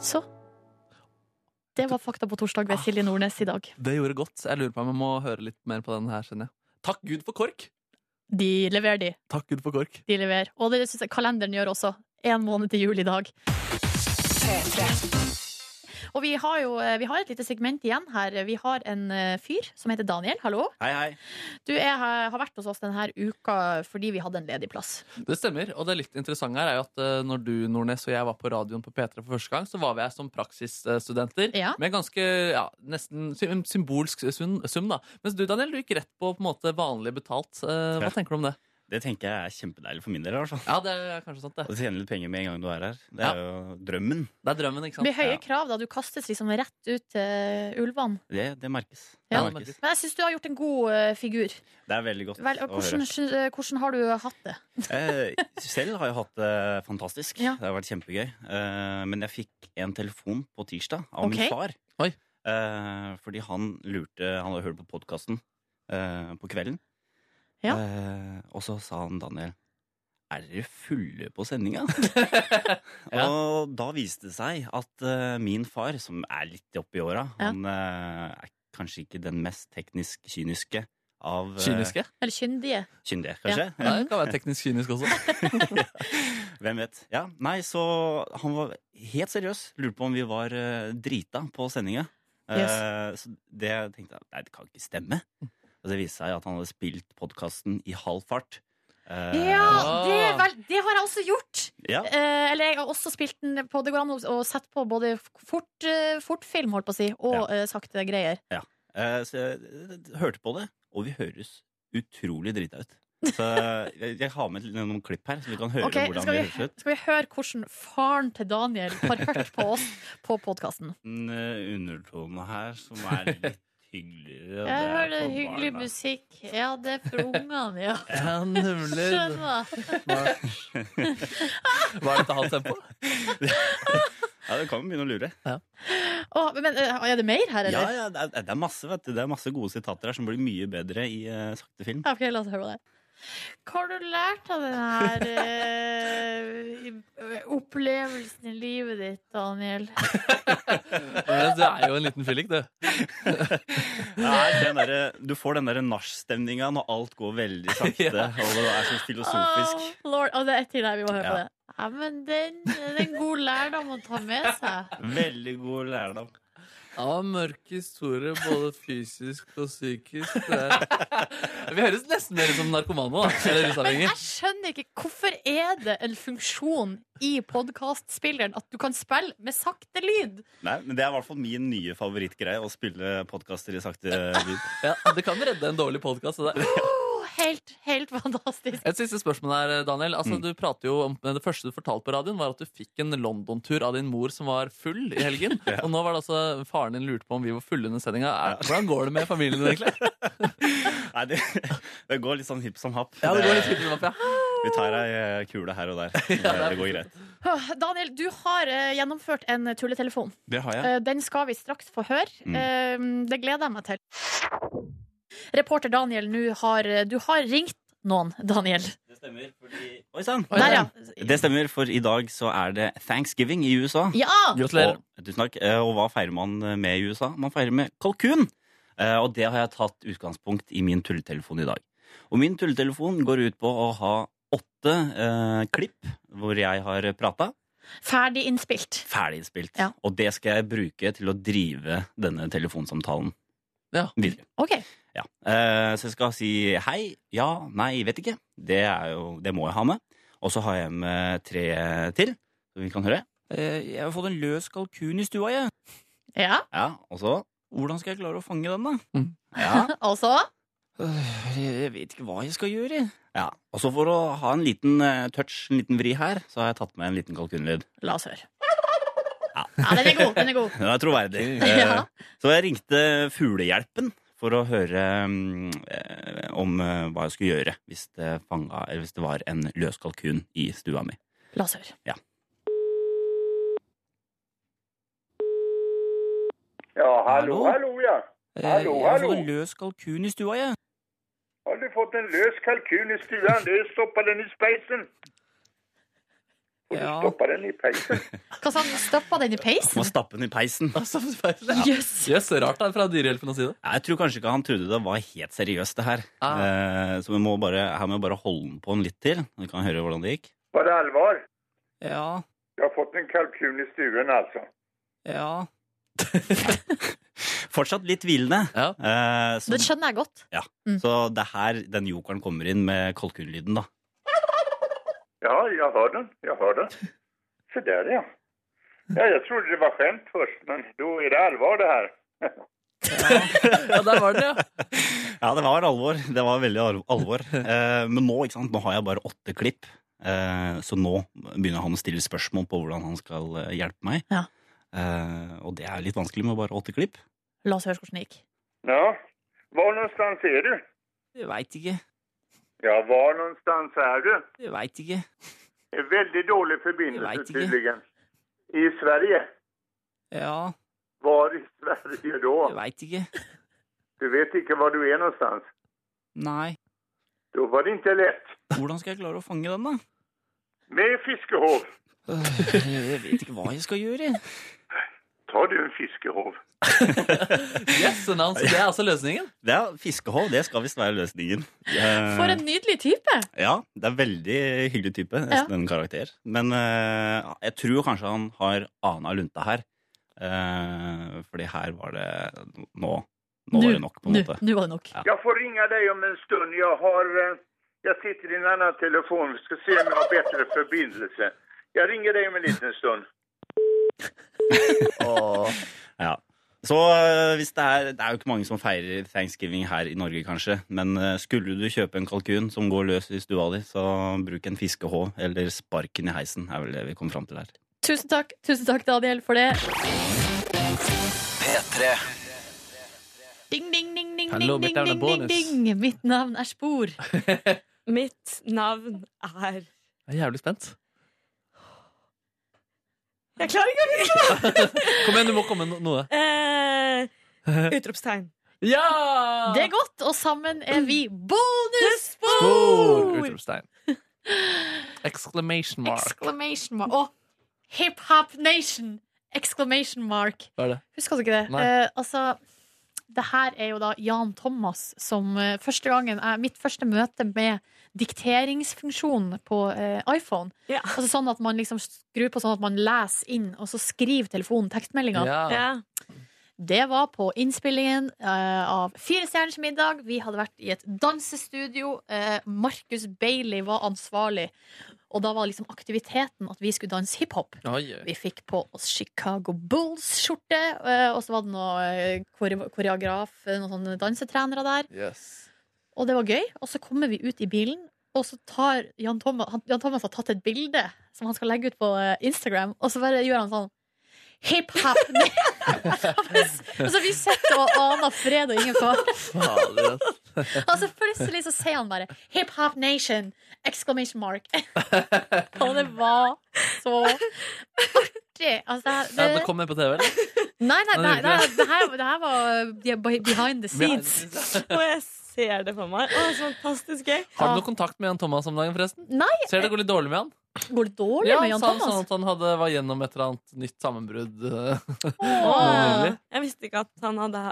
S2: Så Det var fakta på torsdag
S3: Ah.
S2: ved Silje Nordnes i dag.
S3: Det gjorde godt. Jeg lurer på om jeg må høre litt mer på den her, skjønner jeg. Takk Gud for KORK!
S2: De leverer, de.
S3: Takk Gud for KORK.
S2: De leverer. Og det syns jeg kalenderen gjør også. Én måned til jul i dag. Og vi har jo eh, vi har et lite segment igjen her. Vi har en eh, fyr som heter Daniel. Hallo.
S7: Hei, hei.
S2: Du er, her- har vært hos oss denne uka fordi vi hadde en ledig plass.
S3: Det stemmer. Og det litt interessante her er jo at eh, når du, Nordnes, og jeg var på radioen på P3 for første gang, så var vi her som praksisstudenter
S2: Ja.
S3: med ganske ja, nesten sy- en symbolsk sum, sum, da. Mens du, Daniel, du gikk rett på på en måte vanlig betalt. Eh,
S8: Ja.
S3: Hva tenker du om det?
S8: Det tenker jeg er kjempedeilig for min del. i hvert fall.
S3: Ja, det er kanskje sant,
S8: Å
S3: det.
S8: tjene litt penger med en gang du er her. Det er jo drømmen.
S3: Det er drømmen,
S2: Det
S3: ikke sant?
S2: blir høye
S8: Ja.
S2: krav da. Du kastes liksom rett ut til ulvene.
S8: Det, det merkes.
S2: Ja.
S8: det merkes.
S2: Men jeg syns du har gjort en god eh, figur.
S8: Det er veldig godt
S2: Vel,
S8: å høre.
S2: hvordan, syn- eh, hvordan har du hatt det?
S8: Eh, selv har jeg hatt det fantastisk.
S2: Ja.
S8: Det har vært kjempegøy. Eh, men jeg fikk en telefon på tirsdag av
S2: Ok.
S8: min far.
S3: Oi.
S8: Eh, fordi han lurte Han hadde hørt på podkasten eh, på kvelden.
S2: Ja.
S8: Eh, og så sa han Daniel Er dere fulle på sendinga?
S2: (laughs)
S8: (laughs)
S3: Ja.
S8: Og da viste det seg at eh, min far, som er litt oppi åra,
S2: Ja.
S8: han eh, er kanskje ikke den mest teknisk kyniske av eh,
S3: Kyniske?
S2: Eller kyndige?
S8: kyndige, kanskje.
S3: Ja, det kan være teknisk kynisk også.
S8: (laughs) Hvem vet. Ja, nei, så han var helt seriøs. Lurte på om vi var eh, drita på sendinga. Eh, så det tenkte jeg Nei, det kan ikke stemme. Og det viste seg at han hadde spilt podkasten i halv fart. Eh,
S2: Ja,
S3: Ah.
S2: det, er vel, det har jeg også gjort!
S8: ja.
S2: Eh, eller jeg har også spilt den på Det går an å å sette på både fort, eh, fortfilm, holdt på å si, og
S8: Ja.
S2: eh, sakte greier.
S8: Eh, så jeg eh, hørte på det, og vi høres utrolig drita ut. Så eh, jeg, jeg har med noen klipp her, så vi kan høre
S2: Ok,
S8: hvordan
S2: skal
S8: det
S2: vi,
S8: høres ut.
S2: skal vi høre hvordan faren til Daniel har hørt på oss på podkasten?
S8: En eh, undertone her som
S2: (laughs)
S8: er litt hyggeligere. og
S2: Jeg
S8: det er
S2: hører
S8: for
S2: hyggelig
S8: barna.
S2: musikk. Ja, det er for ungene,
S8: (laughs)
S2: ja.
S3: Ja, nemlig.
S2: Skjønner.
S3: Var dette halvt tempo?
S8: (laughs) Ja, du kan jo begynne å lure.
S2: Å, men eh, er det mer her,
S8: Ja,
S2: eller?
S8: ja, det er, det er masse vet du. Det er masse gode sitater her som blir mye bedre i eh, sakte film.
S2: Ja, ok, la oss høre på det. Hva har du lært av den her eh, opplevelsen i livet ditt,
S3: (laughs)
S2: Daniel?
S3: (laughs) Men Det er jo en liten fyllik,
S8: (laughs)
S3: det.
S8: Nei, den derre- du får den derre nachstemninga når alt går veldig sakte,
S3: (laughs) Ja.
S8: og det er så filosofisk.
S2: Å, Lord, Å, det er ett til her, vi må høre på
S8: Ja.
S2: det. Ja, men den, det er en god lærdom å ta med seg.
S8: Veldig god lærdom.
S3: Han var mørk historie, både fysisk og psykisk. Det er- (laughs) Vi høres nesten mer ut som narkomane. da,
S2: (laughs)
S3: Eller
S2: Men
S3: rusavhengige.
S2: jeg skjønner ikke, hvorfor er det en funksjon i podcastspilleren at du kan spille med sakte lyd?
S8: Nei, men Det er i hvert fall min nye favorittgreie, å spille podkaster i sakte lyd.
S3: (laughs) Ja, det kan redde en dårlig podkast.
S2: Åh, Helt, helt fantastisk.
S3: Et siste spørsmål her, Daniel. Altså,
S8: Mm.
S3: du prater jo om, Det første du fortalte på radioen, var at du fikk en London-tur av din mor som var full i helgen.
S8: (laughs) Ja.
S3: Og nå var det altså faren din lurte på om vi var fulle under sendinga. Er- Hvordan går det med familien din, egentlig?
S8: (laughs) Nei, det, det går litt sånn hipp som happ.
S3: Ja, det går litt
S8: Det-
S3: hyggelig, Mafia.
S8: Vi tar ei eh, kule her
S3: (laughs)
S8: og der. Det, det går greit.
S2: Åh, Daniel, du har eh, gjennomført en tulletelefon.
S8: Det har jeg. Mm.
S2: Eh, den skal vi straks få høre. Eh, det gleder jeg meg til. Reporter Daniel, nå har, eh, du har ringt noen, Daniel.
S8: Det stemmer, fordi Oi sann!
S2: Der, ja.
S8: Det stemmer, for i dag så er det thanksgiving i USA.
S2: Ja!
S3: Gratulerer.
S8: Og, tusen takk. Eh, Og hva feirer man med i USA? Man feirer med kalkun. Eh, Og det har jeg tatt utgangspunkt i min tulletelefon i dag. Og min tulletelefon går ut på å ha åtte eh, klipp hvor jeg har prata,
S2: Ferdig innspilt.
S8: ferdig innspilt.
S2: Ja.
S8: Og det skal jeg bruke til å drive denne telefonsamtalen
S3: Ja.
S8: videre.
S2: OK.
S8: Ja. Eh, så jeg skal si hei, ja, nei, vet ikke. Det, er jo, det må jeg ha med. Og så har jeg med tre til, som vi kan høre. Eh, jeg har fått en løs kalkun i stua, jeg.
S2: Ja,
S8: Ja, og så Hvordan skal jeg klare å fange den, da?
S3: Mm.
S8: Ja,
S2: (laughs) og så?
S8: Øh, Jeg vet ikke hva jeg skal gjøre. Ja, Og så for å ha en liten eh, touch, en liten vri her, så har jeg tatt med en liten kalkunlyd.
S2: La oss høre. Ja, den er god. Den er god.
S8: (laughs) Den er troverdig.
S2: Ja.
S8: Eh, Så jeg ringte Fuglehjelpen for å høre mm, eh, om eh, hva jeg skulle gjøre hvis det, fanga, eller hvis det var en løs kalkun i stua mi.
S2: (laughs) La oss høre.
S1: Ja, hallo, hallo, ja.
S8: Eh,
S1: Hallo, jeg har hallo. fått en
S8: løs kalkun i stua, jeg.
S1: Har du fått en løs kalkun i stua? Du stopper den i speisen. Og du
S8: Ja.
S1: stopper den i peisen.
S2: Hva sa han? Stoppa den i peisen?
S8: Må stappe den i peisen.
S3: Altså, feil.
S2: Jøss.
S3: Jøss, rart det er fra Dyrehjelpen å si det.
S8: Ja, Jeg tror kanskje ikke han trodde det var helt seriøst, det her.
S3: Ah.
S8: Eh, Så vi må bare, her må jeg bare holde den på en litt til. Vi kan høre hvordan det gikk.
S1: Var det alvor?
S8: Ja,
S1: Jeg har fått en kalkun i stuen, altså.
S8: Ja (laughs) Fortsatt litt hvilende.
S3: Ja.
S8: Eh, så,
S2: Det Mm. skjønner jeg godt.
S8: så det er her den jokeren kommer inn med kalkunlyden, da.
S1: Ja, jeg hører den. Jeg hører den. Se der, ja. Ja, jeg trodde det var skjemt først, men da er det alvor, det her. (laughs)
S3: Ja, der var den, ja.
S8: Ja, det var alvor. Det var veldig al-
S3: (laughs)
S8: alvor. Eh, men nå, ikke sant, nå har jeg bare åtte klipp, eh, så nå begynner han å stille spørsmål på hvordan han skal eh, hjelpe meg.
S2: Ja.
S8: Eh, og det er litt vanskelig med bare åtte klipp.
S2: La oss høre hvordan det gikk.
S1: Ja, hvor någonstans er du?
S8: Jeg veit ikke.
S1: Ja, hvor någonstans er du?
S8: Jeg veit ikke.
S1: En veldig dårlig
S8: Jeg vet
S1: forbindelse,
S8: ikke.
S1: tydeligvis. I Sverige.
S8: Ja,
S1: Var i Sverige da?
S8: veit ikke.
S1: Du vet ikke hvor du er någonstans.
S8: Nei.
S1: Da var det ikke lett.
S8: Hvordan skal jeg klare å fange den, da?
S1: Med fiskehov.
S8: Jeg vet ikke hva jeg skal gjøre.
S1: Tar du en fiskehov?
S3: Yes, announced. Det er altså løsningen.
S8: Ja, fiskehov, det skal visst være løsningen. Eh,
S2: For en nydelig type!
S8: Ja, det er veldig hyggelig type, nesten en karakter. Men eh, jeg tror kanskje han har ana lunta her. Eh, fordi her var det Nå, nå var det nok, på en
S2: Nå-
S8: måte.
S2: Nå var det nok.
S1: Jeg får ringe deg om en stund. Jeg har eh, Jeg sitter i en annen telefon. Vi skal se om jeg har bedre forbindelse. Jeg ringer deg om en liten stund.
S8: Ja. Så eh, hvis det er Det er jo ikke mange som feirer thanksgiving her i Norge, kanskje. Men eh, skulle du kjøpe en kalkun som går løs i stua di, så bruk en fiskehå eller sparken i heisen. er vel det vi kom fram til her.
S2: Tusen takk, tusen takk Daniel, for det. Ding, ding, ding, ding,
S3: Hallo,
S2: ding,
S3: mitt navn er
S2: ding, ding,
S3: Bonus.
S2: ding. Mitt navn er
S3: (laughs)
S2: Spor.
S9: Mitt navn er
S3: Jeg er jævlig spent.
S9: Jeg klarer ikke å vite det!
S3: Kom igjen, du må komme med no-
S2: (laughs)
S3: noe.
S9: Eh, utropstegn.
S3: Ja!
S2: Det er godt, og sammen er vi
S3: Spor!
S2: bonusspor!
S3: Utropstegn. Exclamation mark.
S2: Exclamation mark. Og hiphop nation! Exclamation mark.
S3: Hva er det?
S2: Husker du ikke det?
S3: Nei.
S2: Eh, altså, det her er jo da Jan Thomas som eh, første gangen jeg, Mitt første møte med dikteringsfunksjonen på eh, iPhone.
S9: Ja.
S2: Altså sånn at man liksom skrur på sånn at man leser inn, og så skriver telefonen tekstmeldinga.
S3: (laughs) Ja.
S9: Ja.
S2: Det var på innspillingen eh, av Fire stjerners middag. Vi hadde vært i et dansestudio. Eh, Markus Bailey var ansvarlig. Og da var liksom aktiviteten at vi skulle danse hiphop.
S3: Oi, oi.
S2: Vi fikk på oss Chicago Bulls-skjorte, eh, og så var det noe eh, kore- koreograf, eh, noen sånne dansetrenere der.
S3: Yes.
S2: Og det var gøy. Og så kommer vi ut i bilen, og så tar Jan Thomas han, Jan Thomas har tatt et bilde som han skal legge ut på eh, Instagram, og så bare gjør han sånn Hiphop! altså, vi sitter og aner fred og ingen fare.
S3: Fader, ass.
S2: (laughs) Altså, plutselig så sier han bare Hiphop Nation! Exclamation mark. (laughs) og det var så artig. Altså,
S3: Ja, det kom med på TV, eller?
S2: Nei, nei, nei,
S3: Nei, det
S2: nei
S3: er
S2: det, her, det her var de- behind the scenes.
S9: Og jeg ser det for meg. Å, så fantastisk gøy.
S3: Har du noe kontakt med Jan Thomas om dagen, forresten?
S2: Nei. eh,
S3: Ser det går litt dårlig med han?
S2: Går det dårlig med Jan
S3: sa han Sånn
S2: Thomas?
S3: at han hadde, var gjennom et eller annet nytt sammenbrudd. eh, (laughs)
S2: Åh.
S3: nylig.
S9: Jeg visste ikke at han hadde,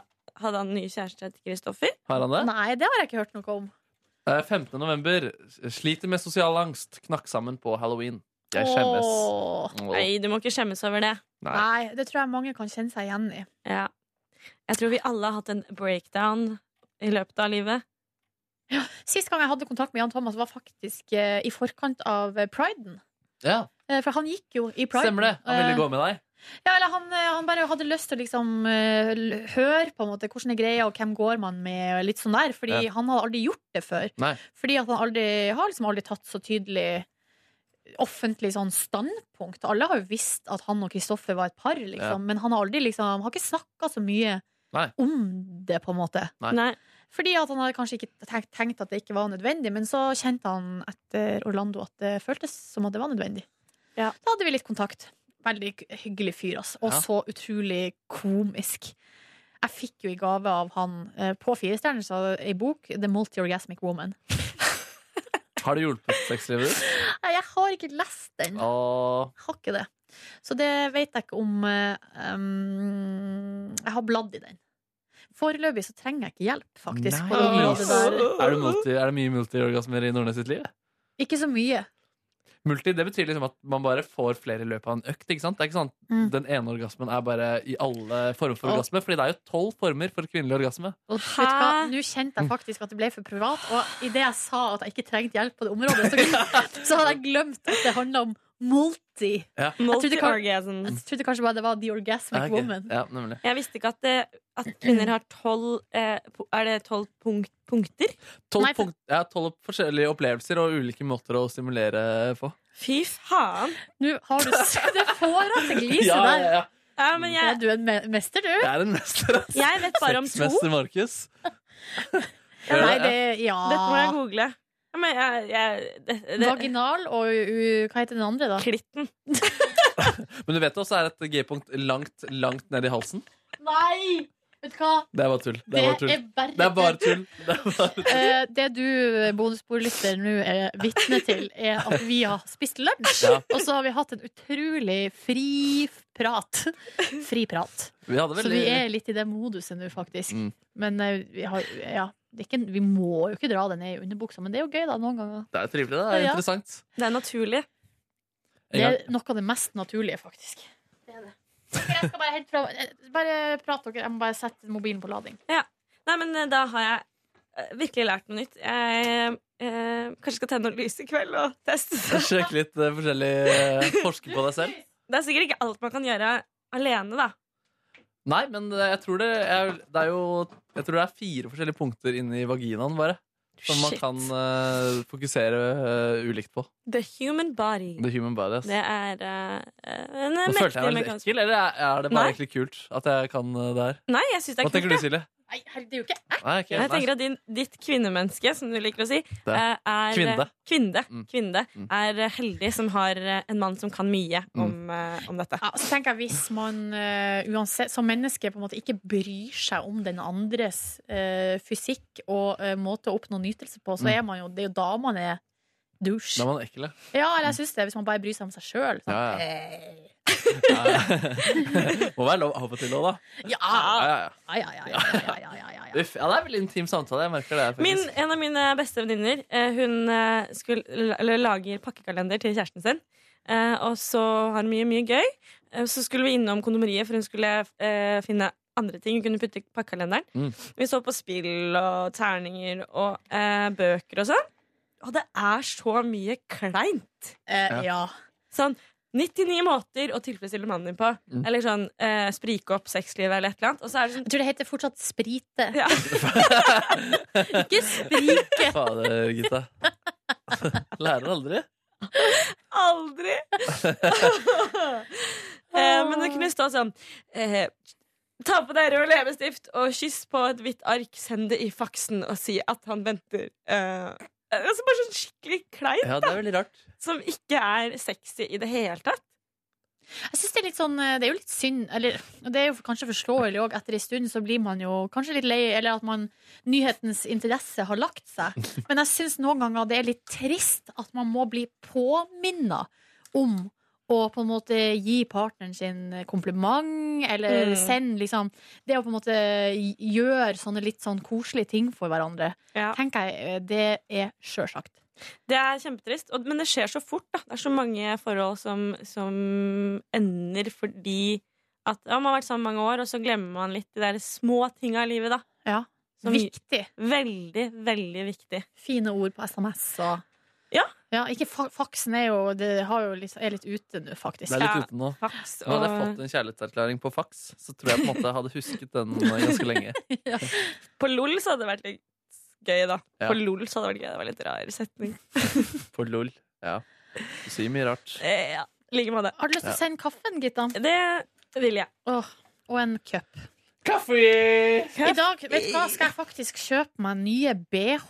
S9: hadde han ny kjæreste til Kristoffer.
S3: Har han det?
S2: Nei, det har jeg ikke hørt noe om.
S3: Eh, 15. november. Sliter med sosial angst. Knakk sammen på halloween. Jeg skjemmes.
S2: Åh.
S3: Åh.
S9: Nei, du må ikke skjemmes over det.
S3: Nei.
S2: Nei, det tror jeg mange kan kjenne seg igjen i.
S9: Ja. Jeg tror vi alle har hatt en breakdown i løpet av livet.
S2: Sist gang jeg hadde kontakt med Jan Thomas, var faktisk eh, i forkant av eh, priden.
S3: Ja,
S2: Eh, For han gikk jo i priden. Eh,
S3: stemmer det. Han ville gå med deg.
S2: Ja, eller han, eh, han bare hadde lyst til å liksom eh, l- høre på en måte hvordan det er greia, og hvem går man med, og litt sånn der. Fordi
S3: Ja.
S2: han hadde aldri gjort det før.
S3: Nei.
S2: Fordi at han aldri, har liksom aldri tatt så tydelig offentlig sånn standpunkt. Alle har jo visst at han og Kristoffer var et par, liksom.
S3: Ja.
S2: Men han har aldri liksom Har ikke snakka så mye
S3: Nei.
S2: om det, på en måte.
S3: Nei.
S9: Nei.
S2: Fordi at han hadde kanskje ikke tenkt, tenkt at det ikke var nødvendig, men så kjente han etter Orlando at det føltes som at det var nødvendig.
S9: Ja.
S2: Da hadde vi litt kontakt. Veldig k- hyggelig fyr, altså. Og
S3: Ja.
S2: så utrolig komisk. Jeg fikk jo i gave av han eh, på Firestjerner så ei bok, The Multi-Orgasmic Woman.
S3: Har det hjulpet sexlivet ditt?
S2: (laughs) Nei, Jeg har ikke lest den.
S3: Åh.
S2: Jeg har ikke det. Så det vet jeg ikke om eh, um, Jeg har bladd i den. Foreløpig så trenger jeg ikke hjelp, faktisk. på det
S3: Nei.
S2: området der.
S3: Er det, multi, er det mye multiorgasmer i Nordnes sitt liv?
S2: Ikke så mye.
S3: Multi det betyr liksom at man bare får flere i løpet av en økt. ikke sant? Det er ikke sånn at
S2: Mm.
S3: Den ene orgasmen er bare i alle former for
S2: Åh.
S3: orgasme. Fordi det er jo tolv former for kvinnelig orgasme.
S2: Og vet du hva? Nå kjente jeg faktisk at det ble for privat, og idet jeg sa at jeg ikke trengte hjelp på det området, så, så hadde jeg glemt at det handla om multi. trodde det kan- Jeg
S9: Multi-orgasms.
S2: trodde kanskje bare det var The Orgasmic
S3: Ja, Ah, ok.
S2: Woman.
S3: Ja, nemlig.
S9: Jeg visste ikke at, det, at kvinner har tolv eh, po- Er det tolv punkt, punkter?
S3: Tolv
S2: Nei, for-
S3: punkt- ja, tolv forskjellige opplevelser og ulike måter å stimulere på.
S9: Fy faen!
S2: Nå har du
S9: (laughs)
S2: s- Det får deg til å glise
S3: (laughs) Ja, ja,
S2: der.
S3: ja.
S9: Ja, men
S2: Ja,
S9: jeg,
S2: du er en me- mester, du.
S3: Jeg er en mester. ass.
S9: jeg vet bare om to.
S3: Sexmester Markus.
S2: (laughs) Ja, Nei,
S3: Ja.
S2: det Ja.
S9: Dette må jeg google. Ja, men jeg, jeg, det, det,
S2: Vaginal og u, Hva heter den andre, da?
S9: klitten.
S3: Men du vet også er et g-punkt langt, langt ned i halsen.
S2: Nei! Vet du hva?
S3: Det er bare tull. Det
S2: Det
S3: er bare tull.
S2: er bare
S3: Det er bare tull. Det er bare...
S2: Eh, Det du, bonusbordlytter, nå er vitne til, er at vi har spist lunsj.
S3: Ja.
S2: Og så har vi hatt en utrolig fri prat. Fri prat.
S3: Vi hadde
S2: Så
S3: veldig...
S2: vi er litt i det moduset nå, faktisk.
S3: Mm.
S2: Men eh, vi, har, ja, det er ikke, vi må jo ikke dra det ned i underbuksa, men det er jo gøy, da, noen ganger.
S3: Det er trivelig. Det er
S2: Ja.
S3: interessant.
S9: Det er naturlig.
S3: En
S2: Det
S3: gang.
S2: er noe av det mest naturlige, faktisk. Det er det. Ok, Jeg skal bare, hente fra, eh, bare prate dere. Jeg må bare sette mobilen på lading.
S9: Nei, men eh, da har jeg eh, virkelig lært noe nytt. Jeg eh, kanskje skal tenne noe lys i kveld og teste det.
S3: Sjekk litt eh, forskjellig eh, Forske på deg selv.
S9: Det er sikkert ikke alt man kan gjøre alene, da.
S3: Nei, men det- jeg tror det er, det er jo Jeg tror det er fire forskjellige punkter inni vaginaen, bare. Som man
S9: Shit.
S3: kan eh, fokusere eh, ulikt på.
S9: The human body.
S3: The human body. ass.
S9: Det er eh, en
S3: Nå
S9: mektig
S3: følte jeg meg litt
S9: mekanisme.
S3: ekkel, eller er er det bare
S9: Nei.
S3: egentlig kult at jeg kan eh, det her?
S9: Nei, jeg syns det
S3: Hva
S9: er kult.
S3: tenker du,
S9: jeg.
S3: Silje?
S2: Nei, herregud, det er jo ikke
S3: Nei, ikke
S9: Jeg
S3: helt.
S9: tenker at din, ditt kvinnemenneske, som du liker å si, eh, er
S3: Kvinne.
S9: Kvinne,
S3: Mm.
S9: kvinne
S3: Mm.
S9: er eh, heldig som har eh, en mann som kan mye om, eh, om dette.
S2: Ja, så tenker jeg Hvis man eh, uansett, som menneske på en måte ikke bryr seg om den andres eh, fysikk og eh, måte å oppnå nytelse på, så
S3: Mm.
S2: er man jo, det er jo da man er douche.
S3: Da er man ekkel, ja.
S2: Ja, eller jeg syns det. Hvis man bare bryr seg om seg sjøl. Sånn.
S3: Ja, ja.
S2: eh,
S3: Ja. (laughs) Må være lov av og til òg, da.
S2: Ja,
S3: Ja,
S2: ja,
S3: ja, ja.
S2: ja, ja, ja, ja, ja, ja, ja.
S3: Uff, ja, det er veldig intim samtale. Jeg merker det. faktisk
S9: Min, en av mine beste venninner eh, Hun eh, skulle, eller, lager pakkekalender til kjæresten sin. Eh, og så har hun mye, mye gøy. Eh, så skulle vi innom kondomeriet, for hun skulle eh, finne andre ting hun kunne putte i pakkekalenderen.
S3: Mm.
S9: Vi så på spill og terninger og eh, bøker og sånn. Og det er så mye kleint.
S2: Eh, ja.
S9: Sånn 99 måter å tilfredsstille mannen din på. Eller sånn eh, sprike opp sexlivet eller et eller annet. Og så er det sånn
S2: Jeg tror det heter fortsatt sprite. (laughs)
S9: ja.
S2: Ikke sprike!
S3: (laughs) Fader, gutta. Lærer aldri. (laughs)
S9: Aldri! eh, men det kunne stå sånn eh, Ta på deg rød leppestift og kyss på et hvitt ark. Send det i faksen og si at han venter. Eh, altså bare sånn skikkelig kleint,
S3: Ja, det er veldig rart.
S9: som ikke er sexy i det hele tatt.
S2: Jeg synes det er litt sånn eh, Det er jo litt synd, eller og Det er jo kanskje forståelig òg. Etter en stund så blir man jo kanskje litt lei, eller at man nyhetens interesse har lagt seg. Men jeg syns noen ganger det er litt trist at man må bli påminna om å på en måte gi partneren sin kompliment, eller
S9: Mm.
S2: sende liksom Det å på en måte gjøre sånne litt sånn koselige ting for hverandre,
S9: Ja.
S2: tenker jeg eh, det er sjølsagt.
S9: Det er kjempetrist, og, men det skjer så fort. Da. Det er så mange forhold som, som ender fordi at ja, man har vært sammen mange år, og så glemmer man litt de der små tinga i livet. Da.
S2: Ja.
S9: Som-
S2: Viktig.
S9: Veldig, veldig viktig.
S2: fine ord på SMS og
S9: Ja.
S2: ikke fa faksen er jo, det har jo litt, er litt ute nå, faktisk.
S3: Det er litt ute nå.
S9: Faks
S3: Nå hadde jeg fått en kjærlighetserklæring på faks, så tror jeg på en måte jeg hadde husket den eh, ganske lenge.
S9: På LOL så hadde det vært litt gøy, da.
S3: Ja.
S9: På LOL så hadde det vært gøy. Det var litt rar setning.
S3: For lol. Ja. Du sier mye rart.
S9: Eh, ja, I like måte.
S2: Har du lyst til å sende kaffen, Gitta?
S9: Det vil jeg.
S2: Åh, og en cup. I
S9: Cup.
S2: dag vet du hva, skal jeg faktisk kjøpe meg nye BH.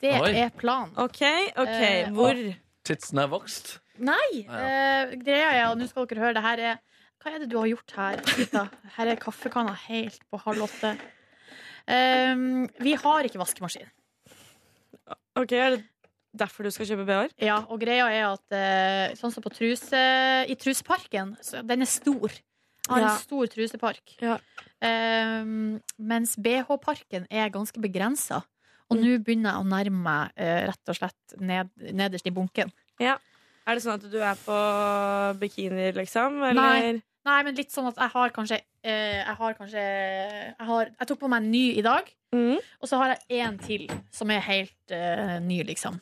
S2: Det
S3: Oi.
S2: er planen.
S9: OK, OK.
S2: Eh,
S9: Hvor?
S3: Titsen er vokst.
S2: Nei!
S3: Ah,
S2: eh, greia er, og nå skal dere høre, det her er Hva er det du har gjort her, Gitta? Her er kaffekanna helt på halv åtte. Ehm, vi har ikke vaskemaskin.
S9: Ok, Er det derfor du skal kjøpe BH-er?
S2: Ja, og greia er at eh, sånn som på truse, i truseparken, så den er stor. Jeg Har
S9: Ja.
S2: en stor trusepark.
S9: Ja.
S2: Ehm, mens BH-parken er ganske begrensa.
S9: Mm.
S2: Og nå begynner jeg å nærme meg eh, rett og slett ned, nederst i bunken.
S9: Er det sånn at du er på bikinier, liksom? Eller?
S2: Nei. Nei, men litt sånn at jeg har kanskje eh, Jeg har kanskje jeg, har, jeg tok på meg en ny i dag,
S9: Mm.
S2: og så har jeg én til som er helt eh, ny, liksom.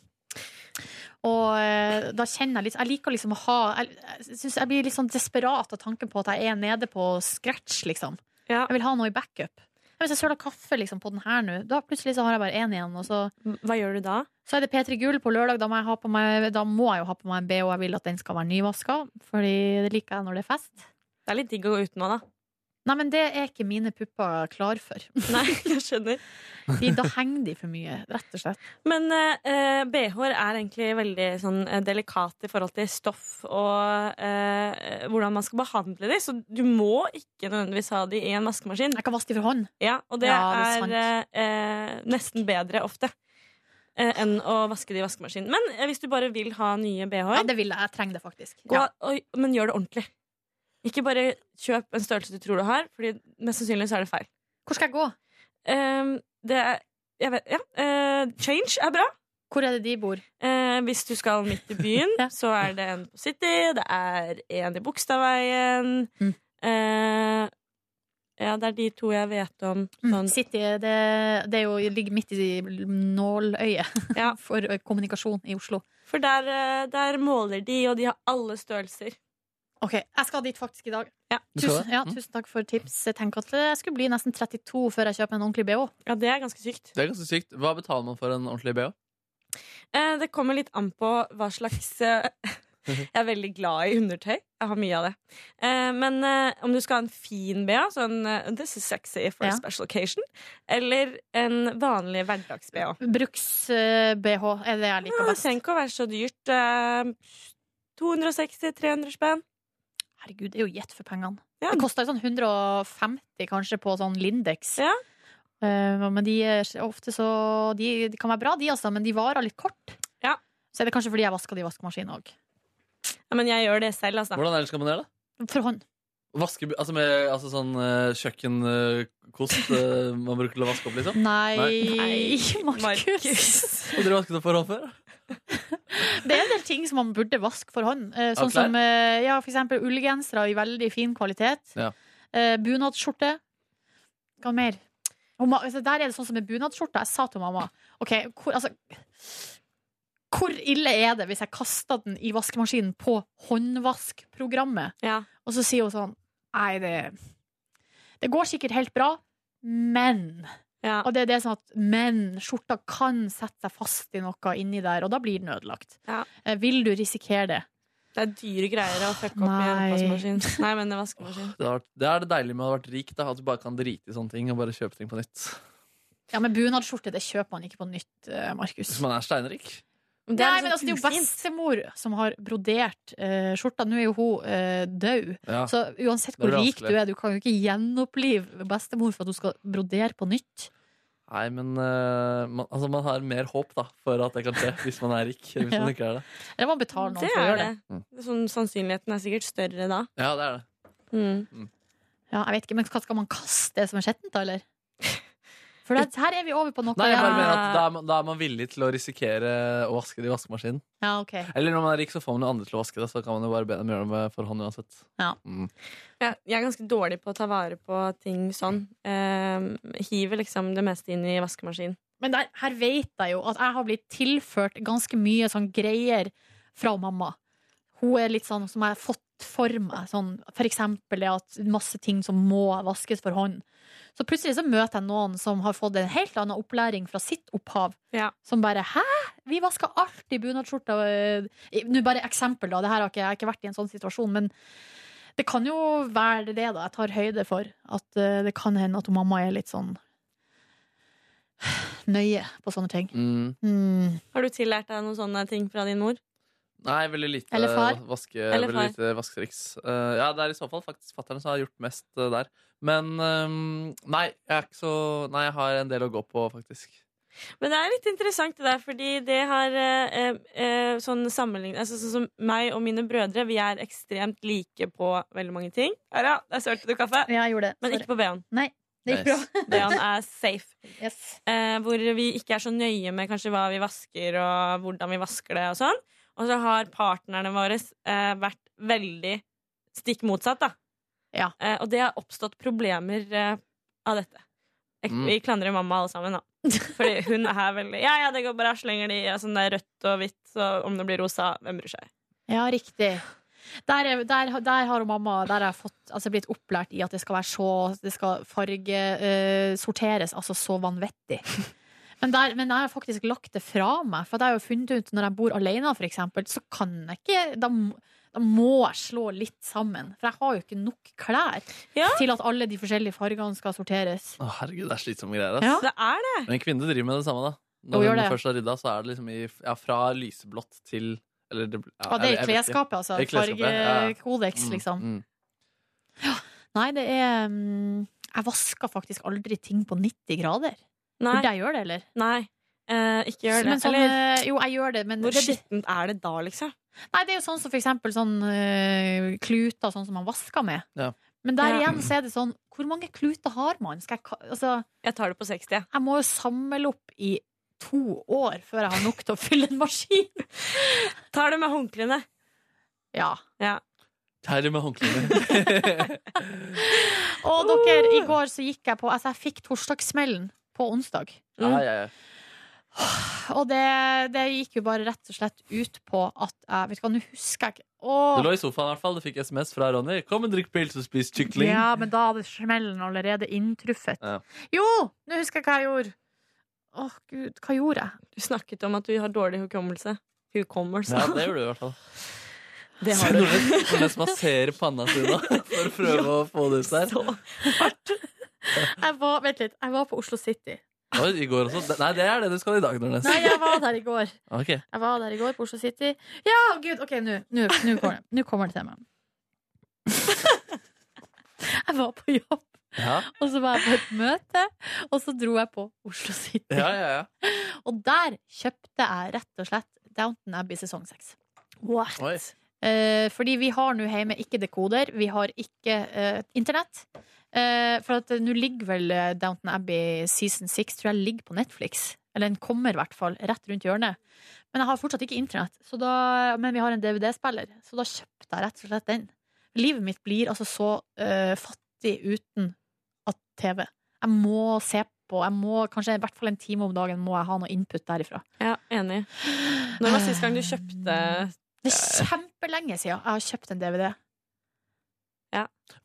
S2: Og eh, da kjenner jeg litt Jeg liker liksom å ha Jeg, jeg synes jeg blir litt sånn desperat av tanken på at jeg er nede på scratch, liksom.
S9: Ja.
S2: Jeg vil ha noe i backup. Ja, Hvis jeg søler kaffe liksom, på den her nå, da plutselig så har jeg bare én igjen. Og så,
S9: Hva gjør du da?
S2: så er det P3 Gull på lørdag. Da må, jeg ha på meg, da må jeg jo ha på meg en BH. Jeg vil at den skal være nyvaska, Fordi det liker jeg når det er fest.
S9: Det er litt digg å gå uten nå, da.
S2: Nei, men det er ikke mine pupper klar for.
S9: (laughs) Nei, jeg skjønner.
S2: De, da henger de for mye, rett og slett.
S9: Men eh, BH-er er egentlig veldig sånn, eh, delikat i forhold til stoff og eh, hvordan man skal behandle dem, så du må ikke nødvendigvis ha dem i en vaskemaskin.
S2: Jeg kan vaske de for hånd.
S9: Ja, og det,
S2: Ja, det er
S9: er, eh, eh, nesten bedre ofte eh, enn å vaske det i vaskemaskinen. Men eh, hvis du bare vil ha nye
S2: Ja,
S9: BH-er,
S2: det vil jeg. Jeg trenger det faktisk.
S9: gå-
S2: Ja.
S9: oi, men gjør det ordentlig. Ikke bare kjøp en størrelse du tror du har, Fordi mest sannsynlig så er det feil.
S2: Hvor skal jeg gå?
S9: Eh, det er, jeg vet, ja, eh, change er bra.
S2: Hvor er det de bor?
S9: Eh, hvis du skal midt i byen,
S2: (laughs) Ja.
S9: så er det en på City, det er en i Bogstadveien.
S2: Mm.
S9: Eh, ja, det er de to jeg vet om. Sånn.
S2: City, det, Mm. det er jo, ligger midt i
S9: (laughs)
S2: nåløyet
S9: Ja.
S2: for eh, kommunikasjon i Oslo.
S9: For der, eh, der måler de, og de har alle størrelser.
S2: OK, jeg skal dit faktisk i dag.
S9: Ja.
S3: Du skal Mm.
S2: tusen, ja, tusen takk for tips. Jeg tenker at eh, jeg skulle bli nesten 32 før jeg kjøper en ordentlig BH.
S9: Ja, det er ganske sykt.
S3: Det er ganske sykt. Hva betaler man for en ordentlig BH?
S9: Eh, det kommer litt an på hva slags eh, (laughs) Jeg er veldig glad i undertøy. Jeg har mye av det. Eh, men eh, om du skal ha en fin BH, sånn eh, This is sexy for
S2: Ja.
S9: a special occasion, eller en vanlig hverdags-BH.
S2: Bruks-BH er Eh, det
S9: Ja,
S2: jeg liker
S9: det
S2: best.
S9: trenger ikke å være så dyrt. eh, 260-300 spenn.
S2: Herregud, det er jo gjett for pengene.
S9: Ja.
S2: Det koster jo sånn 150 kanskje på sånn Lindex.
S9: Ja.
S2: Eh, men de er ofte så de, de kan være bra, de altså, men de varer litt kort.
S9: Ja.
S2: Så er det kanskje fordi jeg vasker de i vaskemaskinen òg.
S9: Ja, men jeg gjør det selv, altså.
S3: Hvordan ellers skal man gjøre det?
S2: For hånd.
S3: Vaske, altså med altså sånn eh, kjøkkenkost eh, man bruker til å vaske opp, liksom?
S2: Nei,
S9: Nei. (laughs)
S2: Markus.
S3: Og dere vasket opp for hånd før?
S2: Det er en del ting som man burde vaske for hånd. Eh,
S3: Av
S2: Sånn som eh, ja, for eksempel ullgensere i veldig fin kvalitet.
S3: Ja.
S2: Eh, Bunadsskjorte. Hva mer? Og ma- altså, Der er det sånn som med bunadsskjorta. Jeg sa til mamma OK, hvor, altså hvor ille er det hvis jeg kaster den i vaskemaskinen på håndvaskprogrammet?
S9: Ja.
S2: Og så sier hun sånn Nei, det Det går sikkert helt bra, men
S9: Ja.
S2: Og det er det sånn at Men skjorta kan sette seg fast i noe inni der, og da blir den ødelagt.
S9: Ja.
S2: Eh, Vil du risikere det?
S9: Det er dyre greier å fucke opp i en
S2: Nei. (laughs)
S9: vaskemaskin. Nei, men en vaskemaskin.
S3: Det, har vært, det er det deilige med å ha vært rik, da, at du bare kan drite i sånne ting og bare kjøpe ting på nytt.
S2: Ja, men bunadsskjorte det kjøper man ikke på nytt, eh, Markus.
S3: Hvis man er steinrik.
S9: Men det er liksom
S2: Nei, men altså, det er jo
S9: ufint.
S2: bestemor som har brodert eh, skjorta. Nå er jo hun eh, død.
S3: Ja.
S2: Så uansett
S3: Det
S2: hvor
S3: blir
S2: rik du
S3: vanskelig.
S2: er, du kan jo ikke gjenopplive bestemor for at hun skal brodere på nytt.
S3: Nei, men eh, man, altså, man har mer håp da, for at det kan skje, hvis man er rik. Hvis
S2: Ja.
S3: man ikke er det. Mm.
S2: Eller man betaler noen
S9: Det
S2: for å
S9: er
S2: gjøre
S9: det.
S2: det.
S9: Sånn, sannsynligheten er sikkert større da.
S3: Ja, det er det.
S9: Mm.
S2: Ja, jeg vet ikke, Men hva skal man kaste det som er skjettent, da,
S3: (laughs)
S2: eller? For det, her er vi over på noe
S3: Nei, jeg bare
S9: Ja.
S3: mener at da er, man, da er man villig til å risikere å vaske det i vaskemaskinen.
S2: Ja, ok.
S3: Eller når man er rik, så får man noen andre til å vaske det. Så kan man jo bare be dem gjøre det med for hånd uansett.
S2: Ja.
S3: Mm.
S9: Jeg, jeg er ganske dårlig på å ta vare på ting sånn. Ehm, hiver liksom det meste inn i vaskemaskinen.
S2: Men der, her vet jeg jo at jeg har blitt tilført ganske mye sånn greier fra mamma. Hun er litt sånn som jeg har fått for meg. Sånn, for eksempel det at masse ting som må vaskes for hånd. Så plutselig så møter jeg noen som har fått en helt annen opplæring fra sitt opphav.
S9: Ja.
S2: Som bare 'hæ, vi vasker alltid bunadsskjorta'. øh, i- Nå bare eksempel, da. Det her har ikke, jeg har ikke vært i en sånn situasjon. Men det kan jo være det, da. Jeg tar høyde for at øh, det kan hende at mamma er litt sånn nøye på sånne ting.
S3: Mm.
S2: Mm.
S9: Har du tillært deg noen sånne ting fra din mor?
S3: Nei, veldig lite
S2: Eller far?
S3: vaske,
S9: Eller
S3: veldig
S9: far?
S3: lite vasketriks. Eh, ja, det er i så fall faktisk fattern som har gjort mest eh, der. Men ehm, nei, jeg er ikke så Nei, jeg har en del å gå på, faktisk.
S9: Men det er litt interessant det der, fordi det har eh, eh, sånn sammenlignet altså, Sånn som meg og mine brødre, vi er ekstremt like på veldig mange ting. Her, ja, der sølte du kaffe.
S2: Ja, jeg gjorde det.
S9: Men
S2: Sorry.
S9: ikke på BH-en.
S2: Det gikk bra.
S9: BH-en er safe.
S2: Yes.
S9: eh, hvor vi ikke er så nøye med kanskje hva vi vasker og hvordan vi vasker det og sånn. Og så har partnerne våre eh, vært veldig stikk motsatt, da.
S2: Ja.
S9: Eh, og det har oppstått problemer eh, av dette. Jeg,
S3: Mm.
S9: Vi klandrer mamma alle
S2: (laughs)
S9: sammen, da. Fordi hun er veldig Ja, ja, det går bra, slenger de og sånn det er rødt og hvitt, så om det blir rosa, hvem bryr seg?
S2: Ja, riktig. Der, er- der, der har jo mamma Der har jeg fått, altså, blitt opplært i at det skal være så Det skal fargesorteres sorteres altså så vanvittig. Men, der, men jeg har faktisk lagt det fra meg. For at jeg har jo funnet ut når jeg bor alene, for eksempel, så kan jeg ikke da, må- da må jeg slå litt sammen. For jeg har jo ikke nok klær
S9: Ja.
S2: til at alle de forskjellige fargene skal sorteres.
S3: Å, herregud, det er slitsomme greier. ass.
S2: Ja.
S9: Det er det!
S3: Men en kvinne driver med det samme, da.
S2: Jo,
S3: Når
S2: gjør
S3: hun
S2: det.
S3: først har rydda, så er det liksom i, ja, fra lyseblått til Eller det, ja,
S2: Og det er i
S3: jeg vet ikke.
S2: klesskapet, altså.
S3: Det er klesskapet, ja, ja.
S2: Fargekodeks,
S3: Mm,
S2: liksom.
S3: mm.
S2: Nei, det er mm, Jeg vasker faktisk aldri ting på 90 grader.
S9: Nei.
S2: Burde jeg gjøre det, eller?
S9: nei. Eh, ikke gjør det.
S2: Men sånn,
S9: Eller
S2: eh, jo, jeg gjør det, men
S9: hvor
S2: det,
S9: skittent er det da, liksom?
S2: Nei, det er jo sånn som for eksempel sånn eh, kluter sånn som man vasker med.
S3: Ja.
S2: Men der
S9: Ja.
S2: igjen så er det sånn Hvor mange kluter har man? Skal jeg, ka- altså,
S9: Jeg tar det på 60, jeg.
S2: jeg må jo samle opp i to år før jeg har nok til å fylle en
S9: (laughs)
S2: maskin.
S9: Tar det med håndklærne.
S2: Ja.
S3: Herre med håndklærne.
S2: Og dere, i går så gikk jeg på Altså, jeg fikk torsdagssmellen på onsdag.
S3: ja, ja, ja.
S2: Og det, det gikk jo bare rett og slett ut på at jeg, Vet eh, du hva, nå husker jeg ikke
S3: Du
S2: Åh,
S3: lå i sofaen i hvert fall, du fikk SMS fra Ronny. 'Kom og drikk pils og spis kykling'.
S2: ja, men da hadde smellen allerede inntruffet.
S3: Ja.
S2: Jo, nå husker jeg hva jeg gjorde. Åh, gud, hva gjorde jeg?
S9: Du snakket om at du har dårlig hukommelse. Hukommelse.
S3: Ja, det gjorde du i hvert fall.
S9: Det
S3: Se (laughs)
S9: har du.
S3: Nordnes Nordnes masserer panna si nå for å prøve å få det ut der.
S9: Så.
S2: jeg var, vent litt, jeg var på Oslo City.
S3: Oi, I går også. Nei, det er det du skal i dag, Nordnes.
S2: Nei, jeg var der i går.
S3: Ok.
S2: Jeg var der i går på Oslo City. Ja, gud, ok, nå nå- nå kommer, det- nå kommer det til meg. Jeg var på jobb,
S3: Ja,
S2: og så var jeg på et møte, og så dro jeg på Oslo City.
S3: ja, ja. ja.
S2: Og der kjøpte jeg rett og slett Downton Abbey sesong 6. What?
S3: Oi.
S2: Eh, fordi vi har nå hjemme ikke dekoder, vi har ikke eh, internett. Eh, for at eh, nå ligger vel eh, Downton Abbey season 6 tror jeg ligger på Netflix. Eller den kommer i hvert fall rett rundt hjørnet. Men jeg har fortsatt ikke internett, så da, men vi har en DVD-spiller. Så da kjøpte jeg rett og slett den. Livet mitt blir altså så eh, fattig uten at TV. Jeg må se på, jeg må kanskje i hvert fall en time om dagen må jeg ha noe input derifra.
S9: Ja, enig. Når var sist gang du kjøpte
S2: Det er kjempelenge siden jeg har kjøpt en DVD.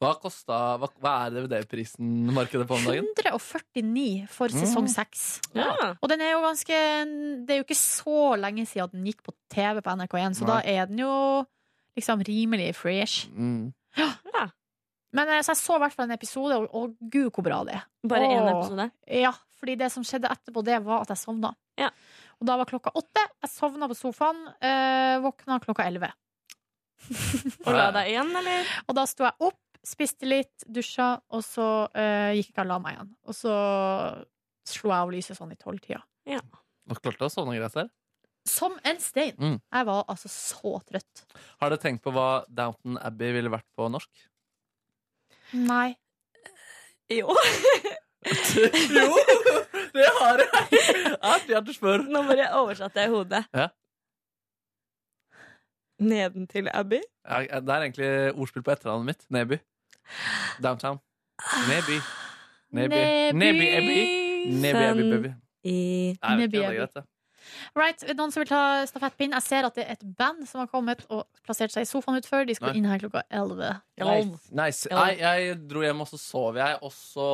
S3: Hva, kosta, hva, hva er DVD-prisen markedet på om
S2: (laughs)
S3: dagen?
S2: 149 for sesong
S3: Mm.
S2: 6.
S9: Ja.
S2: Og den er jo ganske Det er jo ikke så lenge siden at den gikk på TV på NRK1, så da
S3: Nei.
S2: er den jo liksom rimelig fresh.
S3: Mm.
S2: Men eh, så jeg så i hvert fall en episode, og, og gud, hvor bra det er.
S9: Bare én
S2: Åh.
S9: episode?
S2: Ja, fordi det som skjedde etterpå, det var at jeg sovna.
S9: Ja.
S2: Og da var klokka åtte. Jeg sovna på sofaen, eh, våkna klokka elleve.
S9: Og la deg igjen, eller?
S2: Og da sto jeg opp, spiste litt, dusja, og så eh, gikk jeg ikke og la meg igjen. Og så slo jeg av lyset sånn i tolvtida.
S3: Dere klarte å sovne greit der.
S2: Som en stein!
S3: Mm.
S2: Jeg var altså så trøtt.
S3: Har dere tenkt på hva Downton Abbey ville vært på norsk?
S2: Nei.
S9: Jo.
S3: (laughs) jo, det har jeg! Artig at du spør.
S9: Nå bare oversatte jeg i hodet.
S3: Ja.
S9: Nedentil Abbey?
S3: Ja, Det er egentlig ordspill på etternavnet mitt. Neby. Downtown. Neby. Neby. Neby Abbey. Neby Abbey Baby.
S9: I
S3: Nei, Jeg vet
S2: Neby
S3: ikke om det er
S2: Abbey.
S3: greit, det.
S2: Right, Noen som vil ta stafettpinn? Jeg ser at det er et band som har kommet og plassert seg i sofaen utfor. De skulle
S3: Nei.
S2: inn her klokka elleve.
S3: Nice. nice.
S9: Ja.
S3: Nei, jeg dro hjem, og så sov jeg, og så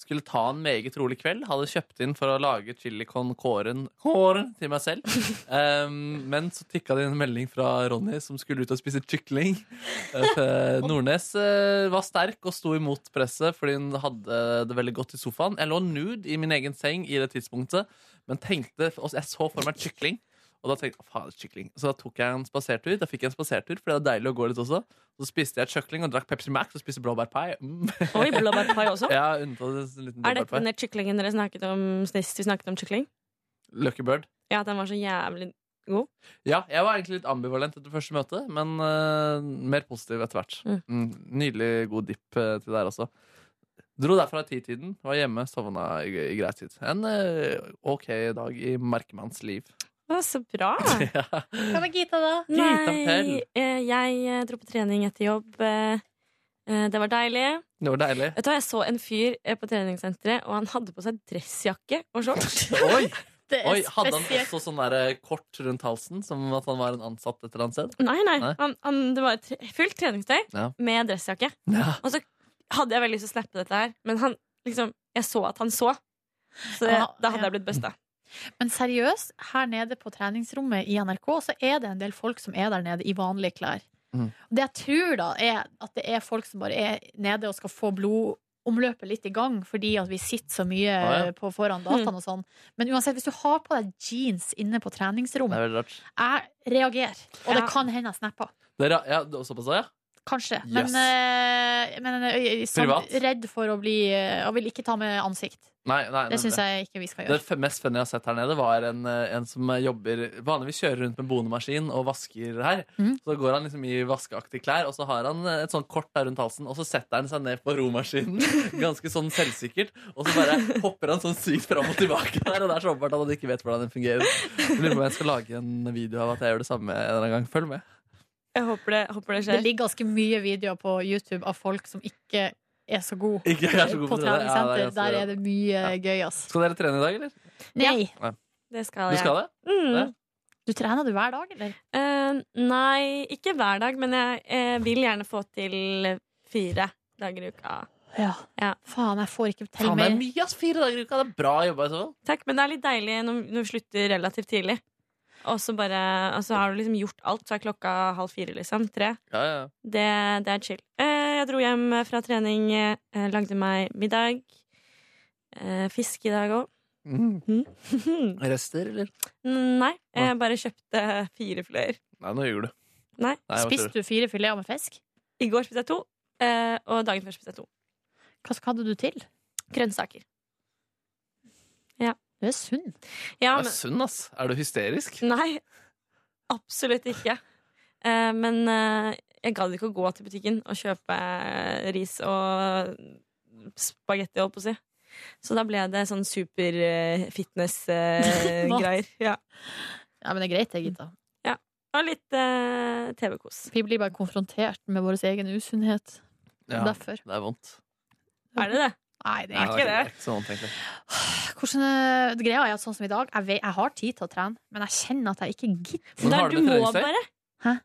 S3: skulle ta en meget rolig kveld. Hadde kjøpt inn for å lage chili con kåren, kåren (laughs) til meg selv. Um, men så tikka det inn en melding fra Ronny, som skulle ut og spise kykling. (laughs) At, eh, Nordnes eh, var sterk og sto imot presset fordi hun hadde det veldig godt i sofaen. Jeg lå nude i min egen seng i det tidspunktet, men tenkte, og jeg så for meg kykling. Og da tenkte jeg, faen, kykling Så da tok jeg en spasertur. Da fikk jeg en spasertur, for det var deilig å gå litt også. Så spiste jeg kjøkling og drakk Pepsi Max og spiste blåbærpai. Mm.
S9: Oi, blåbærpai også?
S3: (laughs) Jeg har unntatt en liten
S9: Er dette
S3: blåbærpai.
S9: den der kyklingen dere snakket om sist vi snakket om kykling?
S3: Lucky Bird.
S9: Ja, den var så jævlig
S3: Ja, jeg var egentlig litt ambivalent etter første møte, men eh, mer positiv etter hvert.
S9: Mm.
S3: Mm. Nydelig god dipp eh, til der også. Dro derfra i titiden, var hjemme, sovna i, i grei tid. En eh, ok dag i merkemanns liv.
S9: Å, Så bra!
S3: (laughs) ja.
S2: Hva med Gita, da?
S9: Nei,
S3: Fritafell.
S9: eh, jeg eh, dro på trening etter jobb. eh, eh, Det var deilig.
S3: Det var deilig.
S9: Vet du hva, Jeg så en fyr eh, på treningssenteret, og han hadde på seg dressjakke og shorts.
S3: (laughs)
S9: (laughs)
S3: Oi!
S2: Det er
S3: Oi, Hadde han
S2: spesielt.
S3: også sånn der eh, kort rundt halsen, som at han var en ansatt et eller annet sted?
S9: Nei, nei.
S3: Nei.
S9: Han, han, det var tre- fullt treningstøy
S3: Ja.
S9: med dressjakke.
S3: Ja.
S9: Og så hadde jeg veldig lyst til å snappe dette her, men han, liksom, jeg så at han så. Så
S2: Ja,
S9: da hadde
S2: ja.
S9: jeg blitt busta.
S2: Men seriøst, her nede på treningsrommet i NRK, så er det en del folk som er der nede i vanlige klær.
S3: Mm.
S2: Det jeg tror, da, er at det er folk som bare er nede og skal få blodomløpet litt i gang, fordi at vi sitter så mye
S3: Ah, ja.
S2: på foran
S9: Hmm.
S2: dataen og sånn. Men uansett, hvis du har på deg jeans inne på
S3: Det
S2: treningsrommet,
S3: er veldig rart.
S2: jeg reagerer. Og det
S9: Ja.
S2: kan hende jeg snapper.
S3: Dere, ja, det- såpass, ja?
S2: Kanskje.
S3: Yes.
S2: Men, eh, men eh, sånn,
S3: Privat?
S2: redd for å bli eh, Og vil ikke ta med ansikt.
S3: Nei, nei,
S2: Det
S3: nei,
S2: syns
S3: nei.
S2: jeg ikke vi skal
S3: Det
S2: gjøre.
S3: f- mest funny jeg har sett her nede, var en, eh, en som jobber Vanligvis kjører rundt med bonemaskin og vasker her.
S2: Mhm.
S3: Så går han liksom i vaskeaktige klær, og så har han eh, et sånt kort der rundt halsen, og så setter han seg ned på romaskinen, (laughs) ganske sånn selvsikkert, og så bare hopper han sånn sykt fram og tilbake der, og det er så åpenbart at han ikke vet hvordan den fungerer. Jeg Lurer på om jeg skal lage en video av at jeg gjør det samme en eller annen gang. Følg med.
S9: Jeg håper det, håper det
S2: Det
S9: skjer.
S2: ligger ganske mye videoer på YouTube av folk som ikke er så gode
S3: Ikke jeg er så god
S2: på
S3: på det der. Ja, det
S2: treningssenter.
S3: er ganske-
S2: Der er det mye gøy, ass.
S3: Skal dere trene i dag, eller?
S2: Nei.
S9: Det skal
S3: Du
S9: jeg.
S3: skal det?
S9: Mm.
S3: Ja.
S2: Du Du trener du hver dag, eller?
S9: Eh, nei, ikke hver dag, men jeg eh, vil gjerne få til fire dager i uka.
S2: Ja.
S9: Ja.
S2: Faen, jeg får ikke til
S3: Faen, det er
S2: mer.
S3: mye, ass! Fire dager i uka. Det er bra jobba. i så fall.
S9: Takk, men det er litt deilig når når vi slutter relativt tidlig. Og så bare, og så har du liksom gjort alt, så er klokka halv fire, liksom. Tre.
S3: Ja, ja.
S9: Det, det er chill. Eh, jeg dro hjem fra trening, eh, lagde meg middag. Eh, fisk i dag òg.
S2: Mhm.
S3: Rester, eller?
S9: (laughs) Nei, jeg bare kjøpte fire fløyer.
S3: Nei, nå ljuger du.
S9: Nei.
S3: jeg bare
S2: Spiste du fire fileter med fisk?
S9: I går spiste jeg to, eh, og dagen før spiste jeg to.
S2: Hva hva hadde du til?
S9: Grønnsaker.
S2: Du er sunn.
S9: Ja,
S3: tuller. Du
S9: men,
S3: er sunn, ass. Er du hysterisk?
S9: nei, absolutt ikke. Eh, men eh, jeg gadd ikke å gå til butikken og kjøpe eh, ris og spagetti, holdt på å si. Så da ble det sånn
S2: (laughs) Mat.
S9: super-fitness-greier. eh, ja.
S2: Ja, men det er greit, det, Gita.
S9: Og litt eh, TV-kos.
S2: Vi blir bare konfrontert med vår egen usunnhet.
S3: Ja.
S2: Derfor.
S3: Det er vondt.
S9: Er det det?
S2: Nei, det
S3: Nei,
S2: er
S3: det
S2: ikke det.
S3: er ikke så vondt, egentlig.
S2: Hvordan, eh, greia er at sånn som i dag, jeg, vet, jeg har tid til å trene, men jeg kjenner at jeg ikke gidder.
S3: Men
S9: Der,
S3: har du
S9: du
S3: en
S9: må
S3: treningsdag?
S9: bare.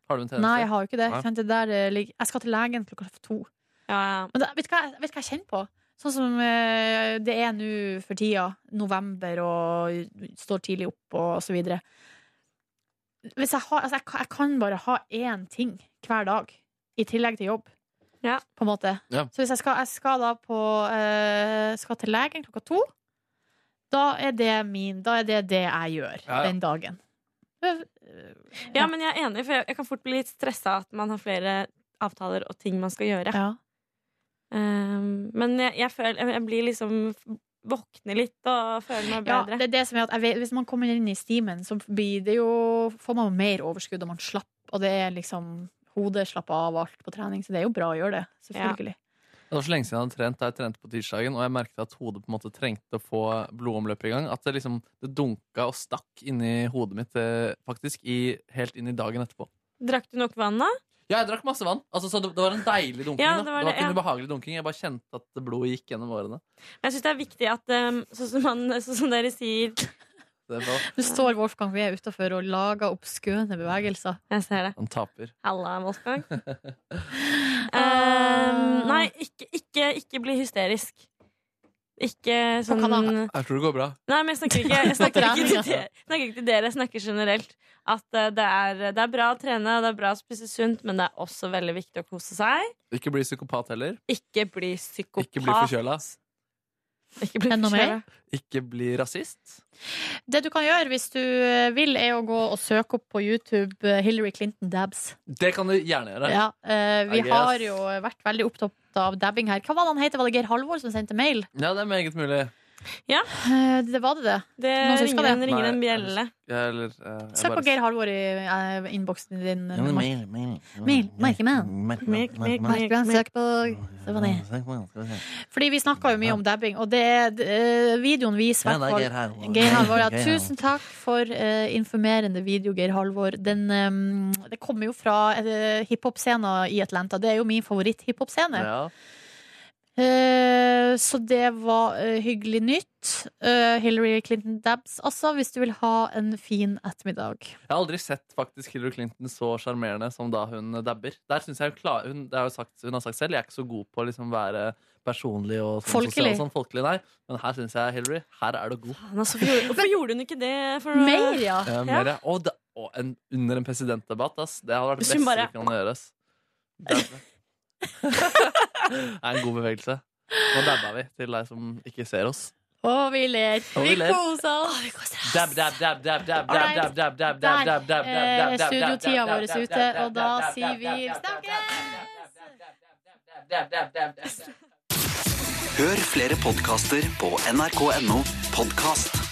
S3: Har du
S2: Nei, jeg
S3: en tjeneste?
S2: har jo ikke det.
S3: Nei.
S2: Sant, det der, eh, ligger- jeg skal til legen klokka to.
S9: Ja, ja.
S2: Men da, vet, du hva, jeg- vet du hva jeg kjenner på? Sånn som eh, det er nå for tida, november og står tidlig opp og så videre. Hvis jeg, har, altså jeg, kan- jeg kan bare ha én ting hver dag, i tillegg til jobb.
S9: Ja.
S2: På en måte.
S3: Ja.
S2: Så hvis jeg skal, jeg skal da på eh, Skal til legen klokka to, da er det min Da er det det jeg gjør
S3: Ja, ja.
S2: den dagen.
S9: Ja, men jeg er enig, for jeg, jeg kan fort bli litt stressa at man har flere avtaler og ting man skal gjøre.
S2: Ja.
S9: Um, men jeg, jeg føler jeg, jeg blir liksom Våkner litt og føler meg
S2: Ja,
S9: bedre.
S2: det er det som er at jeg vet, Hvis man kommer inn i stimen, så blir det jo, får man jo mer overskudd, og man slapper. Og det er liksom hodet slapper av og alt på trening, så det er jo bra å gjøre det. Selvfølgelig.
S3: Det var så lenge siden jeg hadde trent da jeg trente på tirsdagen, og jeg merket at hodet på en måte trengte å få blodomløpet i gang. At det liksom det dunka og stakk inni hodet mitt eh, faktisk i, helt inn i dagen etterpå.
S9: Drakk du nok vann, da?
S3: Ja, jeg drakk masse vann. Altså, så det, det var en deilig dunking.
S9: Ja,
S3: da.
S9: det var
S3: det var
S9: det,
S3: ikke en
S9: ja.
S3: ubehagelig dunking. Jeg bare kjente at blodet gikk gjennom årene.
S9: Jeg syns det er viktig at um, sånn som, man, sånn som dere sier
S3: Det var
S2: Nå står Wolfgang Wee utafor og lager obskøne bevegelser.
S9: Jeg ser det.
S3: Han taper.
S9: Halla, Wolfgang.
S3: (laughs)
S9: um, nei, ikke, ikke, ikke bli hysterisk. Ikke sånn
S2: kanalen.
S3: Jeg tror det går bra.
S9: Nei, men jeg snakker ikke, jeg snakker ikke, til, dere,
S2: trening,
S9: jeg snakker ikke til dere. Jeg snakker generelt. At eh, det er, det er bra å trene, det er bra å spise sunt, men det er også veldig viktig å kose seg.
S3: Ikke bli psykopat heller.
S9: Ikke bli psykopat.
S3: Ikke bli forkjøla.
S9: Ikke bli
S2: Er det noe
S9: forkjøla.
S3: Ikke bli rasist.
S2: Det du kan gjøre hvis du eh, vil, er å gå og søke opp på YouTube eh, Hillary Clinton dabs.
S3: Det kan du gjerne gjøre.
S2: Ja, eh, vi
S3: I guess.
S2: har jo vært veldig opptatt av dabbing her. Hva var det han het? Var det Geir Halvor som sendte mail?
S3: Ja, det er meget mulig.
S2: Eh, Det var det, det.
S9: Det
S2: Noen som skal
S9: ringer en,
S2: det?
S9: ringer en
S3: Nei,
S9: bjelle.
S3: Ja, eller, eh, jeg
S2: Søk
S3: bare-
S2: på Geir Halvor i eh, innboksen din.
S8: Ja, men
S2: Mark.
S8: mail, mail.
S2: Mail, merkemann.
S9: Merk, merk, merk.
S2: Merk, merk, søk på Det var det.
S8: Snakk med han, skal vi se.
S2: Fordi vi snakka jo mye om dabbing, og det, eh, videoen viser
S8: Ja, det er
S2: hvertfall-
S8: Geir her.
S2: Geir Halvor, ja.
S8: Geir her.
S2: Tusen takk for eh, informerende video, Geir Halvor. Den, eh, det kommer jo fra uh, hiphop-scena i Atlanta. Det er jo min favoritt-hiphop-scene.
S3: Ja.
S2: Eh, så det var eh, hyggelig nytt. Eh, Hillary Clinton Dabs, altså, hvis du vil ha en fin ettermiddag.
S3: Jeg har aldri sett faktisk Hillary Clinton så sjarmerende som da hun dabber. Der synes jeg hun, klar, hun, det har jo sagt, hun har sagt selv jeg er ikke så god på å liksom være personlig og sånn
S2: Folkelig.
S3: sosial og sånn, folkelig. Nei. Men her syns jeg Hillary her er du god.
S9: Faen, altså, hvorfor gjorde- hvorfor gjorde hun ikke det? For,
S2: Mer, ja!
S9: Ah,
S3: Eh, mer, ja. Og, det, og en, under en presidentdebatt, ass. Det hadde vært det
S9: Hvis hun
S3: beste
S9: bare-
S3: som kan gjøres. Dabbe. det er en god bevegelse. Nå dabba vi til deg som ikke ser oss.
S2: Og vi ler.
S3: Og vi
S2: vi
S3: ler.
S2: koser oss.
S3: Dab, dab, dab, dab, dab, dab,
S2: Alright.
S3: dab, dab,
S2: Der
S3: dab, dab, dab, dab, dab,
S2: er
S3: dab, dab,
S2: studiotida
S3: dab,
S2: vår
S3: dab,
S2: ute,
S3: dab,
S2: og da
S3: dab, dab,
S2: sier vi
S3: dab, dab, dab,
S2: snakkes!
S5: Hør flere podkaster på nrk.no podkast.